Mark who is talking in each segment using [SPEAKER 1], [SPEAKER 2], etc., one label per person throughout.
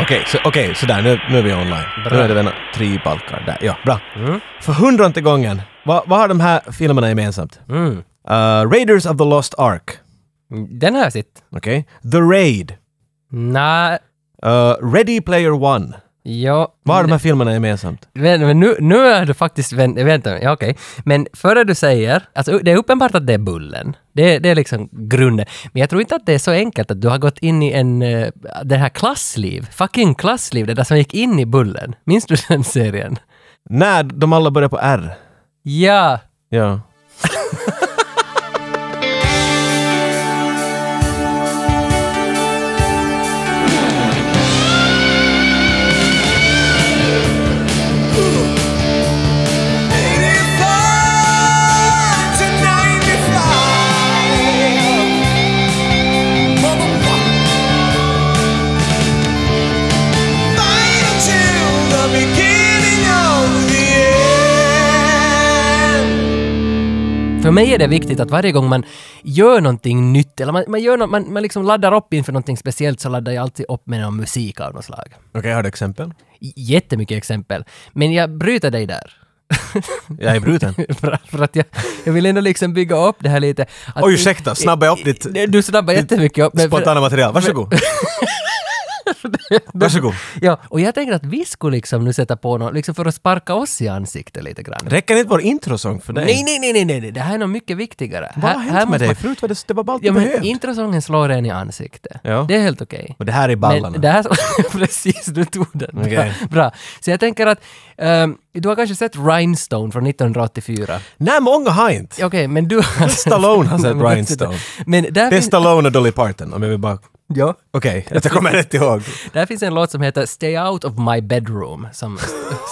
[SPEAKER 1] Okej, så, okej, sådär, nu, nu är vi online. Nu är det väl nå- tre balkar där. Ja, bra.
[SPEAKER 2] Mm.
[SPEAKER 1] För hundrade gången, vad, vad har de här filmerna gemensamt?
[SPEAKER 2] Mm.
[SPEAKER 1] Eh, Raiders of the Lost Ark.
[SPEAKER 2] Den har jag sett.
[SPEAKER 1] Okej. The Raid.
[SPEAKER 2] Nej,
[SPEAKER 1] Eh, Ready Player One.
[SPEAKER 2] ja.
[SPEAKER 1] Vad har de här filmerna gemensamt?
[SPEAKER 2] Men, men nu, nu är du faktiskt... Vänt, vänta, ja, okej. Men före du säger... Alltså, det är uppenbart att det är bullen. Det, det är liksom grunden. Men jag tror inte att det är så enkelt att du har gått in i en... eh, Det här klassliv. Fucking klassliv. Det där som gick in i bullen. Minns du den serien?
[SPEAKER 1] Nej, de alla börjar på R.
[SPEAKER 2] Ja.
[SPEAKER 1] Ja.
[SPEAKER 2] För mig är det viktigt att varje gång man gör någonting nytt, eller man, man, gör no- man, man liksom laddar upp inför någonting speciellt, så laddar jag alltid upp med någon musik av något slag.
[SPEAKER 1] Okej, har du exempel?
[SPEAKER 2] J- Jättemycket exempel. Men jag bryter dig där.
[SPEAKER 1] Jag är bruten.
[SPEAKER 2] för, för att jag, jag vill ändå liksom bygga upp det här lite. Att Eh,
[SPEAKER 1] Oj, ursäkta, snabba upp ditt
[SPEAKER 2] Du snabbar jättemycket upp. men för-
[SPEAKER 1] spontana material. Varsågod. Varsågod.
[SPEAKER 2] Ja, och jag tänker att vi skulle liksom nu sätta på något, liksom för att sparka oss i ansiktet lite grann.
[SPEAKER 1] Räcker inte vår introsång för dig?
[SPEAKER 2] Nej, nej, nej, nej, nej, nej, det här är något mycket viktigare.
[SPEAKER 1] Vad har hänt med
[SPEAKER 2] måste
[SPEAKER 1] dig?
[SPEAKER 2] man-
[SPEAKER 1] Förut var det, det var bara allt
[SPEAKER 2] Ja,
[SPEAKER 1] du
[SPEAKER 2] men
[SPEAKER 1] behövde.
[SPEAKER 2] introsången slår en i ansiktet.
[SPEAKER 1] Ja.
[SPEAKER 2] Det är helt okej.
[SPEAKER 1] Och det här är ballarna.
[SPEAKER 2] Men det här, precis, du tog den.
[SPEAKER 1] Okej.
[SPEAKER 2] Bra, bra. Så jag tänker att ehm, du har kanske sett Rhinestone från 1984.
[SPEAKER 1] Nej, många har inte.
[SPEAKER 2] Okej, men du har...
[SPEAKER 1] Stallone har sett
[SPEAKER 2] Men-
[SPEAKER 1] Rhinestone.
[SPEAKER 2] Men där
[SPEAKER 1] Det är
[SPEAKER 2] finns...
[SPEAKER 1] Stallone och Dolly Parton, om jag vill bara...
[SPEAKER 2] Ja.
[SPEAKER 1] Okej, att jag kommer rätt ihåg.
[SPEAKER 2] Där finns en låt som heter “Stay out of my bedroom” som,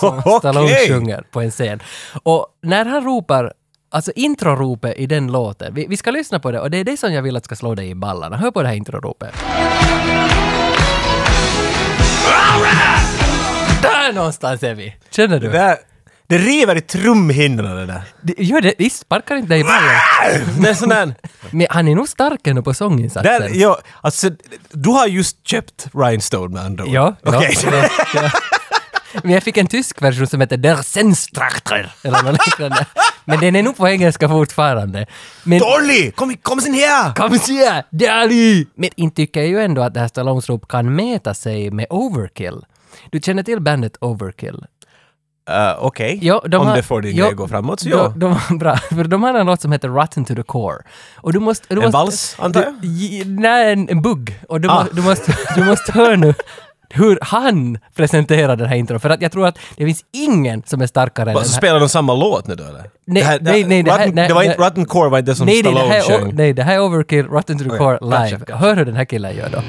[SPEAKER 2] som
[SPEAKER 1] Okej.
[SPEAKER 2] Stallone sjunger på en scen. Och när han ropar, alltså introropet i den låten, vi, vi ska lyssna på det och det är det som jag vill att ska slå dig i ballarna. Hör på det här introropet. Där någonstans är vi! Känner
[SPEAKER 1] Det,
[SPEAKER 2] du?
[SPEAKER 1] där, det river i trumhinnorna det där.
[SPEAKER 2] Det- Gör det, visst sparkar inte dig i ballen?
[SPEAKER 1] Det är sån där...
[SPEAKER 2] Men han är nog stark ändå på sånginsatsen.
[SPEAKER 1] där ja, alltså, du har just köpt Rhinestone med andra ord.
[SPEAKER 2] Ja,
[SPEAKER 1] Okej.
[SPEAKER 2] ja, det- ja. Men jag fick en tysk version som heter Der Senstrachter, eller något liknande. Men den är nog på engelska fortfarande. Men
[SPEAKER 1] Dolly! Kom, kom sen här!
[SPEAKER 2] Kom se, Dali! Men inte tycker jag ju ändå att det här Stallones rop kan mäta sig med Overkill. Du känner till bandet Overkill?
[SPEAKER 1] Uh, Okej,
[SPEAKER 2] Ja, de
[SPEAKER 1] om
[SPEAKER 2] har-
[SPEAKER 1] det får din
[SPEAKER 2] ja,
[SPEAKER 1] grej gå framåt så
[SPEAKER 2] de,
[SPEAKER 1] ja.
[SPEAKER 2] de, bra, för de har en låt som heter Rotten to the Core. Och du måste... Du
[SPEAKER 1] En
[SPEAKER 2] måste,
[SPEAKER 1] vals, antar jag?
[SPEAKER 2] Du, j- nej, en, en bugg. Och du,
[SPEAKER 1] Ah.
[SPEAKER 2] må, du, måste, du måste höra nu hur han presenterar den här intron. För att jag tror att det finns ingen som är starkare än
[SPEAKER 1] Va,
[SPEAKER 2] den
[SPEAKER 1] Så
[SPEAKER 2] här.
[SPEAKER 1] spelar de samma låt nu då eller? Det
[SPEAKER 2] Nej,
[SPEAKER 1] här- det här-
[SPEAKER 2] nej, nej, det här-
[SPEAKER 1] Rotten,
[SPEAKER 2] nej,
[SPEAKER 1] det var
[SPEAKER 2] det-
[SPEAKER 1] inte, Rotten Core var inte det som
[SPEAKER 2] Nej, nej, det
[SPEAKER 1] Stallone
[SPEAKER 2] här, är o-
[SPEAKER 1] sjöng.
[SPEAKER 2] nej, det här är Overkill, Rotten to the
[SPEAKER 1] Okej,
[SPEAKER 2] Core
[SPEAKER 1] gotcha,
[SPEAKER 2] live.
[SPEAKER 1] gotcha.
[SPEAKER 2] Hör hur den här killen gör då.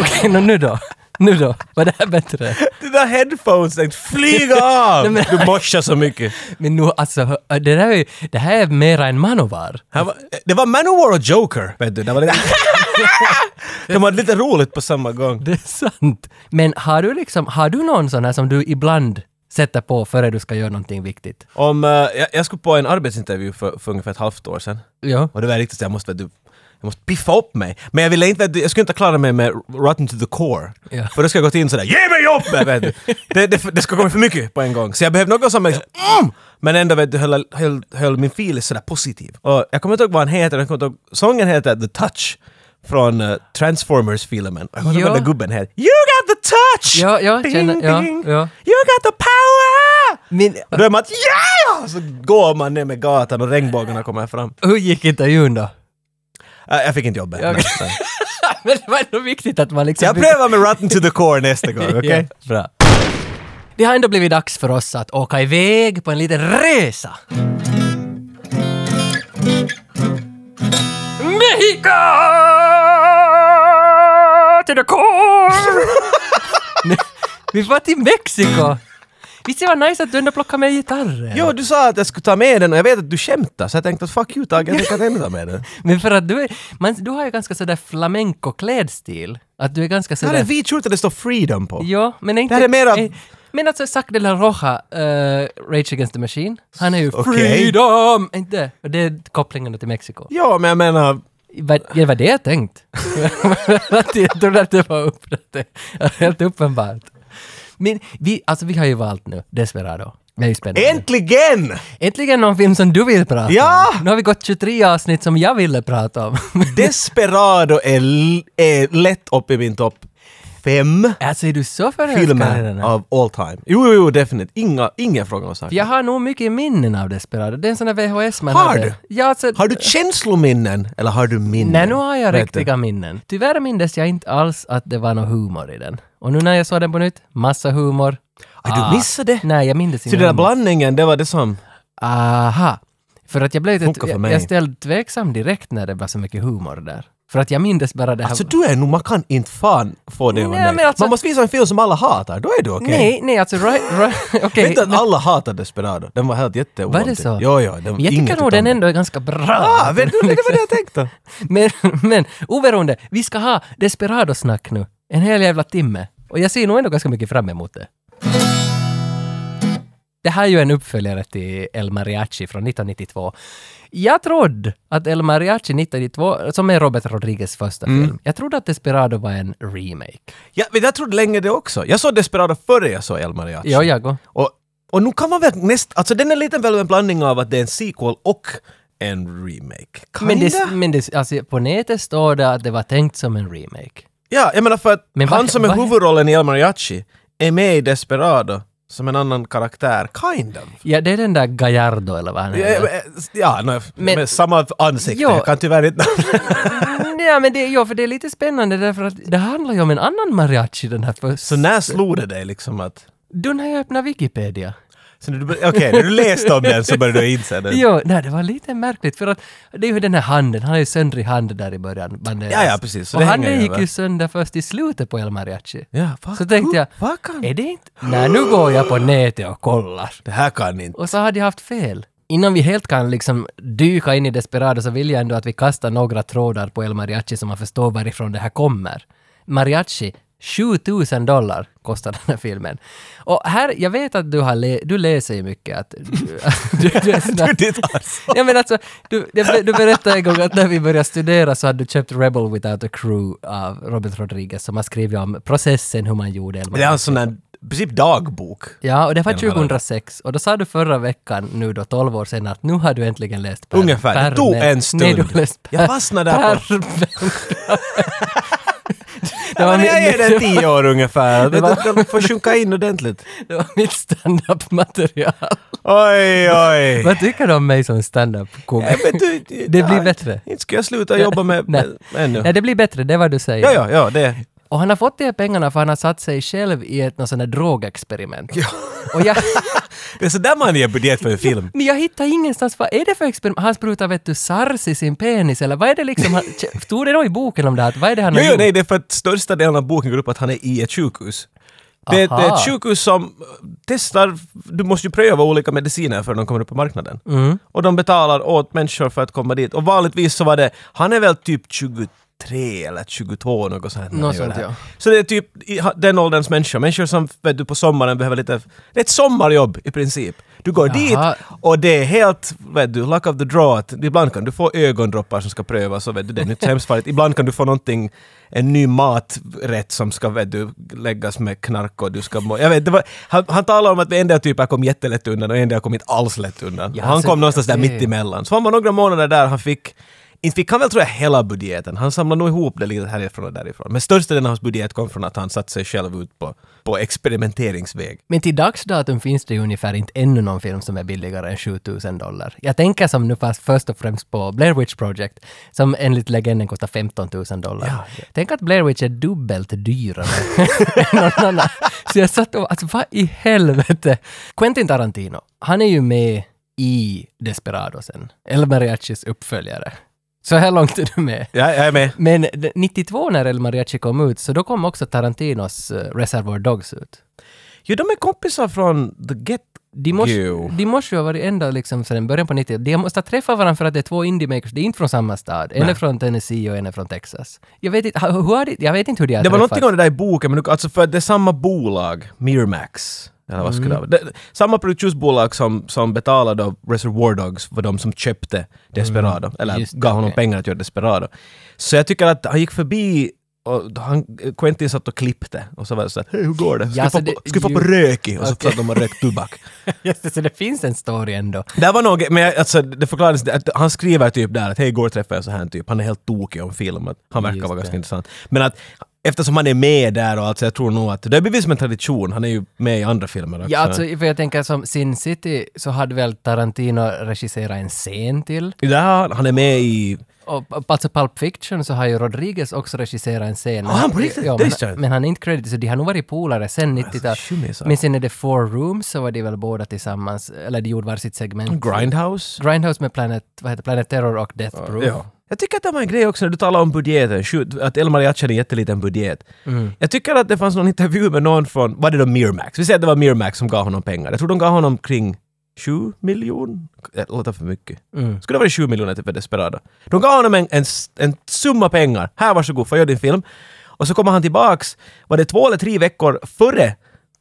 [SPEAKER 2] Okej, nå nu då. Nu då. Var det här bättre?
[SPEAKER 1] Det där headphones tänkte flyga av!
[SPEAKER 2] Nej, men-
[SPEAKER 1] du morsar så mycket.
[SPEAKER 2] Men nu alltså, hö- det, där är, ju- det här är mera en manovar.
[SPEAKER 1] Han var, det var Manowar och Joker, vet du. Det var det De hade lite roligt på samma gång.
[SPEAKER 2] Det är sant. Men har du liksom, har du någon sån här som du ibland sätter på före du ska göra någonting viktigt?
[SPEAKER 1] Om, eh, jag, jag skulle på en arbetsintervju för, för ungefär ett halvt år sedan.
[SPEAKER 2] Ja.
[SPEAKER 1] Och det var riktigt så jag måste, vet du, jag måste piffa upp mig. Men jag ville inte, vet du, jag skulle inte klara mig med Rotten to the Core.
[SPEAKER 2] Ja.
[SPEAKER 1] För då ska jag gått in sådär, ge mig jobbet! Vet du. Det, det, det ska komma för mycket på en gång. Så jag behövde något som liksom, mm! Men ändå vet du, höll, höll, höll min feeling sådär positiv. Och jag kommer inte ihåg vad han heter, jag kommer inte ihåg, sången heter The Touch. Från eh, Transformers-filmen. Jag kommer inte ihåg
[SPEAKER 2] Ja.
[SPEAKER 1] vad den gubben heter. You got the touch!
[SPEAKER 2] Ja, ja,
[SPEAKER 1] ding,
[SPEAKER 2] känner- ja,
[SPEAKER 1] ding.
[SPEAKER 2] ja.
[SPEAKER 1] You got the power!
[SPEAKER 2] Men
[SPEAKER 1] Och då är man att ja! Så går man ner med gatan och regnbågarna kommer fram.
[SPEAKER 2] hur gick intervjun då?
[SPEAKER 1] Äh, jag fick inte jobbet.
[SPEAKER 2] Ja, okej.
[SPEAKER 1] Nej, nej.
[SPEAKER 2] Men det var ändå viktigt att man liksom...
[SPEAKER 1] Jag prövar med Rotten to the Core nästa gång, okej?
[SPEAKER 2] Ja, bra. Det har ändå blivit dags för oss att åka iväg på en liten resa. Mexico! To the core! Nu- Vi var till Mexiko! Visst det var nice att du ändå plockade med gitarren?
[SPEAKER 1] Jo, du sa att jag skulle ta med den och jag vet att du skämtar så jag tänkte att fuck you Tage, jag tänker att jag ändå ta med den.
[SPEAKER 2] Men för att du är... Man, du har ju ganska sådär flamenco-klädstil. Att du är ganska
[SPEAKER 1] Det här är en
[SPEAKER 2] sådär...
[SPEAKER 1] vit skjorta det står freedom på.
[SPEAKER 2] Ja, men inte...
[SPEAKER 1] Det här är mera
[SPEAKER 2] eh, Men alltså Zac de la Roja, eh, Rage Against the Machine, han är ju
[SPEAKER 1] Okej.
[SPEAKER 2] freedom! Inte? Och det är kopplingen till Mexiko.
[SPEAKER 1] Ja, men jag menar...
[SPEAKER 2] Vad- Det var det jag tänkt. jag trodde att det var upp, att det- helt uppenbart. Men vi, alltså vi har ju valt nu, Desperado. Det är ju spännande.
[SPEAKER 1] Äntligen!
[SPEAKER 2] Äntligen någon film som du vill prata
[SPEAKER 1] Ja!
[SPEAKER 2] om. Nu har vi gått 23 avsnitt som jag ville prata om.
[SPEAKER 1] Desperado är, l- är lätt upp i min topp fem
[SPEAKER 2] alltså är du så förälskad i den
[SPEAKER 1] filmer
[SPEAKER 2] här?
[SPEAKER 1] av all time. Jo, jo, jo, definitivt. Inga, ingen fråga om saken.
[SPEAKER 2] Jag har nog mycket minnen av Desperado. Det är en sån där VHS man
[SPEAKER 1] Har
[SPEAKER 2] hade.
[SPEAKER 1] du?
[SPEAKER 2] Ja, alltså,
[SPEAKER 1] Har du känslominnen eller har du minnen?
[SPEAKER 2] Nej, nu har jag
[SPEAKER 1] Vet du?
[SPEAKER 2] riktiga minnen. Tyvärr mindes jag inte alls att det var någon humor i den. Och nu när jag såg den på nytt, massa humor.
[SPEAKER 1] Ah, du missade det?
[SPEAKER 2] Nej, jag mindes
[SPEAKER 1] Så
[SPEAKER 2] inte.
[SPEAKER 1] den där blandningen, det var det som...
[SPEAKER 2] Aha! För att jag blev lite...
[SPEAKER 1] Funkar för
[SPEAKER 2] jag,
[SPEAKER 1] mig.
[SPEAKER 2] jag ställde tveksam direkt när det var så mycket humor där. För att jag mindes bara det här...
[SPEAKER 1] Alltså du är nog, man kan inte fan få det att
[SPEAKER 2] Nej,
[SPEAKER 1] vara
[SPEAKER 2] men
[SPEAKER 1] nöjd.
[SPEAKER 2] alltså-
[SPEAKER 1] Man måste visa en film som alla hatar, då är du okej.
[SPEAKER 2] Nej, nej, alltså... Right, right, okej.
[SPEAKER 1] Vet du att alla hatar Desperado? Den var helt jätteovanlig.
[SPEAKER 2] Var det så?
[SPEAKER 1] Ja, ja. Den,
[SPEAKER 2] Men jag
[SPEAKER 1] inget
[SPEAKER 2] tycker nog
[SPEAKER 1] utan
[SPEAKER 2] den ändå är ganska bra.
[SPEAKER 1] Ah, vet du, det var det jag tänkte.
[SPEAKER 2] men, men oberoende, vi ska ha Desperado-snack nu. En hel jävla timme. Och jag ser nog ändå ganska mycket fram emot det. Det här är ju en uppföljare till El Mariachi från 1992. Jag trodde att El Mariachi 1992, som är Robert Rodriguez första
[SPEAKER 1] Mm.
[SPEAKER 2] film, jag trodde att Desperado var en remake.
[SPEAKER 1] Ja, men jag trodde länge det också. Jag såg Desperado före jag såg El Mariachi.
[SPEAKER 2] Ja, jag går.
[SPEAKER 1] Och, och nu kan man väl nästan... Alltså den är lite väl en blandning av att det är en sequel och en remake. Kinda?
[SPEAKER 2] Men, det, men det, alltså, på nätet står det att det var tänkt som en remake.
[SPEAKER 1] Ja, jag menar för att
[SPEAKER 2] Men
[SPEAKER 1] han
[SPEAKER 2] vad-
[SPEAKER 1] som är
[SPEAKER 2] vad-
[SPEAKER 1] huvudrollen i El Mariachi är med i Desperado som en annan karaktär, kind of.
[SPEAKER 2] Ja, det är den där Gallardo eller vad han heter.
[SPEAKER 1] Ja, ja no,
[SPEAKER 2] Men-
[SPEAKER 1] med samma ansikte.
[SPEAKER 2] Ja.
[SPEAKER 1] Jag kan tyvärr inte...
[SPEAKER 2] Nej, men det, ja, för det är lite spännande därför att det handlar ju om en annan mariachi den här för...
[SPEAKER 1] Så när slog det dig liksom att...
[SPEAKER 2] Då när jag öppnade Wikipedia.
[SPEAKER 1] så när du bör- Okej, när du läste om den så började du inse det.
[SPEAKER 2] Jo, nej, det var lite märkligt för att det är ju den här handen, han har ju söndrig hand där i början. Banderas.
[SPEAKER 1] Ja, ja, precis, så
[SPEAKER 2] Och
[SPEAKER 1] det hänger
[SPEAKER 2] handen
[SPEAKER 1] ju
[SPEAKER 2] gick
[SPEAKER 1] över.
[SPEAKER 2] ju sönder först i slutet på El Mariachi.
[SPEAKER 1] Ja, va-
[SPEAKER 2] Så tänkte jag,
[SPEAKER 1] hur- vad kan-
[SPEAKER 2] är det inte... Nej, nu går jag på nätet och kollar.
[SPEAKER 1] Det här kan inte...
[SPEAKER 2] Och så hade jag haft fel. Innan vi helt kan liksom dyka in i Desperado så vill jag ändå att vi kastar några trådar på El Mariachi så man förstår varifrån det här kommer. Mariachi, 7000 dollar kostar den här filmen. Och här, jag vet att du har lä- du läser ju mycket att... Du, du, du är sån där-
[SPEAKER 1] Ditt ass.
[SPEAKER 2] Ja men alltså, du, jag- du berättade en gång att när vi började studera så hade du köpt Rebel Without a Crew av Robert Rodriguez som har skrivit om processen hur man gjorde El
[SPEAKER 1] Det är
[SPEAKER 2] Mariachi.
[SPEAKER 1] en sån där, i princip dagbok.
[SPEAKER 2] Ja, och det var
[SPEAKER 1] Genom hela
[SPEAKER 2] 2006 och då sa du förra veckan nu då 12 år senare att nu har du äntligen läst pärmen.
[SPEAKER 1] Ungefär. Det tog
[SPEAKER 2] Pärmen.
[SPEAKER 1] en stund.
[SPEAKER 2] Nej, du har läst
[SPEAKER 1] Jag fastnade där på...
[SPEAKER 2] pärmen. det,
[SPEAKER 1] Ja,
[SPEAKER 2] var
[SPEAKER 1] men jag
[SPEAKER 2] mitt,
[SPEAKER 1] är den tio år ungefär.
[SPEAKER 2] Det
[SPEAKER 1] Det
[SPEAKER 2] var-
[SPEAKER 1] var... De får sjunka in ordentligt.
[SPEAKER 2] det var mitt standup-material.
[SPEAKER 1] Oj, oj.
[SPEAKER 2] Vad tycker du om mig som standup-komiker?
[SPEAKER 1] Nej, men du,
[SPEAKER 2] Det blir
[SPEAKER 1] nej,
[SPEAKER 2] bättre.
[SPEAKER 1] Inte ska jag sluta jobba med,
[SPEAKER 2] Nej.
[SPEAKER 1] med ännu.
[SPEAKER 2] Nej, det blir bättre, det är vad du säger.
[SPEAKER 1] Ja, ja, ja, det.
[SPEAKER 2] Och han har fått de här pengarna för han har satt sig själv i ett något sånt här drogexperiment. Och jag,
[SPEAKER 1] Det är sådär man ger budget för en film.
[SPEAKER 2] Men jag hittar ingenstans, vad är det för experiment? Han sprutar vet du sars i sin penis eller vad är det liksom? Han, stod det då i boken om det här? att Vad är det han
[SPEAKER 1] Jo,
[SPEAKER 2] har
[SPEAKER 1] jo,
[SPEAKER 2] gjort?
[SPEAKER 1] nej, det är för att största delen av boken går upp att han är i ett sjukhus. Det är, det är
[SPEAKER 2] Aha.
[SPEAKER 1] ett sjukhus som testar, du måste ju pröva olika mediciner för de kommer upp på marknaden.
[SPEAKER 2] Mm.
[SPEAKER 1] Och de betalar åt människor för att komma dit. Och vanligtvis så var det, han är väl typ 23 eller 22 något sånt. när han
[SPEAKER 2] Något
[SPEAKER 1] gör det
[SPEAKER 2] sånt,
[SPEAKER 1] här.
[SPEAKER 2] ja.
[SPEAKER 1] Så det är typ i ha- den ålderns människor, människor som vet du, på sommaren behöver lite, det är ett sommarjobb i princip. Du går
[SPEAKER 2] Jaha.
[SPEAKER 1] dit och det är helt, vet du, luck of the draw. Att ibland kan du få ögondroppar som ska prövas och vet du, det är nytt hemskt farligt. Ibland kan du få någonting, en ny maträtt som ska vet du, läggas med knark och du ska må. Jag vet, det var, han, han talar om att en del typer kom jättelätt undan och en del kom inte alls lätt undan.
[SPEAKER 2] Ja,
[SPEAKER 1] Och han
[SPEAKER 2] så-
[SPEAKER 1] kom någonstans där
[SPEAKER 2] okej.
[SPEAKER 1] mitt emellan. Så han var några månader där, han fick inte fick han väl tror jag hela budgeten. Han samlade nog ihop det lite härifrån och därifrån. Men största delen av hans budget kom från att han satte sig själv ut på, på experimenteringsväg.
[SPEAKER 2] Men till dags datum finns det ju ungefär inte ännu någon film som är billigare än 7000 dollar. Jag tänker som nu fast först och främst på Blair Witch Project som enligt legenden kostar 15 000 dollar. Tänk att Blair Witch är dubbelt dyrare än någon annan. Så jag satt och, alltså vad i helvete? Quentin Tarantino, han är ju med i Desperado sen. El Mariachis uppföljare. Så här långt är du med.
[SPEAKER 1] Ja, jag är med.
[SPEAKER 2] Men d- 92 när El Mariachi kom ut, så då kom också Tarantinos eh, Reservoir Dogs ut.
[SPEAKER 1] Jo, de är kompisar från The Get
[SPEAKER 2] De måste,
[SPEAKER 1] Jo.
[SPEAKER 2] de måste ju ha varit ända liksom sedan början på 90 De måste ha träffat varandra för att det är två indie-makers. Det är inte från samma stad. En är från Tennessee och en är från Texas. Jag vet inte, ha- hur har de, jag vet inte hur de har
[SPEAKER 1] Det var
[SPEAKER 2] träffats.
[SPEAKER 1] någonting om det där i boken, men du- alltså för det är samma bolag, Miramax. Eller vad
[SPEAKER 2] Mm.
[SPEAKER 1] skulle det vara? Det- Samma produktionsbolag som, som betalade då Reservoir Dogs för de som köpte Desperado, eller
[SPEAKER 2] Mm. Just det,
[SPEAKER 1] gav honom
[SPEAKER 2] okej.
[SPEAKER 1] pengar att göra Desperado. Så jag tycker att han gick förbi och han, Quentin satt och klippte och så var det så att hej hur går det? Ska
[SPEAKER 2] Ja,
[SPEAKER 1] vi få på-
[SPEAKER 2] så det-
[SPEAKER 1] ska vi få på
[SPEAKER 2] ju-
[SPEAKER 1] rökig? Och så
[SPEAKER 2] Okej.
[SPEAKER 1] satt de och rökt tobak.
[SPEAKER 2] Just det, så det finns en story ändå.
[SPEAKER 1] Det var något, men jag- alltså, det förklarades att han skriver typ där att hej igår träffade jag så här en typ. Han är helt tokig om film, att han verkar
[SPEAKER 2] Just
[SPEAKER 1] vara ganska
[SPEAKER 2] det.
[SPEAKER 1] intressant. Men att eftersom han är med där och allt så jag tror nog att det har blivit som en tradition. Han är ju med i andra filmer också.
[SPEAKER 2] Ja, alltså, för jag tänker som Sin City så hade väl Tarantino regisserat en scen till.
[SPEAKER 1] Ja, han är med i...
[SPEAKER 2] Och och alltså Pulp Fiction så har ju Rodriguez också regisserat en scen.
[SPEAKER 1] Har Ah, han på riktigt?
[SPEAKER 2] Ja,
[SPEAKER 1] Det
[SPEAKER 2] men,
[SPEAKER 1] visste jag inte. Alltså,
[SPEAKER 2] men han är inte credited, så de har nog varit polare sen 90-talet.
[SPEAKER 1] tjummisar.
[SPEAKER 2] Men sen är det Four Rooms så var de väl båda tillsammans, eller de gjorde var sitt segment.
[SPEAKER 1] Grindhouse.
[SPEAKER 2] Grindhouse med Planet, vad heter det? Planet Terror och Death Proof.
[SPEAKER 1] Ja. Jag tycker att det var en grej också när du talade om budgeten, sju- att El Mariachi hade en jätteliten budget. Jag tycker att det fanns någon intervju med någon från, var det då Miramax? Vi säger att det var Miramax som gav honom pengar. Jag tror de gav honom kring 7 miljoner? Det låter för mycket.
[SPEAKER 2] Mm.
[SPEAKER 1] Skulle det varit 7 miljoner till för Desperado? De gav honom en, en, s- en summa pengar. Här varsågod, få göra din film. Och så kommer han tillbaks, var det två eller tre veckor före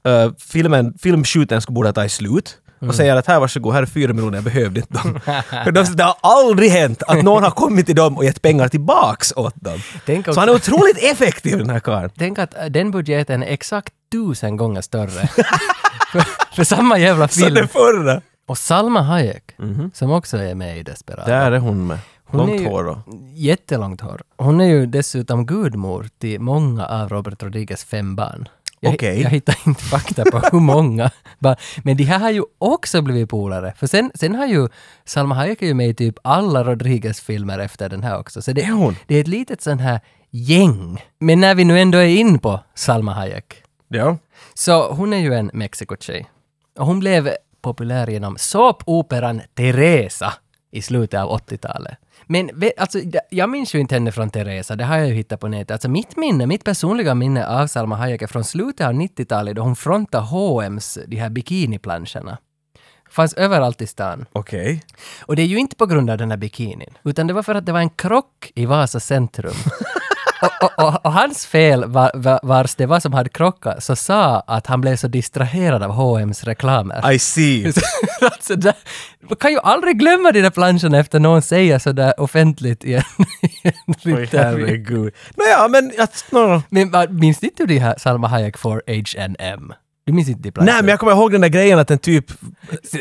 [SPEAKER 1] uh, filmen, filmshooten skulle borde ta slut och
[SPEAKER 2] Mm.
[SPEAKER 1] säger att här varsågod, här är fyra miljoner, jag behövde inte dem. För de- det har aldrig hänt att någon har kommit till dem och gett pengar tillbaks åt dem.
[SPEAKER 2] Tänk
[SPEAKER 1] Så
[SPEAKER 2] också-
[SPEAKER 1] han är otroligt effektiv den här karln.
[SPEAKER 2] Tänk att eh, den budgeten är exakt tusen gånger större. för, för samma jävla
[SPEAKER 1] Så Mhm.
[SPEAKER 2] film.
[SPEAKER 1] den förra.
[SPEAKER 2] Och Salma Hayek, som också är med i Desperado.
[SPEAKER 1] Där är hon med.
[SPEAKER 2] Hon är
[SPEAKER 1] Långt
[SPEAKER 2] ju-
[SPEAKER 1] hår då.
[SPEAKER 2] Jättelångt hår. Hon är ju dessutom gudmor till många av Robert Rodriguez fem barn. Jag,
[SPEAKER 1] Okej.
[SPEAKER 2] jag hittar inte fakta på hur många. barn. Men de här har ju också blivit polare. För sen, sen har ju Salma Hayek är ju med i typ alla Rodriguez-filmer efter den här också. Så det,
[SPEAKER 1] Är hon?
[SPEAKER 2] det är ett litet sån här gäng. Men när vi nu ändå är in på Salma Hayek.
[SPEAKER 1] Ja.
[SPEAKER 2] Så hon är ju en Mexiko-tjej. Och hon blev populär genom såpoperan Teresa i slutet av 80-talet. Men ve- alltså, jag- jag minns ju inte henne från Teresa, det har jag ju hittat på nätet. Alltså mitt minne, mitt personliga minne av Salma Hayek är från slutet av 90-talet då hon frontade H&M's de här bikiniplanscherna. Fanns överallt i stan.
[SPEAKER 1] Okej.
[SPEAKER 2] Och det är ju inte på grund av den här bikinin, utan det var för att det var en krock i Vasa centrum. och, och, och, och hans fel var, var, vars det var som hade krockat, så sa att han blev så distraherad av H&M's reklamer.
[SPEAKER 1] I see.
[SPEAKER 2] alltså, där, man kan ju aldrig glömma de där planscherna efter någon säger sådär offentligt i en, i en
[SPEAKER 1] Oj,
[SPEAKER 2] intervju.
[SPEAKER 1] herregud. Nåja, men... att- nå, nå.
[SPEAKER 2] Men vad- minns inte du de här Salma Hayek for H&M? Du minns inte de planscherna?
[SPEAKER 1] Nej, men jag kommer ihåg den där grejen att en typ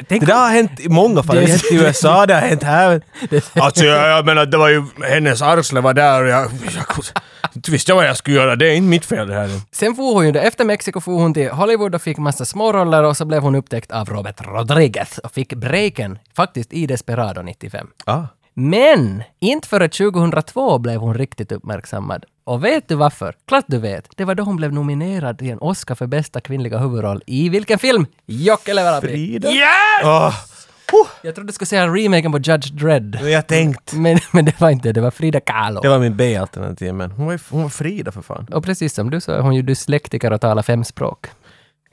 [SPEAKER 2] Tänk
[SPEAKER 1] Det där har hänt i många fall. Det har
[SPEAKER 2] Det-
[SPEAKER 1] hänt i USA, det har hänt här. Alltså jag, jag menar, det var ju hennes arsle var där och jag, jag inte visste jag vad jag skulle göra. Det är inte mitt fel det här.
[SPEAKER 2] Sen for hon ju, då, efter Mexiko for hon till Hollywood och fick massa småroller och så blev hon upptäckt av Robert Rodriguez och fick breaken faktiskt i Desperado 95.
[SPEAKER 1] Ah.
[SPEAKER 2] Men inte före 2002 blev hon riktigt uppmärksammad. Och vet du varför? Klart du vet. Det var då hon blev nominerad till en Oscar för bästa kvinnliga huvudroll i vilken film? Jockelevarappi!
[SPEAKER 1] Frida? Yes! Oh.
[SPEAKER 2] Jag trodde du skulle säga remaken på Judge Dredd.
[SPEAKER 1] Jag tänkt.
[SPEAKER 2] Men, men det var inte det, var Frida Kahlo.
[SPEAKER 1] Det var min B-alternativ, men hon var, ju- hon var Frida för fan.
[SPEAKER 2] Och precis som du sa är hon ju dyslektiker och talar fem språk.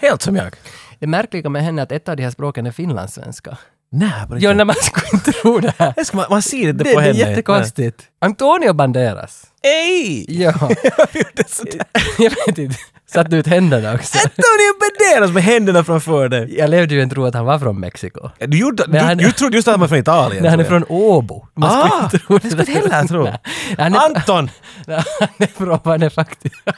[SPEAKER 1] Helt som jag.
[SPEAKER 2] Det märkliga med henne är att ett av de här språken är finlandssvenska.
[SPEAKER 1] Nej, på
[SPEAKER 2] Ja,
[SPEAKER 1] riktigt.
[SPEAKER 2] när man skulle inte tro det här.
[SPEAKER 1] Det ska Man, man ser inte
[SPEAKER 2] Det,
[SPEAKER 1] på
[SPEAKER 2] det är
[SPEAKER 1] henne.
[SPEAKER 2] jättekonstigt. Antonio Banderas.
[SPEAKER 1] Nej. Ey!
[SPEAKER 2] Ja,
[SPEAKER 1] Jag gjorde sådär.
[SPEAKER 2] jag vet inte. Satte ut händerna också.
[SPEAKER 1] Antonio Banderas med händerna framför dig.
[SPEAKER 2] Jag levde ju i en tro att han var från Mexiko.
[SPEAKER 1] Du, gjorde,
[SPEAKER 2] Men han-
[SPEAKER 1] du, du trodde just att han var från Italien.
[SPEAKER 2] Nej, han är
[SPEAKER 1] tror jag.
[SPEAKER 2] från Åbo. Man skulle
[SPEAKER 1] Ah!
[SPEAKER 2] inte tro
[SPEAKER 1] Det skulle jag inte heller tro.
[SPEAKER 2] Nej, Han är,
[SPEAKER 1] Anton!
[SPEAKER 2] han är från... Han är faktiskt...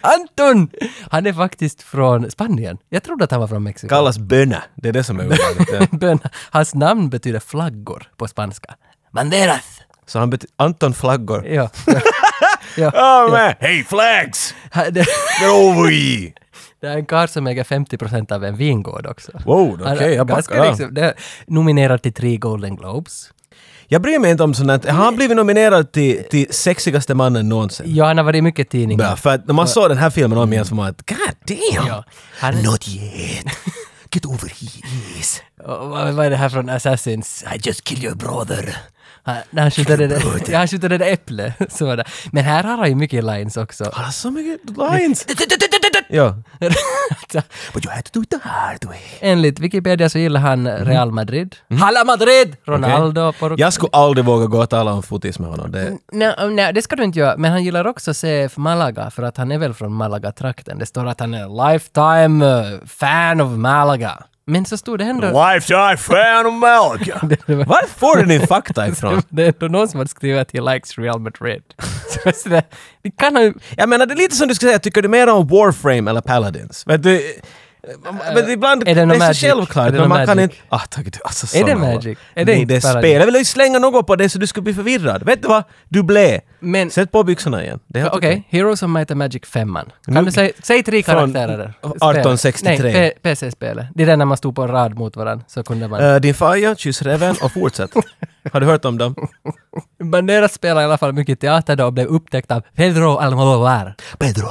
[SPEAKER 2] Anton! Han är faktiskt från Spanien. Jag trodde att han var från Mexiko.
[SPEAKER 1] Kallas bönna. Det är det som är ovanligt. ja.
[SPEAKER 2] Bön- Hans namn betyder flaggor på spanska. Banderas!
[SPEAKER 1] Så han bet- Anton Flaggor.
[SPEAKER 2] Ja. ja. ja.
[SPEAKER 1] Oh, man. Hey flags!
[SPEAKER 2] Han- det-
[SPEAKER 1] Get over ye!
[SPEAKER 2] Det är en karl som äger 50% av en vingård också.
[SPEAKER 1] Wow, okej,
[SPEAKER 2] Han är
[SPEAKER 1] jag
[SPEAKER 2] ganska
[SPEAKER 1] backar av.
[SPEAKER 2] liksom, det är Nominerad till tre Golden Globes.
[SPEAKER 1] Jag bryr mig inte om sånt här. Har han blivit nominerad till, till sexigaste mannen någonsin?
[SPEAKER 2] Ja, han har varit i mycket tidningar.
[SPEAKER 1] Bra, för att när man såg den här filmen om igen så var man att God damn!
[SPEAKER 2] Ja, han är,
[SPEAKER 1] Not yet! Get over he is!
[SPEAKER 2] Och vad, vad är det här från Assassins? I just killed your brother. Han, när han skjuter det där, ja, han skjuter det där äpplet. Så var det. Men här har han ju mycket lines också.
[SPEAKER 1] Han har så mycket lines! ja.
[SPEAKER 2] Alltså,
[SPEAKER 1] But you had to do it the hard way.
[SPEAKER 2] Enligt Wikipedia så gillar han Real Madrid.
[SPEAKER 1] Mm.
[SPEAKER 2] Hala Madrid! Ronaldo. Okay.
[SPEAKER 1] Jag skulle aldrig våga gå och tala om fotis med honom. Det,
[SPEAKER 2] Nej, eh, nej, det ska du inte göra. Men han gillar också CF Malaga, för att han är väl från Malaga-trakten. Det står att han är lifetime eh, fan of Malaga. Men så stod det
[SPEAKER 1] Mm.
[SPEAKER 2] ändå...
[SPEAKER 1] Lifetime fan of Malaga!
[SPEAKER 2] Det var,
[SPEAKER 1] Var får du din fakta ifrån?
[SPEAKER 2] det är ändå någon som hade skrivit att he likes Real Madrid. Så jag sådär, det kan han ju...
[SPEAKER 1] Jag menar, det är lite som du skulle säga, tycker du mer om Warframe eller Paladins? Men du... Men ibland,
[SPEAKER 2] Äh, är det någon
[SPEAKER 1] är
[SPEAKER 2] magic?
[SPEAKER 1] så självklart,
[SPEAKER 2] Är det
[SPEAKER 1] men
[SPEAKER 2] någon
[SPEAKER 1] man kan
[SPEAKER 2] magic?
[SPEAKER 1] inte... Ah, tack, du, alltså,
[SPEAKER 2] Är det
[SPEAKER 1] såna-
[SPEAKER 2] magic? Är det
[SPEAKER 1] Nej,
[SPEAKER 2] inte
[SPEAKER 1] det är
[SPEAKER 2] bara-
[SPEAKER 1] spel. Jag ville ju slänga något på dig så du skulle bli förvirrad. Vet du vad? Du blev.
[SPEAKER 2] Men
[SPEAKER 1] Sätt på byxorna igen. Det är helt
[SPEAKER 2] Okej, Heroes of Might and Magic 5
[SPEAKER 1] Nu-
[SPEAKER 2] Kan du säga, säg tre
[SPEAKER 1] Från
[SPEAKER 2] karaktärer där. Spel.
[SPEAKER 1] 1863.
[SPEAKER 2] Nej, P- PC-spelet. Det är där när man stod på en rad mot varandra, så kunde man.
[SPEAKER 1] Eh, din faja, kyss räven och fortsätt. Har du hört om dem?
[SPEAKER 2] Banderas spelade i alla fall mycket teater då och blev upptäckt av Pedro Almodovar.
[SPEAKER 1] Pedro,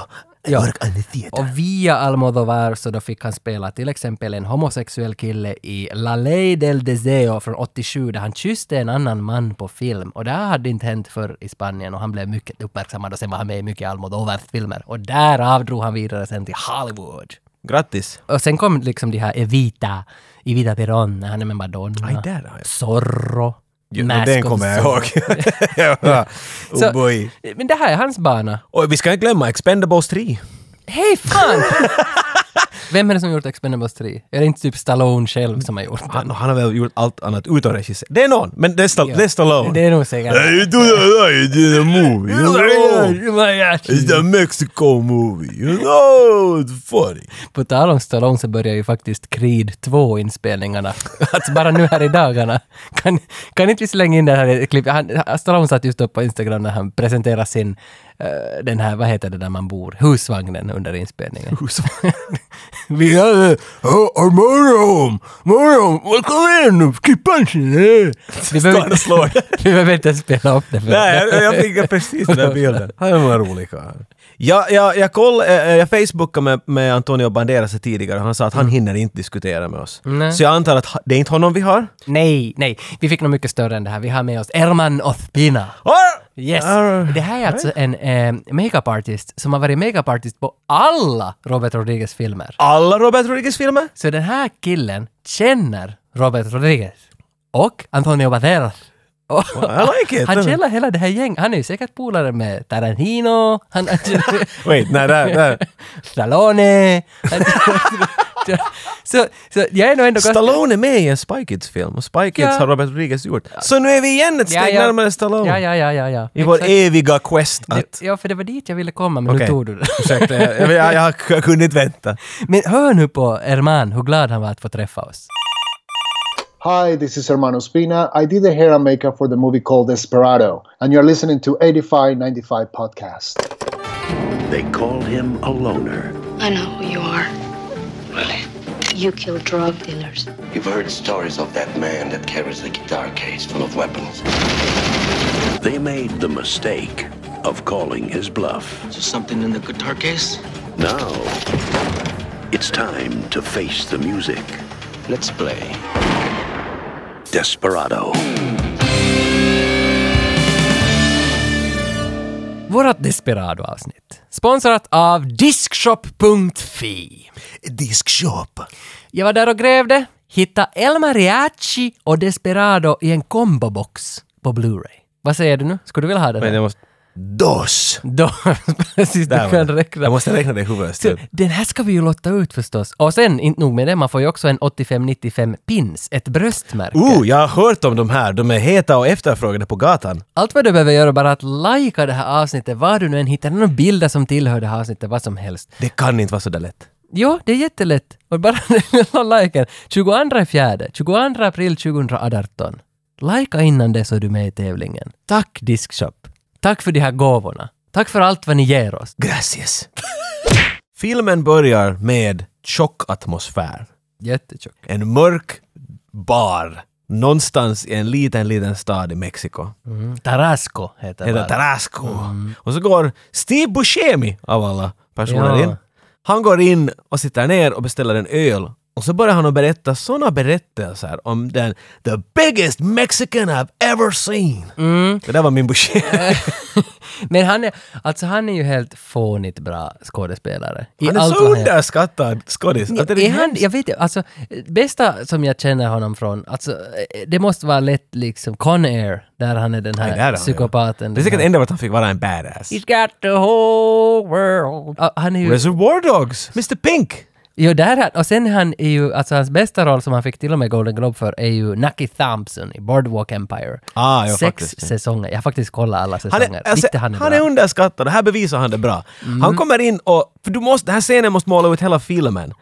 [SPEAKER 2] Ja.
[SPEAKER 1] work on the theater.
[SPEAKER 2] Och via Almodovar så då fick han spela till exempel en homosexuell kille i La Ley del Deseo från 87 där han kysste en annan man på film. Och det här hade inte hänt förr i Spanien och han blev mycket uppmärksammad och sen var han med i mycket Almodovars filmer. Och därav drog han vidare sen till Hollywood.
[SPEAKER 1] Grattis.
[SPEAKER 2] Och sen kom liksom de här Evita, Evita Peron, när han är med Madonna.
[SPEAKER 1] Aj, där har jag.
[SPEAKER 2] Zorro.
[SPEAKER 1] Jo,
[SPEAKER 2] Mask
[SPEAKER 1] den
[SPEAKER 2] of
[SPEAKER 1] kommer jag
[SPEAKER 2] Zorro.
[SPEAKER 1] ihåg. Ja. oh
[SPEAKER 2] Så- eh,
[SPEAKER 1] boy.
[SPEAKER 2] Men det här är hans bana.
[SPEAKER 1] Och vi ska inte glömma Expendables 3.
[SPEAKER 2] Hej fan! Vem är det som gjort Expendables 3? Är det inte typ Stallone själv som har gjort den?
[SPEAKER 1] Han, han har väl gjort allt annat utom regissör. Det är någon, men det är, Stall- det är Stallone.
[SPEAKER 2] Det är nog säkert...
[SPEAKER 1] Hey, do the, you did a movie, you know? It's a Mexico movie, you know? It's funny.
[SPEAKER 2] På tal om Stallone så börjar ju faktiskt Creed 2-inspelningarna. Alltså bara nu här i dagarna. Kan, kan inte vi slänga in det här klippet? Han, Stallone satt just upp på Instagram när han presenterade sin, eh, den här, vad heter det där man bor, husvagnen under inspelningen.
[SPEAKER 1] Vi hade... Oh, Mörrum! Mörrum! Kom igen nu! Kippan!
[SPEAKER 2] Vi
[SPEAKER 1] Står han och slår.
[SPEAKER 2] vi behöver inte ens spela upp det. För
[SPEAKER 1] Nej, jag, jag fick precis den där bilden. Han var rolig karl. Jag, jag, jag, koll, eh, jag facebookade med, med Antonio Banderas tidigare han sa att han hinner inte diskutera med oss.
[SPEAKER 2] Mm. Nej.
[SPEAKER 1] Så jag antar att ha- det är inte honom vi har?
[SPEAKER 2] nej, nej. Vi fick nog mycket större än det här. Vi har med oss Erman Othpina.
[SPEAKER 1] Ah!
[SPEAKER 2] Yes!
[SPEAKER 1] Ah.
[SPEAKER 2] Det här är alltså en eh, makeup-artist som har varit makeup-artist på alla Robert Rodriguez filmer.
[SPEAKER 1] Alla Robert Rodriguez filmer?
[SPEAKER 2] Så den här killen känner Robert Rodriguez och Antonio Banderas. Och-
[SPEAKER 1] I like it.
[SPEAKER 2] Han känner hela det här gänget. Han är ju säkert polare med Tarantino, han han känner
[SPEAKER 1] Wait, nej, där, där.
[SPEAKER 2] Stallone. Han känner- så, så jag är nog ändå ganska...
[SPEAKER 1] Stallone är med i en Spy Kids-film och Spy Kids
[SPEAKER 2] Ja.
[SPEAKER 1] har Robert Rodriguez gjort. Så nu är vi igen ett steg
[SPEAKER 2] Ja, ja.
[SPEAKER 1] närmare Stallone.
[SPEAKER 2] Ja, ja, ja, ja, ja.
[SPEAKER 1] I vår
[SPEAKER 2] Exakt.
[SPEAKER 1] eviga quest att...
[SPEAKER 2] Det- Ja, för det var dit jag ville komma, men
[SPEAKER 1] Okej.
[SPEAKER 2] nu tog du det.
[SPEAKER 1] Ursäkta, jag, jag, jag, jag kunde inte vänta.
[SPEAKER 2] Men hör nu på Erman, hur glad han var att få träffa oss.
[SPEAKER 3] Hi, this is Hermano Spina. I did the hair and makeup for the movie called Desperado, and you're listening to 8595 Podcast.
[SPEAKER 4] They call him a loner.
[SPEAKER 5] I know who you are.
[SPEAKER 6] Really?
[SPEAKER 5] You kill drug dealers.
[SPEAKER 6] You've heard stories of that man that carries a guitar case full of weapons.
[SPEAKER 4] They made the mistake of calling his bluff.
[SPEAKER 6] Is there something in the guitar case?
[SPEAKER 4] Now, it's time to face the music.
[SPEAKER 6] Let's play.
[SPEAKER 4] Desperado.
[SPEAKER 2] Vårat Desperado-avsnitt. Sponsrat av Diskshop.fi.
[SPEAKER 1] Diskshop.
[SPEAKER 2] Jag var där och grävde, hittade El Mariachi och Desperado i en kombobox på Blu-ray. Vad säger du nu? Skulle du vilja ha den?
[SPEAKER 1] Men
[SPEAKER 2] här?
[SPEAKER 1] jag måste... DOS!
[SPEAKER 2] Då, precis,
[SPEAKER 1] Där
[SPEAKER 2] du
[SPEAKER 1] var
[SPEAKER 2] kan
[SPEAKER 1] det.
[SPEAKER 2] räkna.
[SPEAKER 1] Jag måste räkna det i huvudet.
[SPEAKER 2] Så,
[SPEAKER 1] stund.
[SPEAKER 2] den här ska vi ju lotta ut förstås. Och sen, inte nog med det, man får ju också en 85-95 pins, ett bröstmärke.
[SPEAKER 1] Oh, jag har hört om de här. De är heta och efterfrågade på gatan.
[SPEAKER 2] Allt vad du behöver göra är bara att lajka det här avsnittet, var du nu än hittar några bilder som tillhör det här avsnittet, vad som helst.
[SPEAKER 1] Det kan inte vara så där lätt.
[SPEAKER 2] Jo, det är jättelätt. Och bara den lilla liken. 22 fjärde, 22 april 2018. Lajka innan det så är du med i tävlingen. Tack Diskshop. Tack för de här gåvorna. Tack för allt vad ni ger oss.
[SPEAKER 1] Gracias. Filmen börjar med tjock atmosfär.
[SPEAKER 2] Jättetjock.
[SPEAKER 1] En mörk bar någonstans i en liten, liten stad i Mexiko.
[SPEAKER 2] Tarasco heter
[SPEAKER 1] Mm. Heter
[SPEAKER 2] baren.
[SPEAKER 1] Tarasco.
[SPEAKER 2] Mm.
[SPEAKER 1] Och så går Steve Buscemi av alla personer
[SPEAKER 2] Ja.
[SPEAKER 1] in. Han går in och sitter ner och beställer en öl Och så börjar han att berätta såna berättelser om den “the biggest mexican I've ever seen”.
[SPEAKER 2] Mm.
[SPEAKER 1] Det där var min Boucher.
[SPEAKER 2] Men han är, alltså han är ju helt fånigt bra skådespelare. I
[SPEAKER 1] Han är
[SPEAKER 2] allt
[SPEAKER 1] så
[SPEAKER 2] vad han gör.
[SPEAKER 1] underskattad skådis. Att det
[SPEAKER 2] är han,
[SPEAKER 1] hemskt.
[SPEAKER 2] jag vet inte, alltså bästa som jag känner honom från, alltså eh, det måste vara lätt liksom Con Air, där han är den
[SPEAKER 1] Nej,
[SPEAKER 2] här
[SPEAKER 1] där är han, ja. Det
[SPEAKER 2] psykopaten.
[SPEAKER 1] är
[SPEAKER 2] den
[SPEAKER 1] säkert
[SPEAKER 2] här-
[SPEAKER 1] enda vart han fick vara en badass.
[SPEAKER 2] He's got the whole world. Ja, han är ju,
[SPEAKER 1] Reservoir Dogs, Mr Pink!
[SPEAKER 2] jo där är han, och sen är han är ju, alltså hans bästa roll som han fick till och med Golden Globe för är ju Nucky Thompson i Boardwalk Empire.
[SPEAKER 1] Ah, ja,
[SPEAKER 2] Sex
[SPEAKER 1] faktiskt, ja.
[SPEAKER 2] säsonger, jag har faktiskt kollat alla
[SPEAKER 1] Han
[SPEAKER 2] säsonger.
[SPEAKER 1] är, alltså,
[SPEAKER 2] Inte
[SPEAKER 1] han, är Mm.
[SPEAKER 2] bra.
[SPEAKER 1] underskattad och här bevisar han det bra. Han kommer in och, för du måste, den här scenen måste måla ut hela filmen.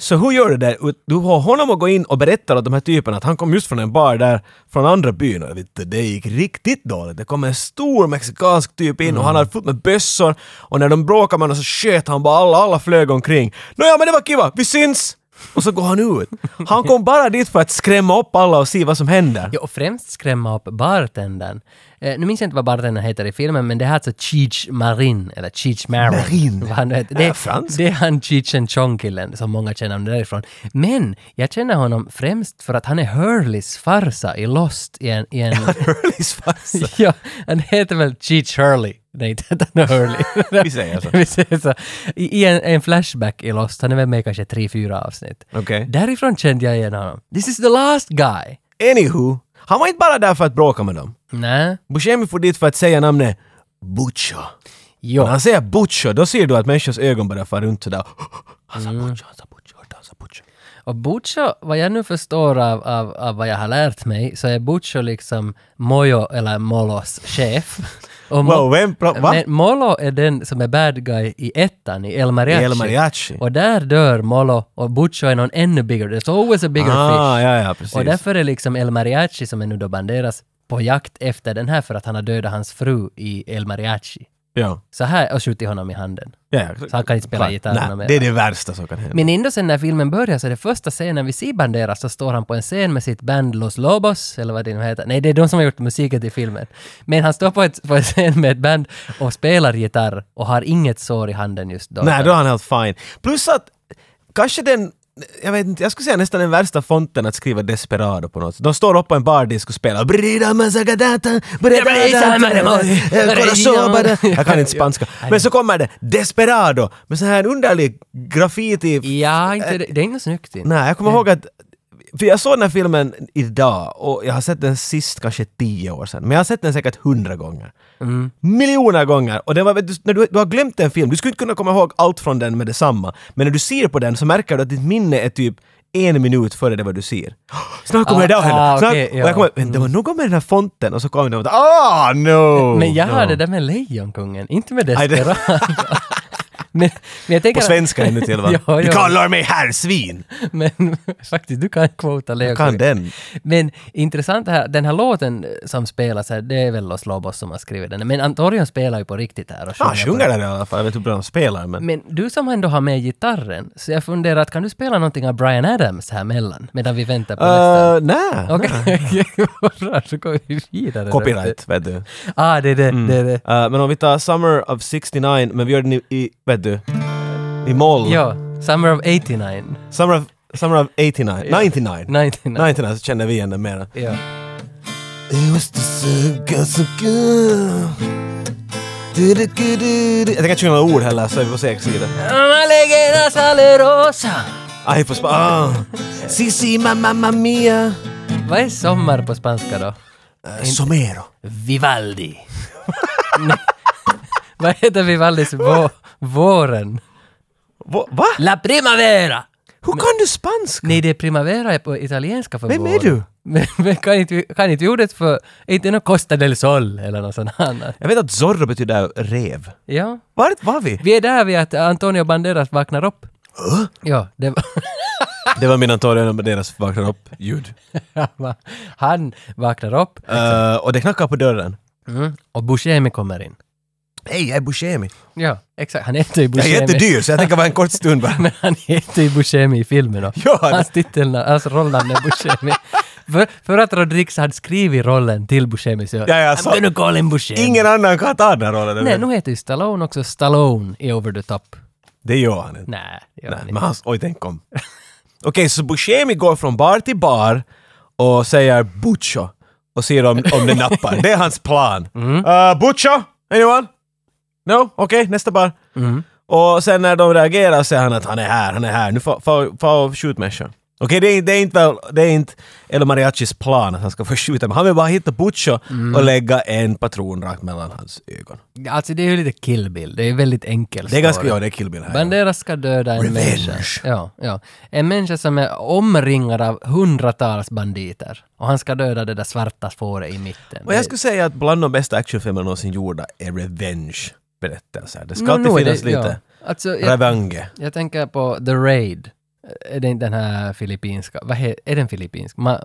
[SPEAKER 1] Så hur gör du det? Du har honom att gå in och berätta åt de här typerna att han kom just från en bar där, från andra byn och vet du, det gick riktigt dåligt. Det kom en stor mexikansk typ in och han hade fullt med bössor och när de bråkade med honom så sköt han bara alla, alla flög omkring. Nåja men det var kiva, vi syns! Och så går han ut. Han kom bara dit för att skrämma upp alla och se vad som händer.
[SPEAKER 2] Ja, och främst skrämma upp bartendern. Eh, nu minns jag inte vad bartendern heter i filmen, men det är alltså Cheech Marin, eller Cheech Marin.
[SPEAKER 1] Marin.
[SPEAKER 2] Vad han nu heter.
[SPEAKER 1] Ja,
[SPEAKER 2] Det,
[SPEAKER 1] fransk.
[SPEAKER 2] det är han Cheech Chong-killen som många känner honom därifrån. Men jag känner honom främst för att han är Hurleys farsa i Lost i en... I en
[SPEAKER 1] Hurleys farsa.
[SPEAKER 2] ja, han heter väl Cheech Hurley. Nej, inte att han är Hurley.
[SPEAKER 1] Vi säger så.
[SPEAKER 2] Vi säger så. I, i en, en flashback i Lost, han är väl med i kanske tre, fyra avsnitt.
[SPEAKER 1] Okej.
[SPEAKER 2] Därifrån kände jag igen honom. This is the last guy!
[SPEAKER 1] Anywho, han var inte bara där för att bråka med dem.
[SPEAKER 2] Nej.
[SPEAKER 1] Buscemi for dit för att säga namnet Butcho.
[SPEAKER 2] Jo.
[SPEAKER 1] När han säger Butcho, då ser du att människors ögon börjar fara runt sådär. Han sa
[SPEAKER 2] Mm.
[SPEAKER 1] Butcho, han sa Butcho, han sa Butcho.
[SPEAKER 2] Och Butcho, vad jag nu förstår av, av, av vad jag har lärt mig, så är Butcho liksom Mojo eller Molos chef. Och Mo-
[SPEAKER 1] Wow, vem pra- va?
[SPEAKER 2] Men Molo är den som är bad guy i ettan, i El Mariachi.
[SPEAKER 1] El Mariachi.
[SPEAKER 2] Och där dör Molo och Butcho är någon ännu bigger. There's always a bigger
[SPEAKER 1] Ah,
[SPEAKER 2] fish.
[SPEAKER 1] ja, ja, precis.
[SPEAKER 2] Och därför är liksom El Mariachi, som är nu då Banderas, på jakt efter den här för att han har dödat hans fru i El Mariachi.
[SPEAKER 1] Ja,
[SPEAKER 2] Så här, och skjutit honom i handen.
[SPEAKER 1] ja, ja.
[SPEAKER 2] Så han kan inte spela
[SPEAKER 1] Klart.
[SPEAKER 2] gitarr något mer.
[SPEAKER 1] Nej, det är det värsta som kan hända.
[SPEAKER 2] Men ändå sen när filmen börjar så är det första scenen vi ser Banderas så står han på en scen med sitt band Los Lobos, eller vad det nu heter. Nej, det är de som har gjort musiken till filmen. Men han står på, ett, på en scen med ett band och spelar gitarr och har inget sår i handen just då.
[SPEAKER 1] Nej, då är han helt fine. Plus att kanske den jag vet inte, jag skulle säga nästan den värsta fonten att skriva desperado på något sätt. De står upp på en bardisk och spelar Brida Mazagadata, Brida Mazagadata, Corazobada. Jag kan inte spanska. Men så kommer det desperado med så här en underlig graffiti...
[SPEAKER 2] Ja, inte, det, det är inte snyggt. Inte.
[SPEAKER 1] Nej, jag kommer ihåg att för jag såg den här filmen idag och jag har sett den sist kanske tio år sedan. Men jag har sett den säkert hundra gånger.
[SPEAKER 2] Mm.
[SPEAKER 1] Miljoner gånger! Och den var, du, när du, du har glömt en film, du skulle inte kunna komma ihåg allt från den med detsamma. Men när du ser på den så märker du att ditt minne är typ en minut före det vad du ser. Snart kommer
[SPEAKER 2] Ah,
[SPEAKER 1] det där att hända!
[SPEAKER 2] ah,
[SPEAKER 1] Snart,
[SPEAKER 2] okej, ja. Mm.
[SPEAKER 1] och jag kommer, men det var något med den här fonten och så kom det och ah no!
[SPEAKER 2] Men jag
[SPEAKER 1] no.
[SPEAKER 2] har det där med Lejonkungen, inte med
[SPEAKER 1] Aj, det-
[SPEAKER 2] Desperado. men, men jag tänker
[SPEAKER 1] På
[SPEAKER 2] att-
[SPEAKER 1] svenska ännu till va?
[SPEAKER 2] ja,
[SPEAKER 1] Du
[SPEAKER 2] ja,
[SPEAKER 1] kallar mig herrsvin!
[SPEAKER 2] Men faktiskt, du kan quota
[SPEAKER 1] Kan
[SPEAKER 2] Lejonkungen.
[SPEAKER 1] den?
[SPEAKER 2] Men intressant här, den här låten eh, som spelas här, det är väl Los Lobos som har skrivit den. Men Antorion spelar ju på riktigt här och
[SPEAKER 1] Ja, Han
[SPEAKER 2] på
[SPEAKER 1] sjunger den i alla fall, jag vet inte hur bra han spelar men...
[SPEAKER 2] men du som ändå har med gitarren, så jag funderar att kan du spela någonting av Brian Adams här mellan, medan vi väntar på nästa?
[SPEAKER 1] Uh, nej.
[SPEAKER 2] Okej, vad bra, så går vi vidare.
[SPEAKER 1] Copyright, vet du.
[SPEAKER 2] Ah, det är det, det är det.
[SPEAKER 1] Eh, men om vi tar Summer of 69, men vi gör den i, i vet du, i moll.
[SPEAKER 2] Ja, Summer of 89.
[SPEAKER 1] Summer, of, Summer of 89, 99.
[SPEAKER 2] 99.
[SPEAKER 1] 99 så känner vi igen den mera.
[SPEAKER 2] Ja.
[SPEAKER 1] It was the sugar, sugar. Du-du-du-du-du. Jag tänker inte sjunga några ord heller, så vi får se exakt.
[SPEAKER 2] Alegera salerosa.
[SPEAKER 1] Aj, på spa... Ah. Si, si, ma, mamma
[SPEAKER 2] Eh,
[SPEAKER 1] mia.
[SPEAKER 2] Vad är sommar på spanska då?
[SPEAKER 1] Eh, Somero.
[SPEAKER 2] Vivaldi. Nej. Vad heter Vivaldis vå- våren?
[SPEAKER 1] Va? va?
[SPEAKER 2] La primavera!
[SPEAKER 1] Hur kan du spanska?
[SPEAKER 2] Nej, det är primavera är på italienska för
[SPEAKER 1] Vem
[SPEAKER 2] vår.
[SPEAKER 1] är du?
[SPEAKER 2] Men, men kan, inte, kan inte ordet för... Inte något Costa del Sol eller något sånt annat.
[SPEAKER 1] Jag vet att zorro betyder rev.
[SPEAKER 2] Ja.
[SPEAKER 1] Vart var vi?
[SPEAKER 2] Vi är där vid att Antonio Banderas vaknar upp. Ja, det var...
[SPEAKER 1] Det var min Antonio med deras vaknar upp-ljud.
[SPEAKER 2] Han vaknar upp
[SPEAKER 1] Eh, och det knackar på dörren.
[SPEAKER 2] och Buscemi kommer in.
[SPEAKER 1] Hej, jag är Buscemi.
[SPEAKER 2] Ja, exakt. Han heter ju
[SPEAKER 1] Jag
[SPEAKER 2] Buscemi.
[SPEAKER 1] är jättedyr, så jag tänker vara en kort stund bara.
[SPEAKER 2] Men han heter ju Buscemi i filmen och
[SPEAKER 1] Ja, det-
[SPEAKER 2] hans titelnamn, hans rollnamn är Buscemi. för, för att Rodriguez hade skrivit rollen till Buscemi så
[SPEAKER 1] ja,
[SPEAKER 2] I'm
[SPEAKER 1] så-
[SPEAKER 2] gonna call him Buscemi.
[SPEAKER 1] Ingen annan kan ta den här rollen.
[SPEAKER 2] Nej,
[SPEAKER 1] vet
[SPEAKER 2] nu
[SPEAKER 1] du.
[SPEAKER 2] heter ju Stallone också Stallone i Over the Top.
[SPEAKER 1] Det gör han inte.
[SPEAKER 2] Nej, det gör
[SPEAKER 1] Nej,
[SPEAKER 2] han
[SPEAKER 1] men
[SPEAKER 2] inte.
[SPEAKER 1] han, oj, tänk om. så Buscemi går från bar till bar och säger Bucho och ser om, om det nappar. det är hans plan. Mm. Bucho? Anyone? No? Okej, nästa bar. Och sen när de reagerar säger han att han är här, han är här, nu får- får får och skjut människan. Okej, det, är- det är inte väl, det är inte El Mariachis plan att han ska få skjuta, men han vill bara hitta Butcho och lägga en patron rakt mellan hans ögon.
[SPEAKER 2] Alltså det är ju lite Kill Bill, det är väldigt enkel
[SPEAKER 1] Det är ganska,
[SPEAKER 2] story.
[SPEAKER 1] ja det är Kill Bill här.
[SPEAKER 2] Banderas ska döda en
[SPEAKER 1] Revenge.
[SPEAKER 2] människa. Ja, ja. En människa som är omringad av hundratals banditer. Och han ska döda det där svarta fåret i mitten.
[SPEAKER 1] Och jag skulle säga att bland de bästa actionfilmerna någonsin gjorda är revenge-berättelser. Det ska
[SPEAKER 2] Nå,
[SPEAKER 1] alltid
[SPEAKER 2] nå är
[SPEAKER 1] finnas
[SPEAKER 2] Mm, det-
[SPEAKER 1] lite
[SPEAKER 2] Ja. Alltså, jag,
[SPEAKER 1] revange.
[SPEAKER 2] jag tänker på The Raid. Är det inte den här filippinska? Vad he, är den filippinsk? Ma,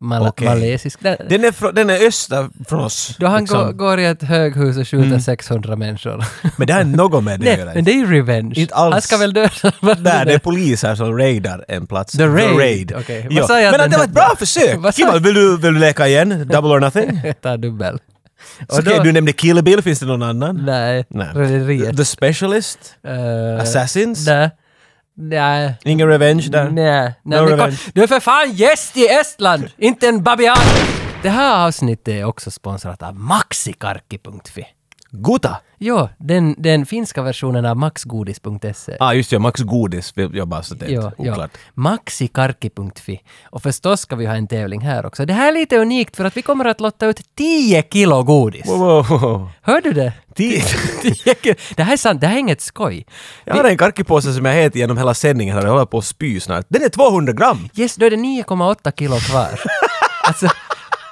[SPEAKER 2] mala,
[SPEAKER 1] Okej.
[SPEAKER 2] Malesisk? Den,
[SPEAKER 1] Den är, frå- den är öster från oss.
[SPEAKER 2] då han
[SPEAKER 1] liksom.
[SPEAKER 2] går, går i ett höghus och skjuter 600 människor.
[SPEAKER 1] Men det har inte något med det
[SPEAKER 2] Nej,
[SPEAKER 1] att göra.
[SPEAKER 2] men det är ju revenge.
[SPEAKER 1] Inte alls.
[SPEAKER 2] Han ska väl döda
[SPEAKER 1] Där det är
[SPEAKER 2] banditer.
[SPEAKER 1] poliser som raidar en plats.
[SPEAKER 2] The Raid. Okej, vad
[SPEAKER 1] Ja.
[SPEAKER 2] sa jag
[SPEAKER 1] Men
[SPEAKER 2] den
[SPEAKER 1] att det var ett bra
[SPEAKER 2] hette? Vad
[SPEAKER 1] försök!
[SPEAKER 2] sa
[SPEAKER 1] Kiva,
[SPEAKER 2] jag?
[SPEAKER 1] vill du, vill du leka igen? Double or nothing?
[SPEAKER 2] Ta dubbel.
[SPEAKER 1] Okej,
[SPEAKER 2] då-
[SPEAKER 1] du nämnde Kill Bill, finns det någon annan?
[SPEAKER 2] Nej, rederiet.
[SPEAKER 1] The Specialist?
[SPEAKER 2] Eh,
[SPEAKER 1] Assassins?
[SPEAKER 2] Nej. Nej.
[SPEAKER 1] Ingen Revenge där?
[SPEAKER 2] Nej. nej
[SPEAKER 1] No
[SPEAKER 2] men
[SPEAKER 1] revenge.
[SPEAKER 2] kom- du är för fan gäst i Estland! Inte en babian! Det här avsnittet är också sponsrat av maxikarkki.fi.
[SPEAKER 1] Gota?
[SPEAKER 2] Jo, den, den finska versionen av maxgodis.se.
[SPEAKER 1] Ah, just det, Max Godis vill jag bara så det är oklart.
[SPEAKER 2] Maxikarki.fi. Och förstås ska vi ha en tävling här också. Det här är lite unikt för att vi kommer att lotta ut 10 kilo godis.
[SPEAKER 1] Wow, wow, wow.
[SPEAKER 2] Hör du det?
[SPEAKER 1] Ti-
[SPEAKER 2] 10 kilo. Det här är sant, det här är inget skoj.
[SPEAKER 1] Jag har en karkipåse som jag heter genom hela sändningen här och jag håller på att spy snart. Den är 200 gram!
[SPEAKER 2] Yes, då är det 9,8 kilo kvar. alltså,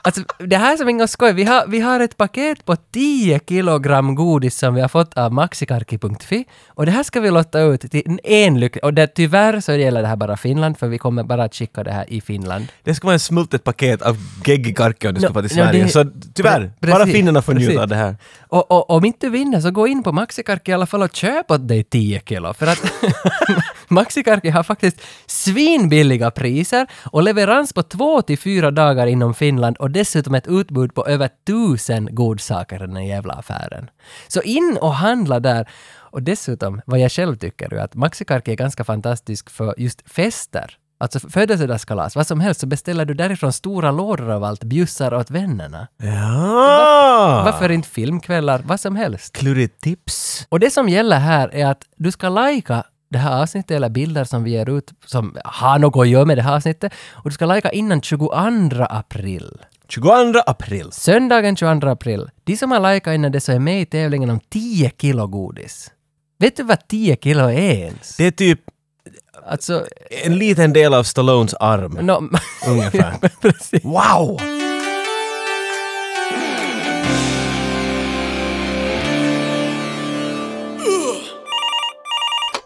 [SPEAKER 2] alltså, det här är som inga skoj. Vi har, vi har ett paket på 10 kilogram godis som vi har fått av maxikarki.fi och det här ska vi lotta ut till en- en lycklig. Och det, tyvärr så gäller det här bara Finland för vi kommer bara att skicka det här i Finland.
[SPEAKER 1] Det ska vara ett smultet paket av geggikarkki om du ska
[SPEAKER 2] No,
[SPEAKER 1] vara till
[SPEAKER 2] no,
[SPEAKER 1] Sverige.
[SPEAKER 2] det-
[SPEAKER 1] Så tyvärr,
[SPEAKER 2] Pre-
[SPEAKER 1] bara
[SPEAKER 2] precis,
[SPEAKER 1] finnarna får
[SPEAKER 2] precis.
[SPEAKER 1] njuta av det här.
[SPEAKER 2] Och, och om inte du vinner så gå in på Maxikarki i alla fall och köp åt dig 10 kilo. För att Maxikarki har faktiskt svinbilliga priser och leverans på 2 till 4 dagar inom Finland och dessutom ett utbud på över 1000 godsaker i den här jävla affären. Så in och handla där. Och dessutom, vad jag själv tycker är att Maxikarki är ganska fantastisk för just fester. Alltså födelsedagskalas, vad som helst, så beställer du därifrån stora lådor av allt, bjussar åt vännerna.
[SPEAKER 1] Ja!
[SPEAKER 2] Varför inte filmkvällar, vad som helst?
[SPEAKER 1] Klurigt tips.
[SPEAKER 2] Och det som gäller här är att du ska lajka det här avsnittet eller bilder som vi ger ut som har något att göra med det här avsnittet och du ska lajka innan 22 april.
[SPEAKER 1] 22 april.
[SPEAKER 2] Söndagen 22 april. De som har likat innan det så är med i tävlingen om 10 kilo godis. Vet du vad 10 kilo är ens?
[SPEAKER 1] Det är typ
[SPEAKER 2] Alltså,
[SPEAKER 1] en liten del av Stallones arm.
[SPEAKER 2] no,
[SPEAKER 1] Ungefär.
[SPEAKER 2] precis.
[SPEAKER 1] Wow!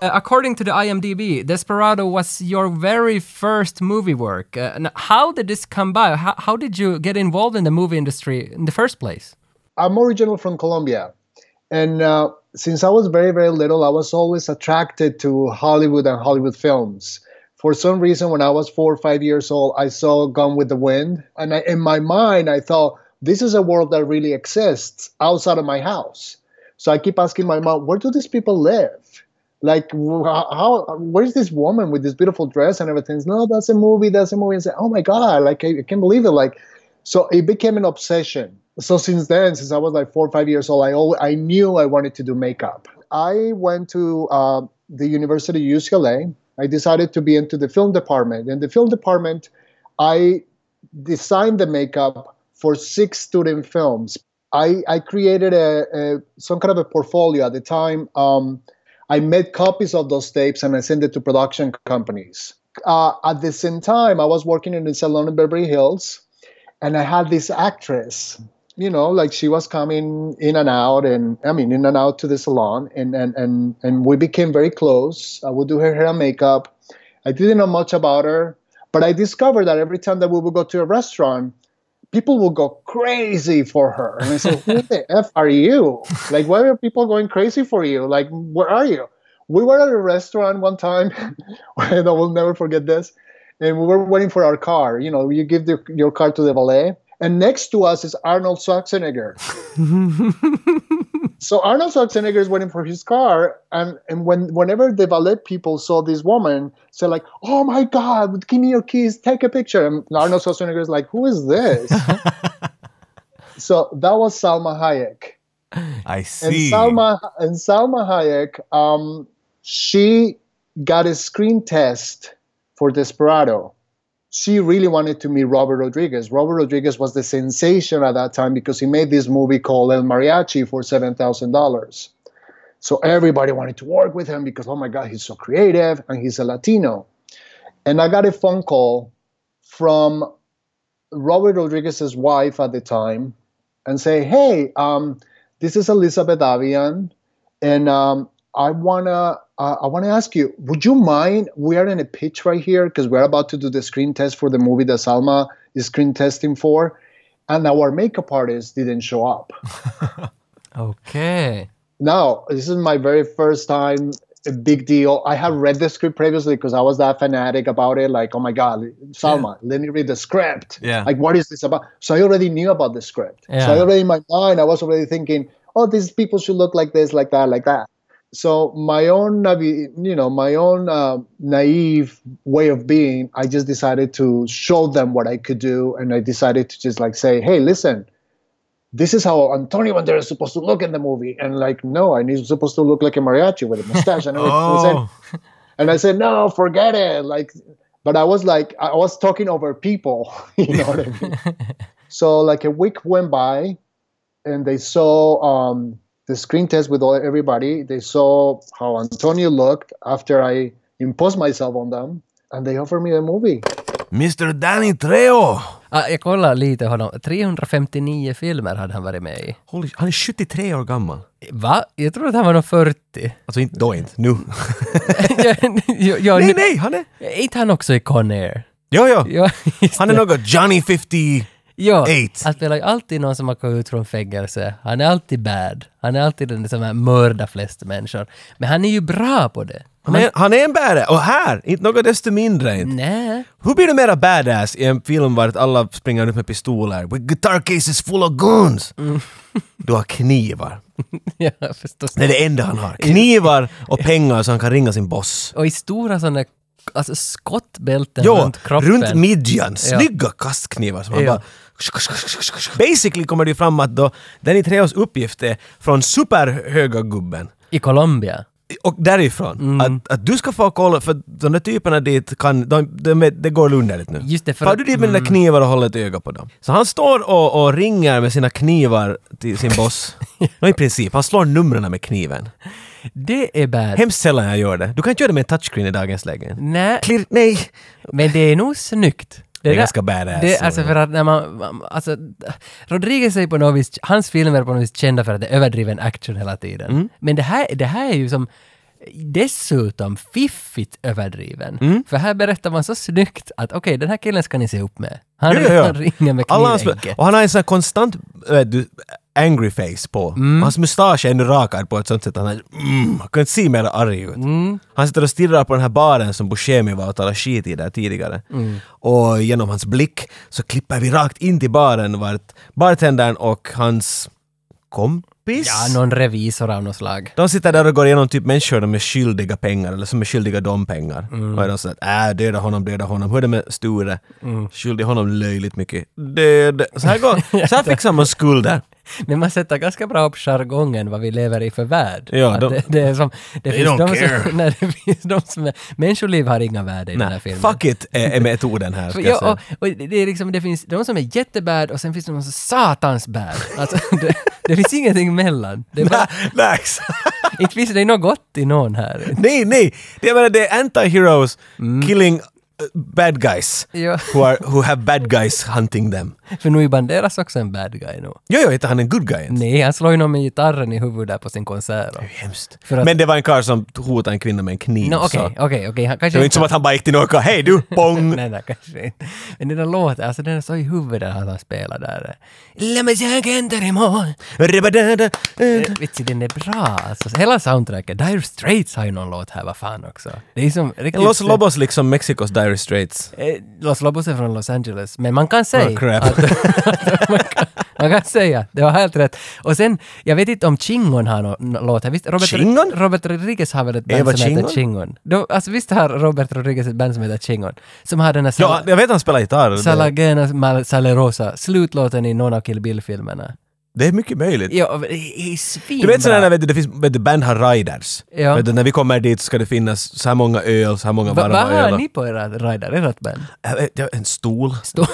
[SPEAKER 2] Uh, according to the IMDb, Desperado was your very first movie work. Uh, n- how did this come by? How, how did you get involved in the movie industry in the first place?
[SPEAKER 3] I'm original from Colombia. And uh, since I was very, very little, I was always attracted to Hollywood and Hollywood films. For some reason, when I was four or five years old, I saw Gone with the Wind. And I, in my mind, I thought, this is a world that really exists outside of my house. So I keep asking my mom, where do these people live? Like, wh- how, where's this woman with this beautiful dress and everything? No, that's a movie, that's a movie. And say, oh my God, like, I, I can't believe it. Like, so it became an obsession so since then since i was like four or five years old i always, i knew i wanted to do makeup i went to uh, the university of ucla i decided to be into the film department in the film department i designed the makeup for six student films i, I created a, a some kind of a portfolio at the time um, i made copies of those tapes and i sent it to production companies uh, at the same time i was working in a salon in beverly hills and I had this actress, you know, like she was coming in and out, and I mean, in and out to the salon, and and and and we became very close. I would do her hair and makeup. I didn't know much about her, but I discovered that every time that we would go to a restaurant, people would go crazy for her, and I said, "Who the f are you? Like, why are people going crazy for you? Like, where are you?" We were at a restaurant one time, and I will never forget this and we were waiting for our car. You know, you give the, your car to the valet, and next to us is Arnold Schwarzenegger. So Arnold Schwarzenegger is waiting for his car, and, and when whenever the ballet people saw this woman, said like, "Oh my God, give me your keys, take a picture." And Arnold Schwarzenegger is like, "Who is this?" so that was Salma Hayek,
[SPEAKER 1] I
[SPEAKER 3] and
[SPEAKER 1] see.
[SPEAKER 3] Salma and Salma Hayek, um, she got a screen test for Desperado. She really wanted to meet Robert Rodriguez. Robert Rodriguez was the sensation at that time because he made this movie called El Mariachi for seven thousand dollars. So everybody wanted to work with him because oh my god, he's so creative and he's a Latino. And I got a phone call from Robert Rodriguez's wife at the time, and say, "Hey, um, this is Elizabeth Avian, and um, I wanna uh, I wanna ask you, would you mind? We are in a pitch right here because we're about to do the screen test for the movie that Salma is screen testing for, and our makeup artist didn't show up.
[SPEAKER 2] Okej.
[SPEAKER 3] Now, this is my very first time, a big deal. I have read the script previously because I was that fanatic about it. Like, oh my God, Salma, let me read the script.
[SPEAKER 1] Yeah.
[SPEAKER 3] Like, what is this about? So I already knew about the script.
[SPEAKER 2] Yeah.
[SPEAKER 3] So I already, in my mind, I was already thinking, oh, these people should look like this, like that, like that. So my own, navi- you know, my own uh, naive way of being, I just decided to show them what I could do. And I decided to just like say, hey, listen, this is how Antonio Banderas is supposed to look in the movie. And like, no, and he's supposed to look like a mariachi with a mustache. And, everything. I said,
[SPEAKER 1] Oh,
[SPEAKER 3] and I said, no, forget it. Like, but I was like, I was talking over people. You know what I mean? so like a week went by and they saw um, the screen test with all, everybody. They saw how Antonio looked after I imposed myself on them. And they offered me the movie.
[SPEAKER 1] Mr Danny Trejo!
[SPEAKER 2] Ah, jag kollar lite honom. 359 filmer hade han varit med i.
[SPEAKER 1] Holy, han är 73 år gammal.
[SPEAKER 2] Va? Jag trodde att han var någon 40.
[SPEAKER 1] Alltså inte då inte, nu.
[SPEAKER 2] ja, ja,
[SPEAKER 1] nej,
[SPEAKER 2] nu-
[SPEAKER 1] nej, han är...
[SPEAKER 2] Är inte han också i Con Air?
[SPEAKER 1] Jo, jo.
[SPEAKER 2] Ja, just
[SPEAKER 1] Han är
[SPEAKER 2] det.
[SPEAKER 1] något Johnny 50...
[SPEAKER 2] ja,
[SPEAKER 1] eight.
[SPEAKER 2] Han spelar ju alltid någon som har kommit ut från fängelse. Han är alltid bad. Han är alltid den som här mördar flest människor. Men han är ju bra på det.
[SPEAKER 1] Han är, han är en badass. Och här, inte något desto mindre inte.
[SPEAKER 2] Nej.
[SPEAKER 1] Hur blir du mera badass i en film vart alla springer runt med pistoler? With guitar cases full of guns!
[SPEAKER 2] Mm.
[SPEAKER 1] Du har knivar.
[SPEAKER 2] ja, förstås.
[SPEAKER 1] Det är det enda han har. Knivar och pengar så han kan ringa sin boss.
[SPEAKER 2] Och i stora sådana alltså skottbälten
[SPEAKER 1] Jo,
[SPEAKER 2] runt kroppen.
[SPEAKER 1] runt midjan.
[SPEAKER 2] Ja.
[SPEAKER 1] Snygga kastknivar som han
[SPEAKER 2] Ja.
[SPEAKER 1] bara... Basically kommer det ju fram att då Danny Trejos uppgift är från superhöga gubben
[SPEAKER 2] I Colombia.
[SPEAKER 1] och därifrån.
[SPEAKER 2] Mm.
[SPEAKER 1] Att, att du ska få kolla, för de där typerna dit kan, de, de, är- det går lunderligt nu.
[SPEAKER 2] Just det, för
[SPEAKER 1] Far
[SPEAKER 2] att- Mm.
[SPEAKER 1] du dit med dina knivar och håller ett öga på dem. Så han står och, och ringer med sina knivar till sin boss. ja. I princip, han slår numren med kniven.
[SPEAKER 2] Det är bad.
[SPEAKER 1] Hemskt sällan jag gör det. Du kan inte göra det med en touchscreen i dagens läge.
[SPEAKER 2] Nej,
[SPEAKER 1] Klirr, nej!
[SPEAKER 2] men det är nog snyggt.
[SPEAKER 1] Det är
[SPEAKER 2] där-
[SPEAKER 1] ganska badass.
[SPEAKER 2] Det, alltså för att när man, alltså, Rodriguez är ju på något vis, hans filmer är på något vis kända för att det är överdriven action hela tiden.
[SPEAKER 1] Mm.
[SPEAKER 2] Men det här, det här är ju som dessutom fiffigt överdriven.
[SPEAKER 1] Mm.
[SPEAKER 2] För här berättar man så snyggt att okej, den här killen ska ni se upp med. Han,
[SPEAKER 1] Ja, ja, ja.
[SPEAKER 2] han ringer med
[SPEAKER 1] Alla hans,
[SPEAKER 2] knivägget.
[SPEAKER 1] och han har en sån här konstant äh, du, angry face på.
[SPEAKER 2] Mm.
[SPEAKER 1] Hans mustasch är ändå rakad på ett sånt sätt att han mm, kan inte se mer arg ut.
[SPEAKER 2] Mm.
[SPEAKER 1] Han sitter och stirrar på den här baren som Buscemi var och talade skit i där tidigare.
[SPEAKER 2] Mm.
[SPEAKER 1] Och genom hans blick så klipper vi rakt in till baren vart bartendern och hans kompis
[SPEAKER 2] Ja, någon revisor av något slag.
[SPEAKER 1] de sitter där och går igenom typ människor de är skyldiga pengar eller som är skyldiga dem pengar.
[SPEAKER 2] Mm.
[SPEAKER 1] Och är de sådär äh, döda honom, döda honom. Hur är det med Sture?
[SPEAKER 2] Mm.
[SPEAKER 1] Skyldig honom löjligt mycket. Död. Så här, går, så här fixar man skulder.
[SPEAKER 2] Men man sätter ganska bra upp jargongen vad vi lever i för värld.
[SPEAKER 1] Ja,
[SPEAKER 2] Att
[SPEAKER 1] de-
[SPEAKER 2] det, det är som, det
[SPEAKER 1] They
[SPEAKER 2] finns
[SPEAKER 1] don't
[SPEAKER 2] de
[SPEAKER 1] care.
[SPEAKER 2] som, nej, det finns de som är, människoliv har inga värde i den här
[SPEAKER 1] Nej,
[SPEAKER 2] filmen.
[SPEAKER 1] fuck it eh, är, är metoden här. Ska jag
[SPEAKER 2] Ja,
[SPEAKER 1] säga.
[SPEAKER 2] och, och det, är liksom, det finns de som är jättebad och sen finns det de som är satans bad. Alltså, det, det finns ingenting mellan. Det är bara,
[SPEAKER 1] Nej, exakt.
[SPEAKER 2] inte finns det något gott i någon här.
[SPEAKER 1] Ah, nej, nej. Det, jag menar, det är anti-heroes killing uh, bad guys.
[SPEAKER 2] Mm. Ja.
[SPEAKER 1] Who, are, who have bad guys hunting them.
[SPEAKER 2] För nu är Banderas också en bad guy nu.
[SPEAKER 1] Jo, jo, inte han en good guy ens.
[SPEAKER 2] Nej, han slår ju någon med gitarren i huvudet där på sin konsert.
[SPEAKER 1] Det är Hemskt.
[SPEAKER 2] För att-
[SPEAKER 1] Men det var en karl som hotade en kvinna med en kniv.
[SPEAKER 2] Nå,
[SPEAKER 1] så.
[SPEAKER 2] Okej, okej, okej. Han
[SPEAKER 1] Det
[SPEAKER 2] kanske
[SPEAKER 1] var inte som att han bara gick till någon och hej du, pong!
[SPEAKER 2] Nej, nej, kanske inte. Men den där låten, alltså den är så i huvudet att han spelar där. Låt mig se agenter imorgon.
[SPEAKER 1] Ribba-da-da.
[SPEAKER 2] Eh, Vitsi, den är bra. Alltså, hela soundtracket. Dire Straits har ju någon låt här, vad fan också. Det är som riktigt...
[SPEAKER 1] Los Lobos liksom Mexikos Dire Straits.
[SPEAKER 2] Eh, Los Lobos är från Los Angeles, men man kan säga
[SPEAKER 1] Oh, crap.
[SPEAKER 2] att, att man, kan, Man kan säga, det var helt rätt. Och sen, jag vet inte om Chingon har någon nå- låt här. Visst, Robert,
[SPEAKER 1] Chingon?
[SPEAKER 2] Robert Rodriguez har väl ett band
[SPEAKER 1] Eva
[SPEAKER 2] som
[SPEAKER 1] Chingon?
[SPEAKER 2] heter Chingon? Då, alltså visst har Robert Rodriguez ett band som heter Chingon? Som har den här
[SPEAKER 1] Ja,
[SPEAKER 2] Sal-
[SPEAKER 1] jag vet att han spelar gitarr. Det,
[SPEAKER 2] Salagena Mal- Salerosa, slutlåten i någon av Kill Bill-filmerna.
[SPEAKER 1] det är mycket möjligt.
[SPEAKER 2] Ja, det är svinbra.
[SPEAKER 1] Du vet sådär när vet du, det finns, vet du, band har riders.
[SPEAKER 2] Ja.
[SPEAKER 1] Vet du, när vi kommer dit så ska det finnas så här många öl, så här många
[SPEAKER 2] Va-
[SPEAKER 1] varma
[SPEAKER 2] Vad
[SPEAKER 1] öl.
[SPEAKER 2] har
[SPEAKER 1] och-
[SPEAKER 2] ni på era rider, ert band?
[SPEAKER 1] Jag vet, jag- En stol.
[SPEAKER 2] Stå-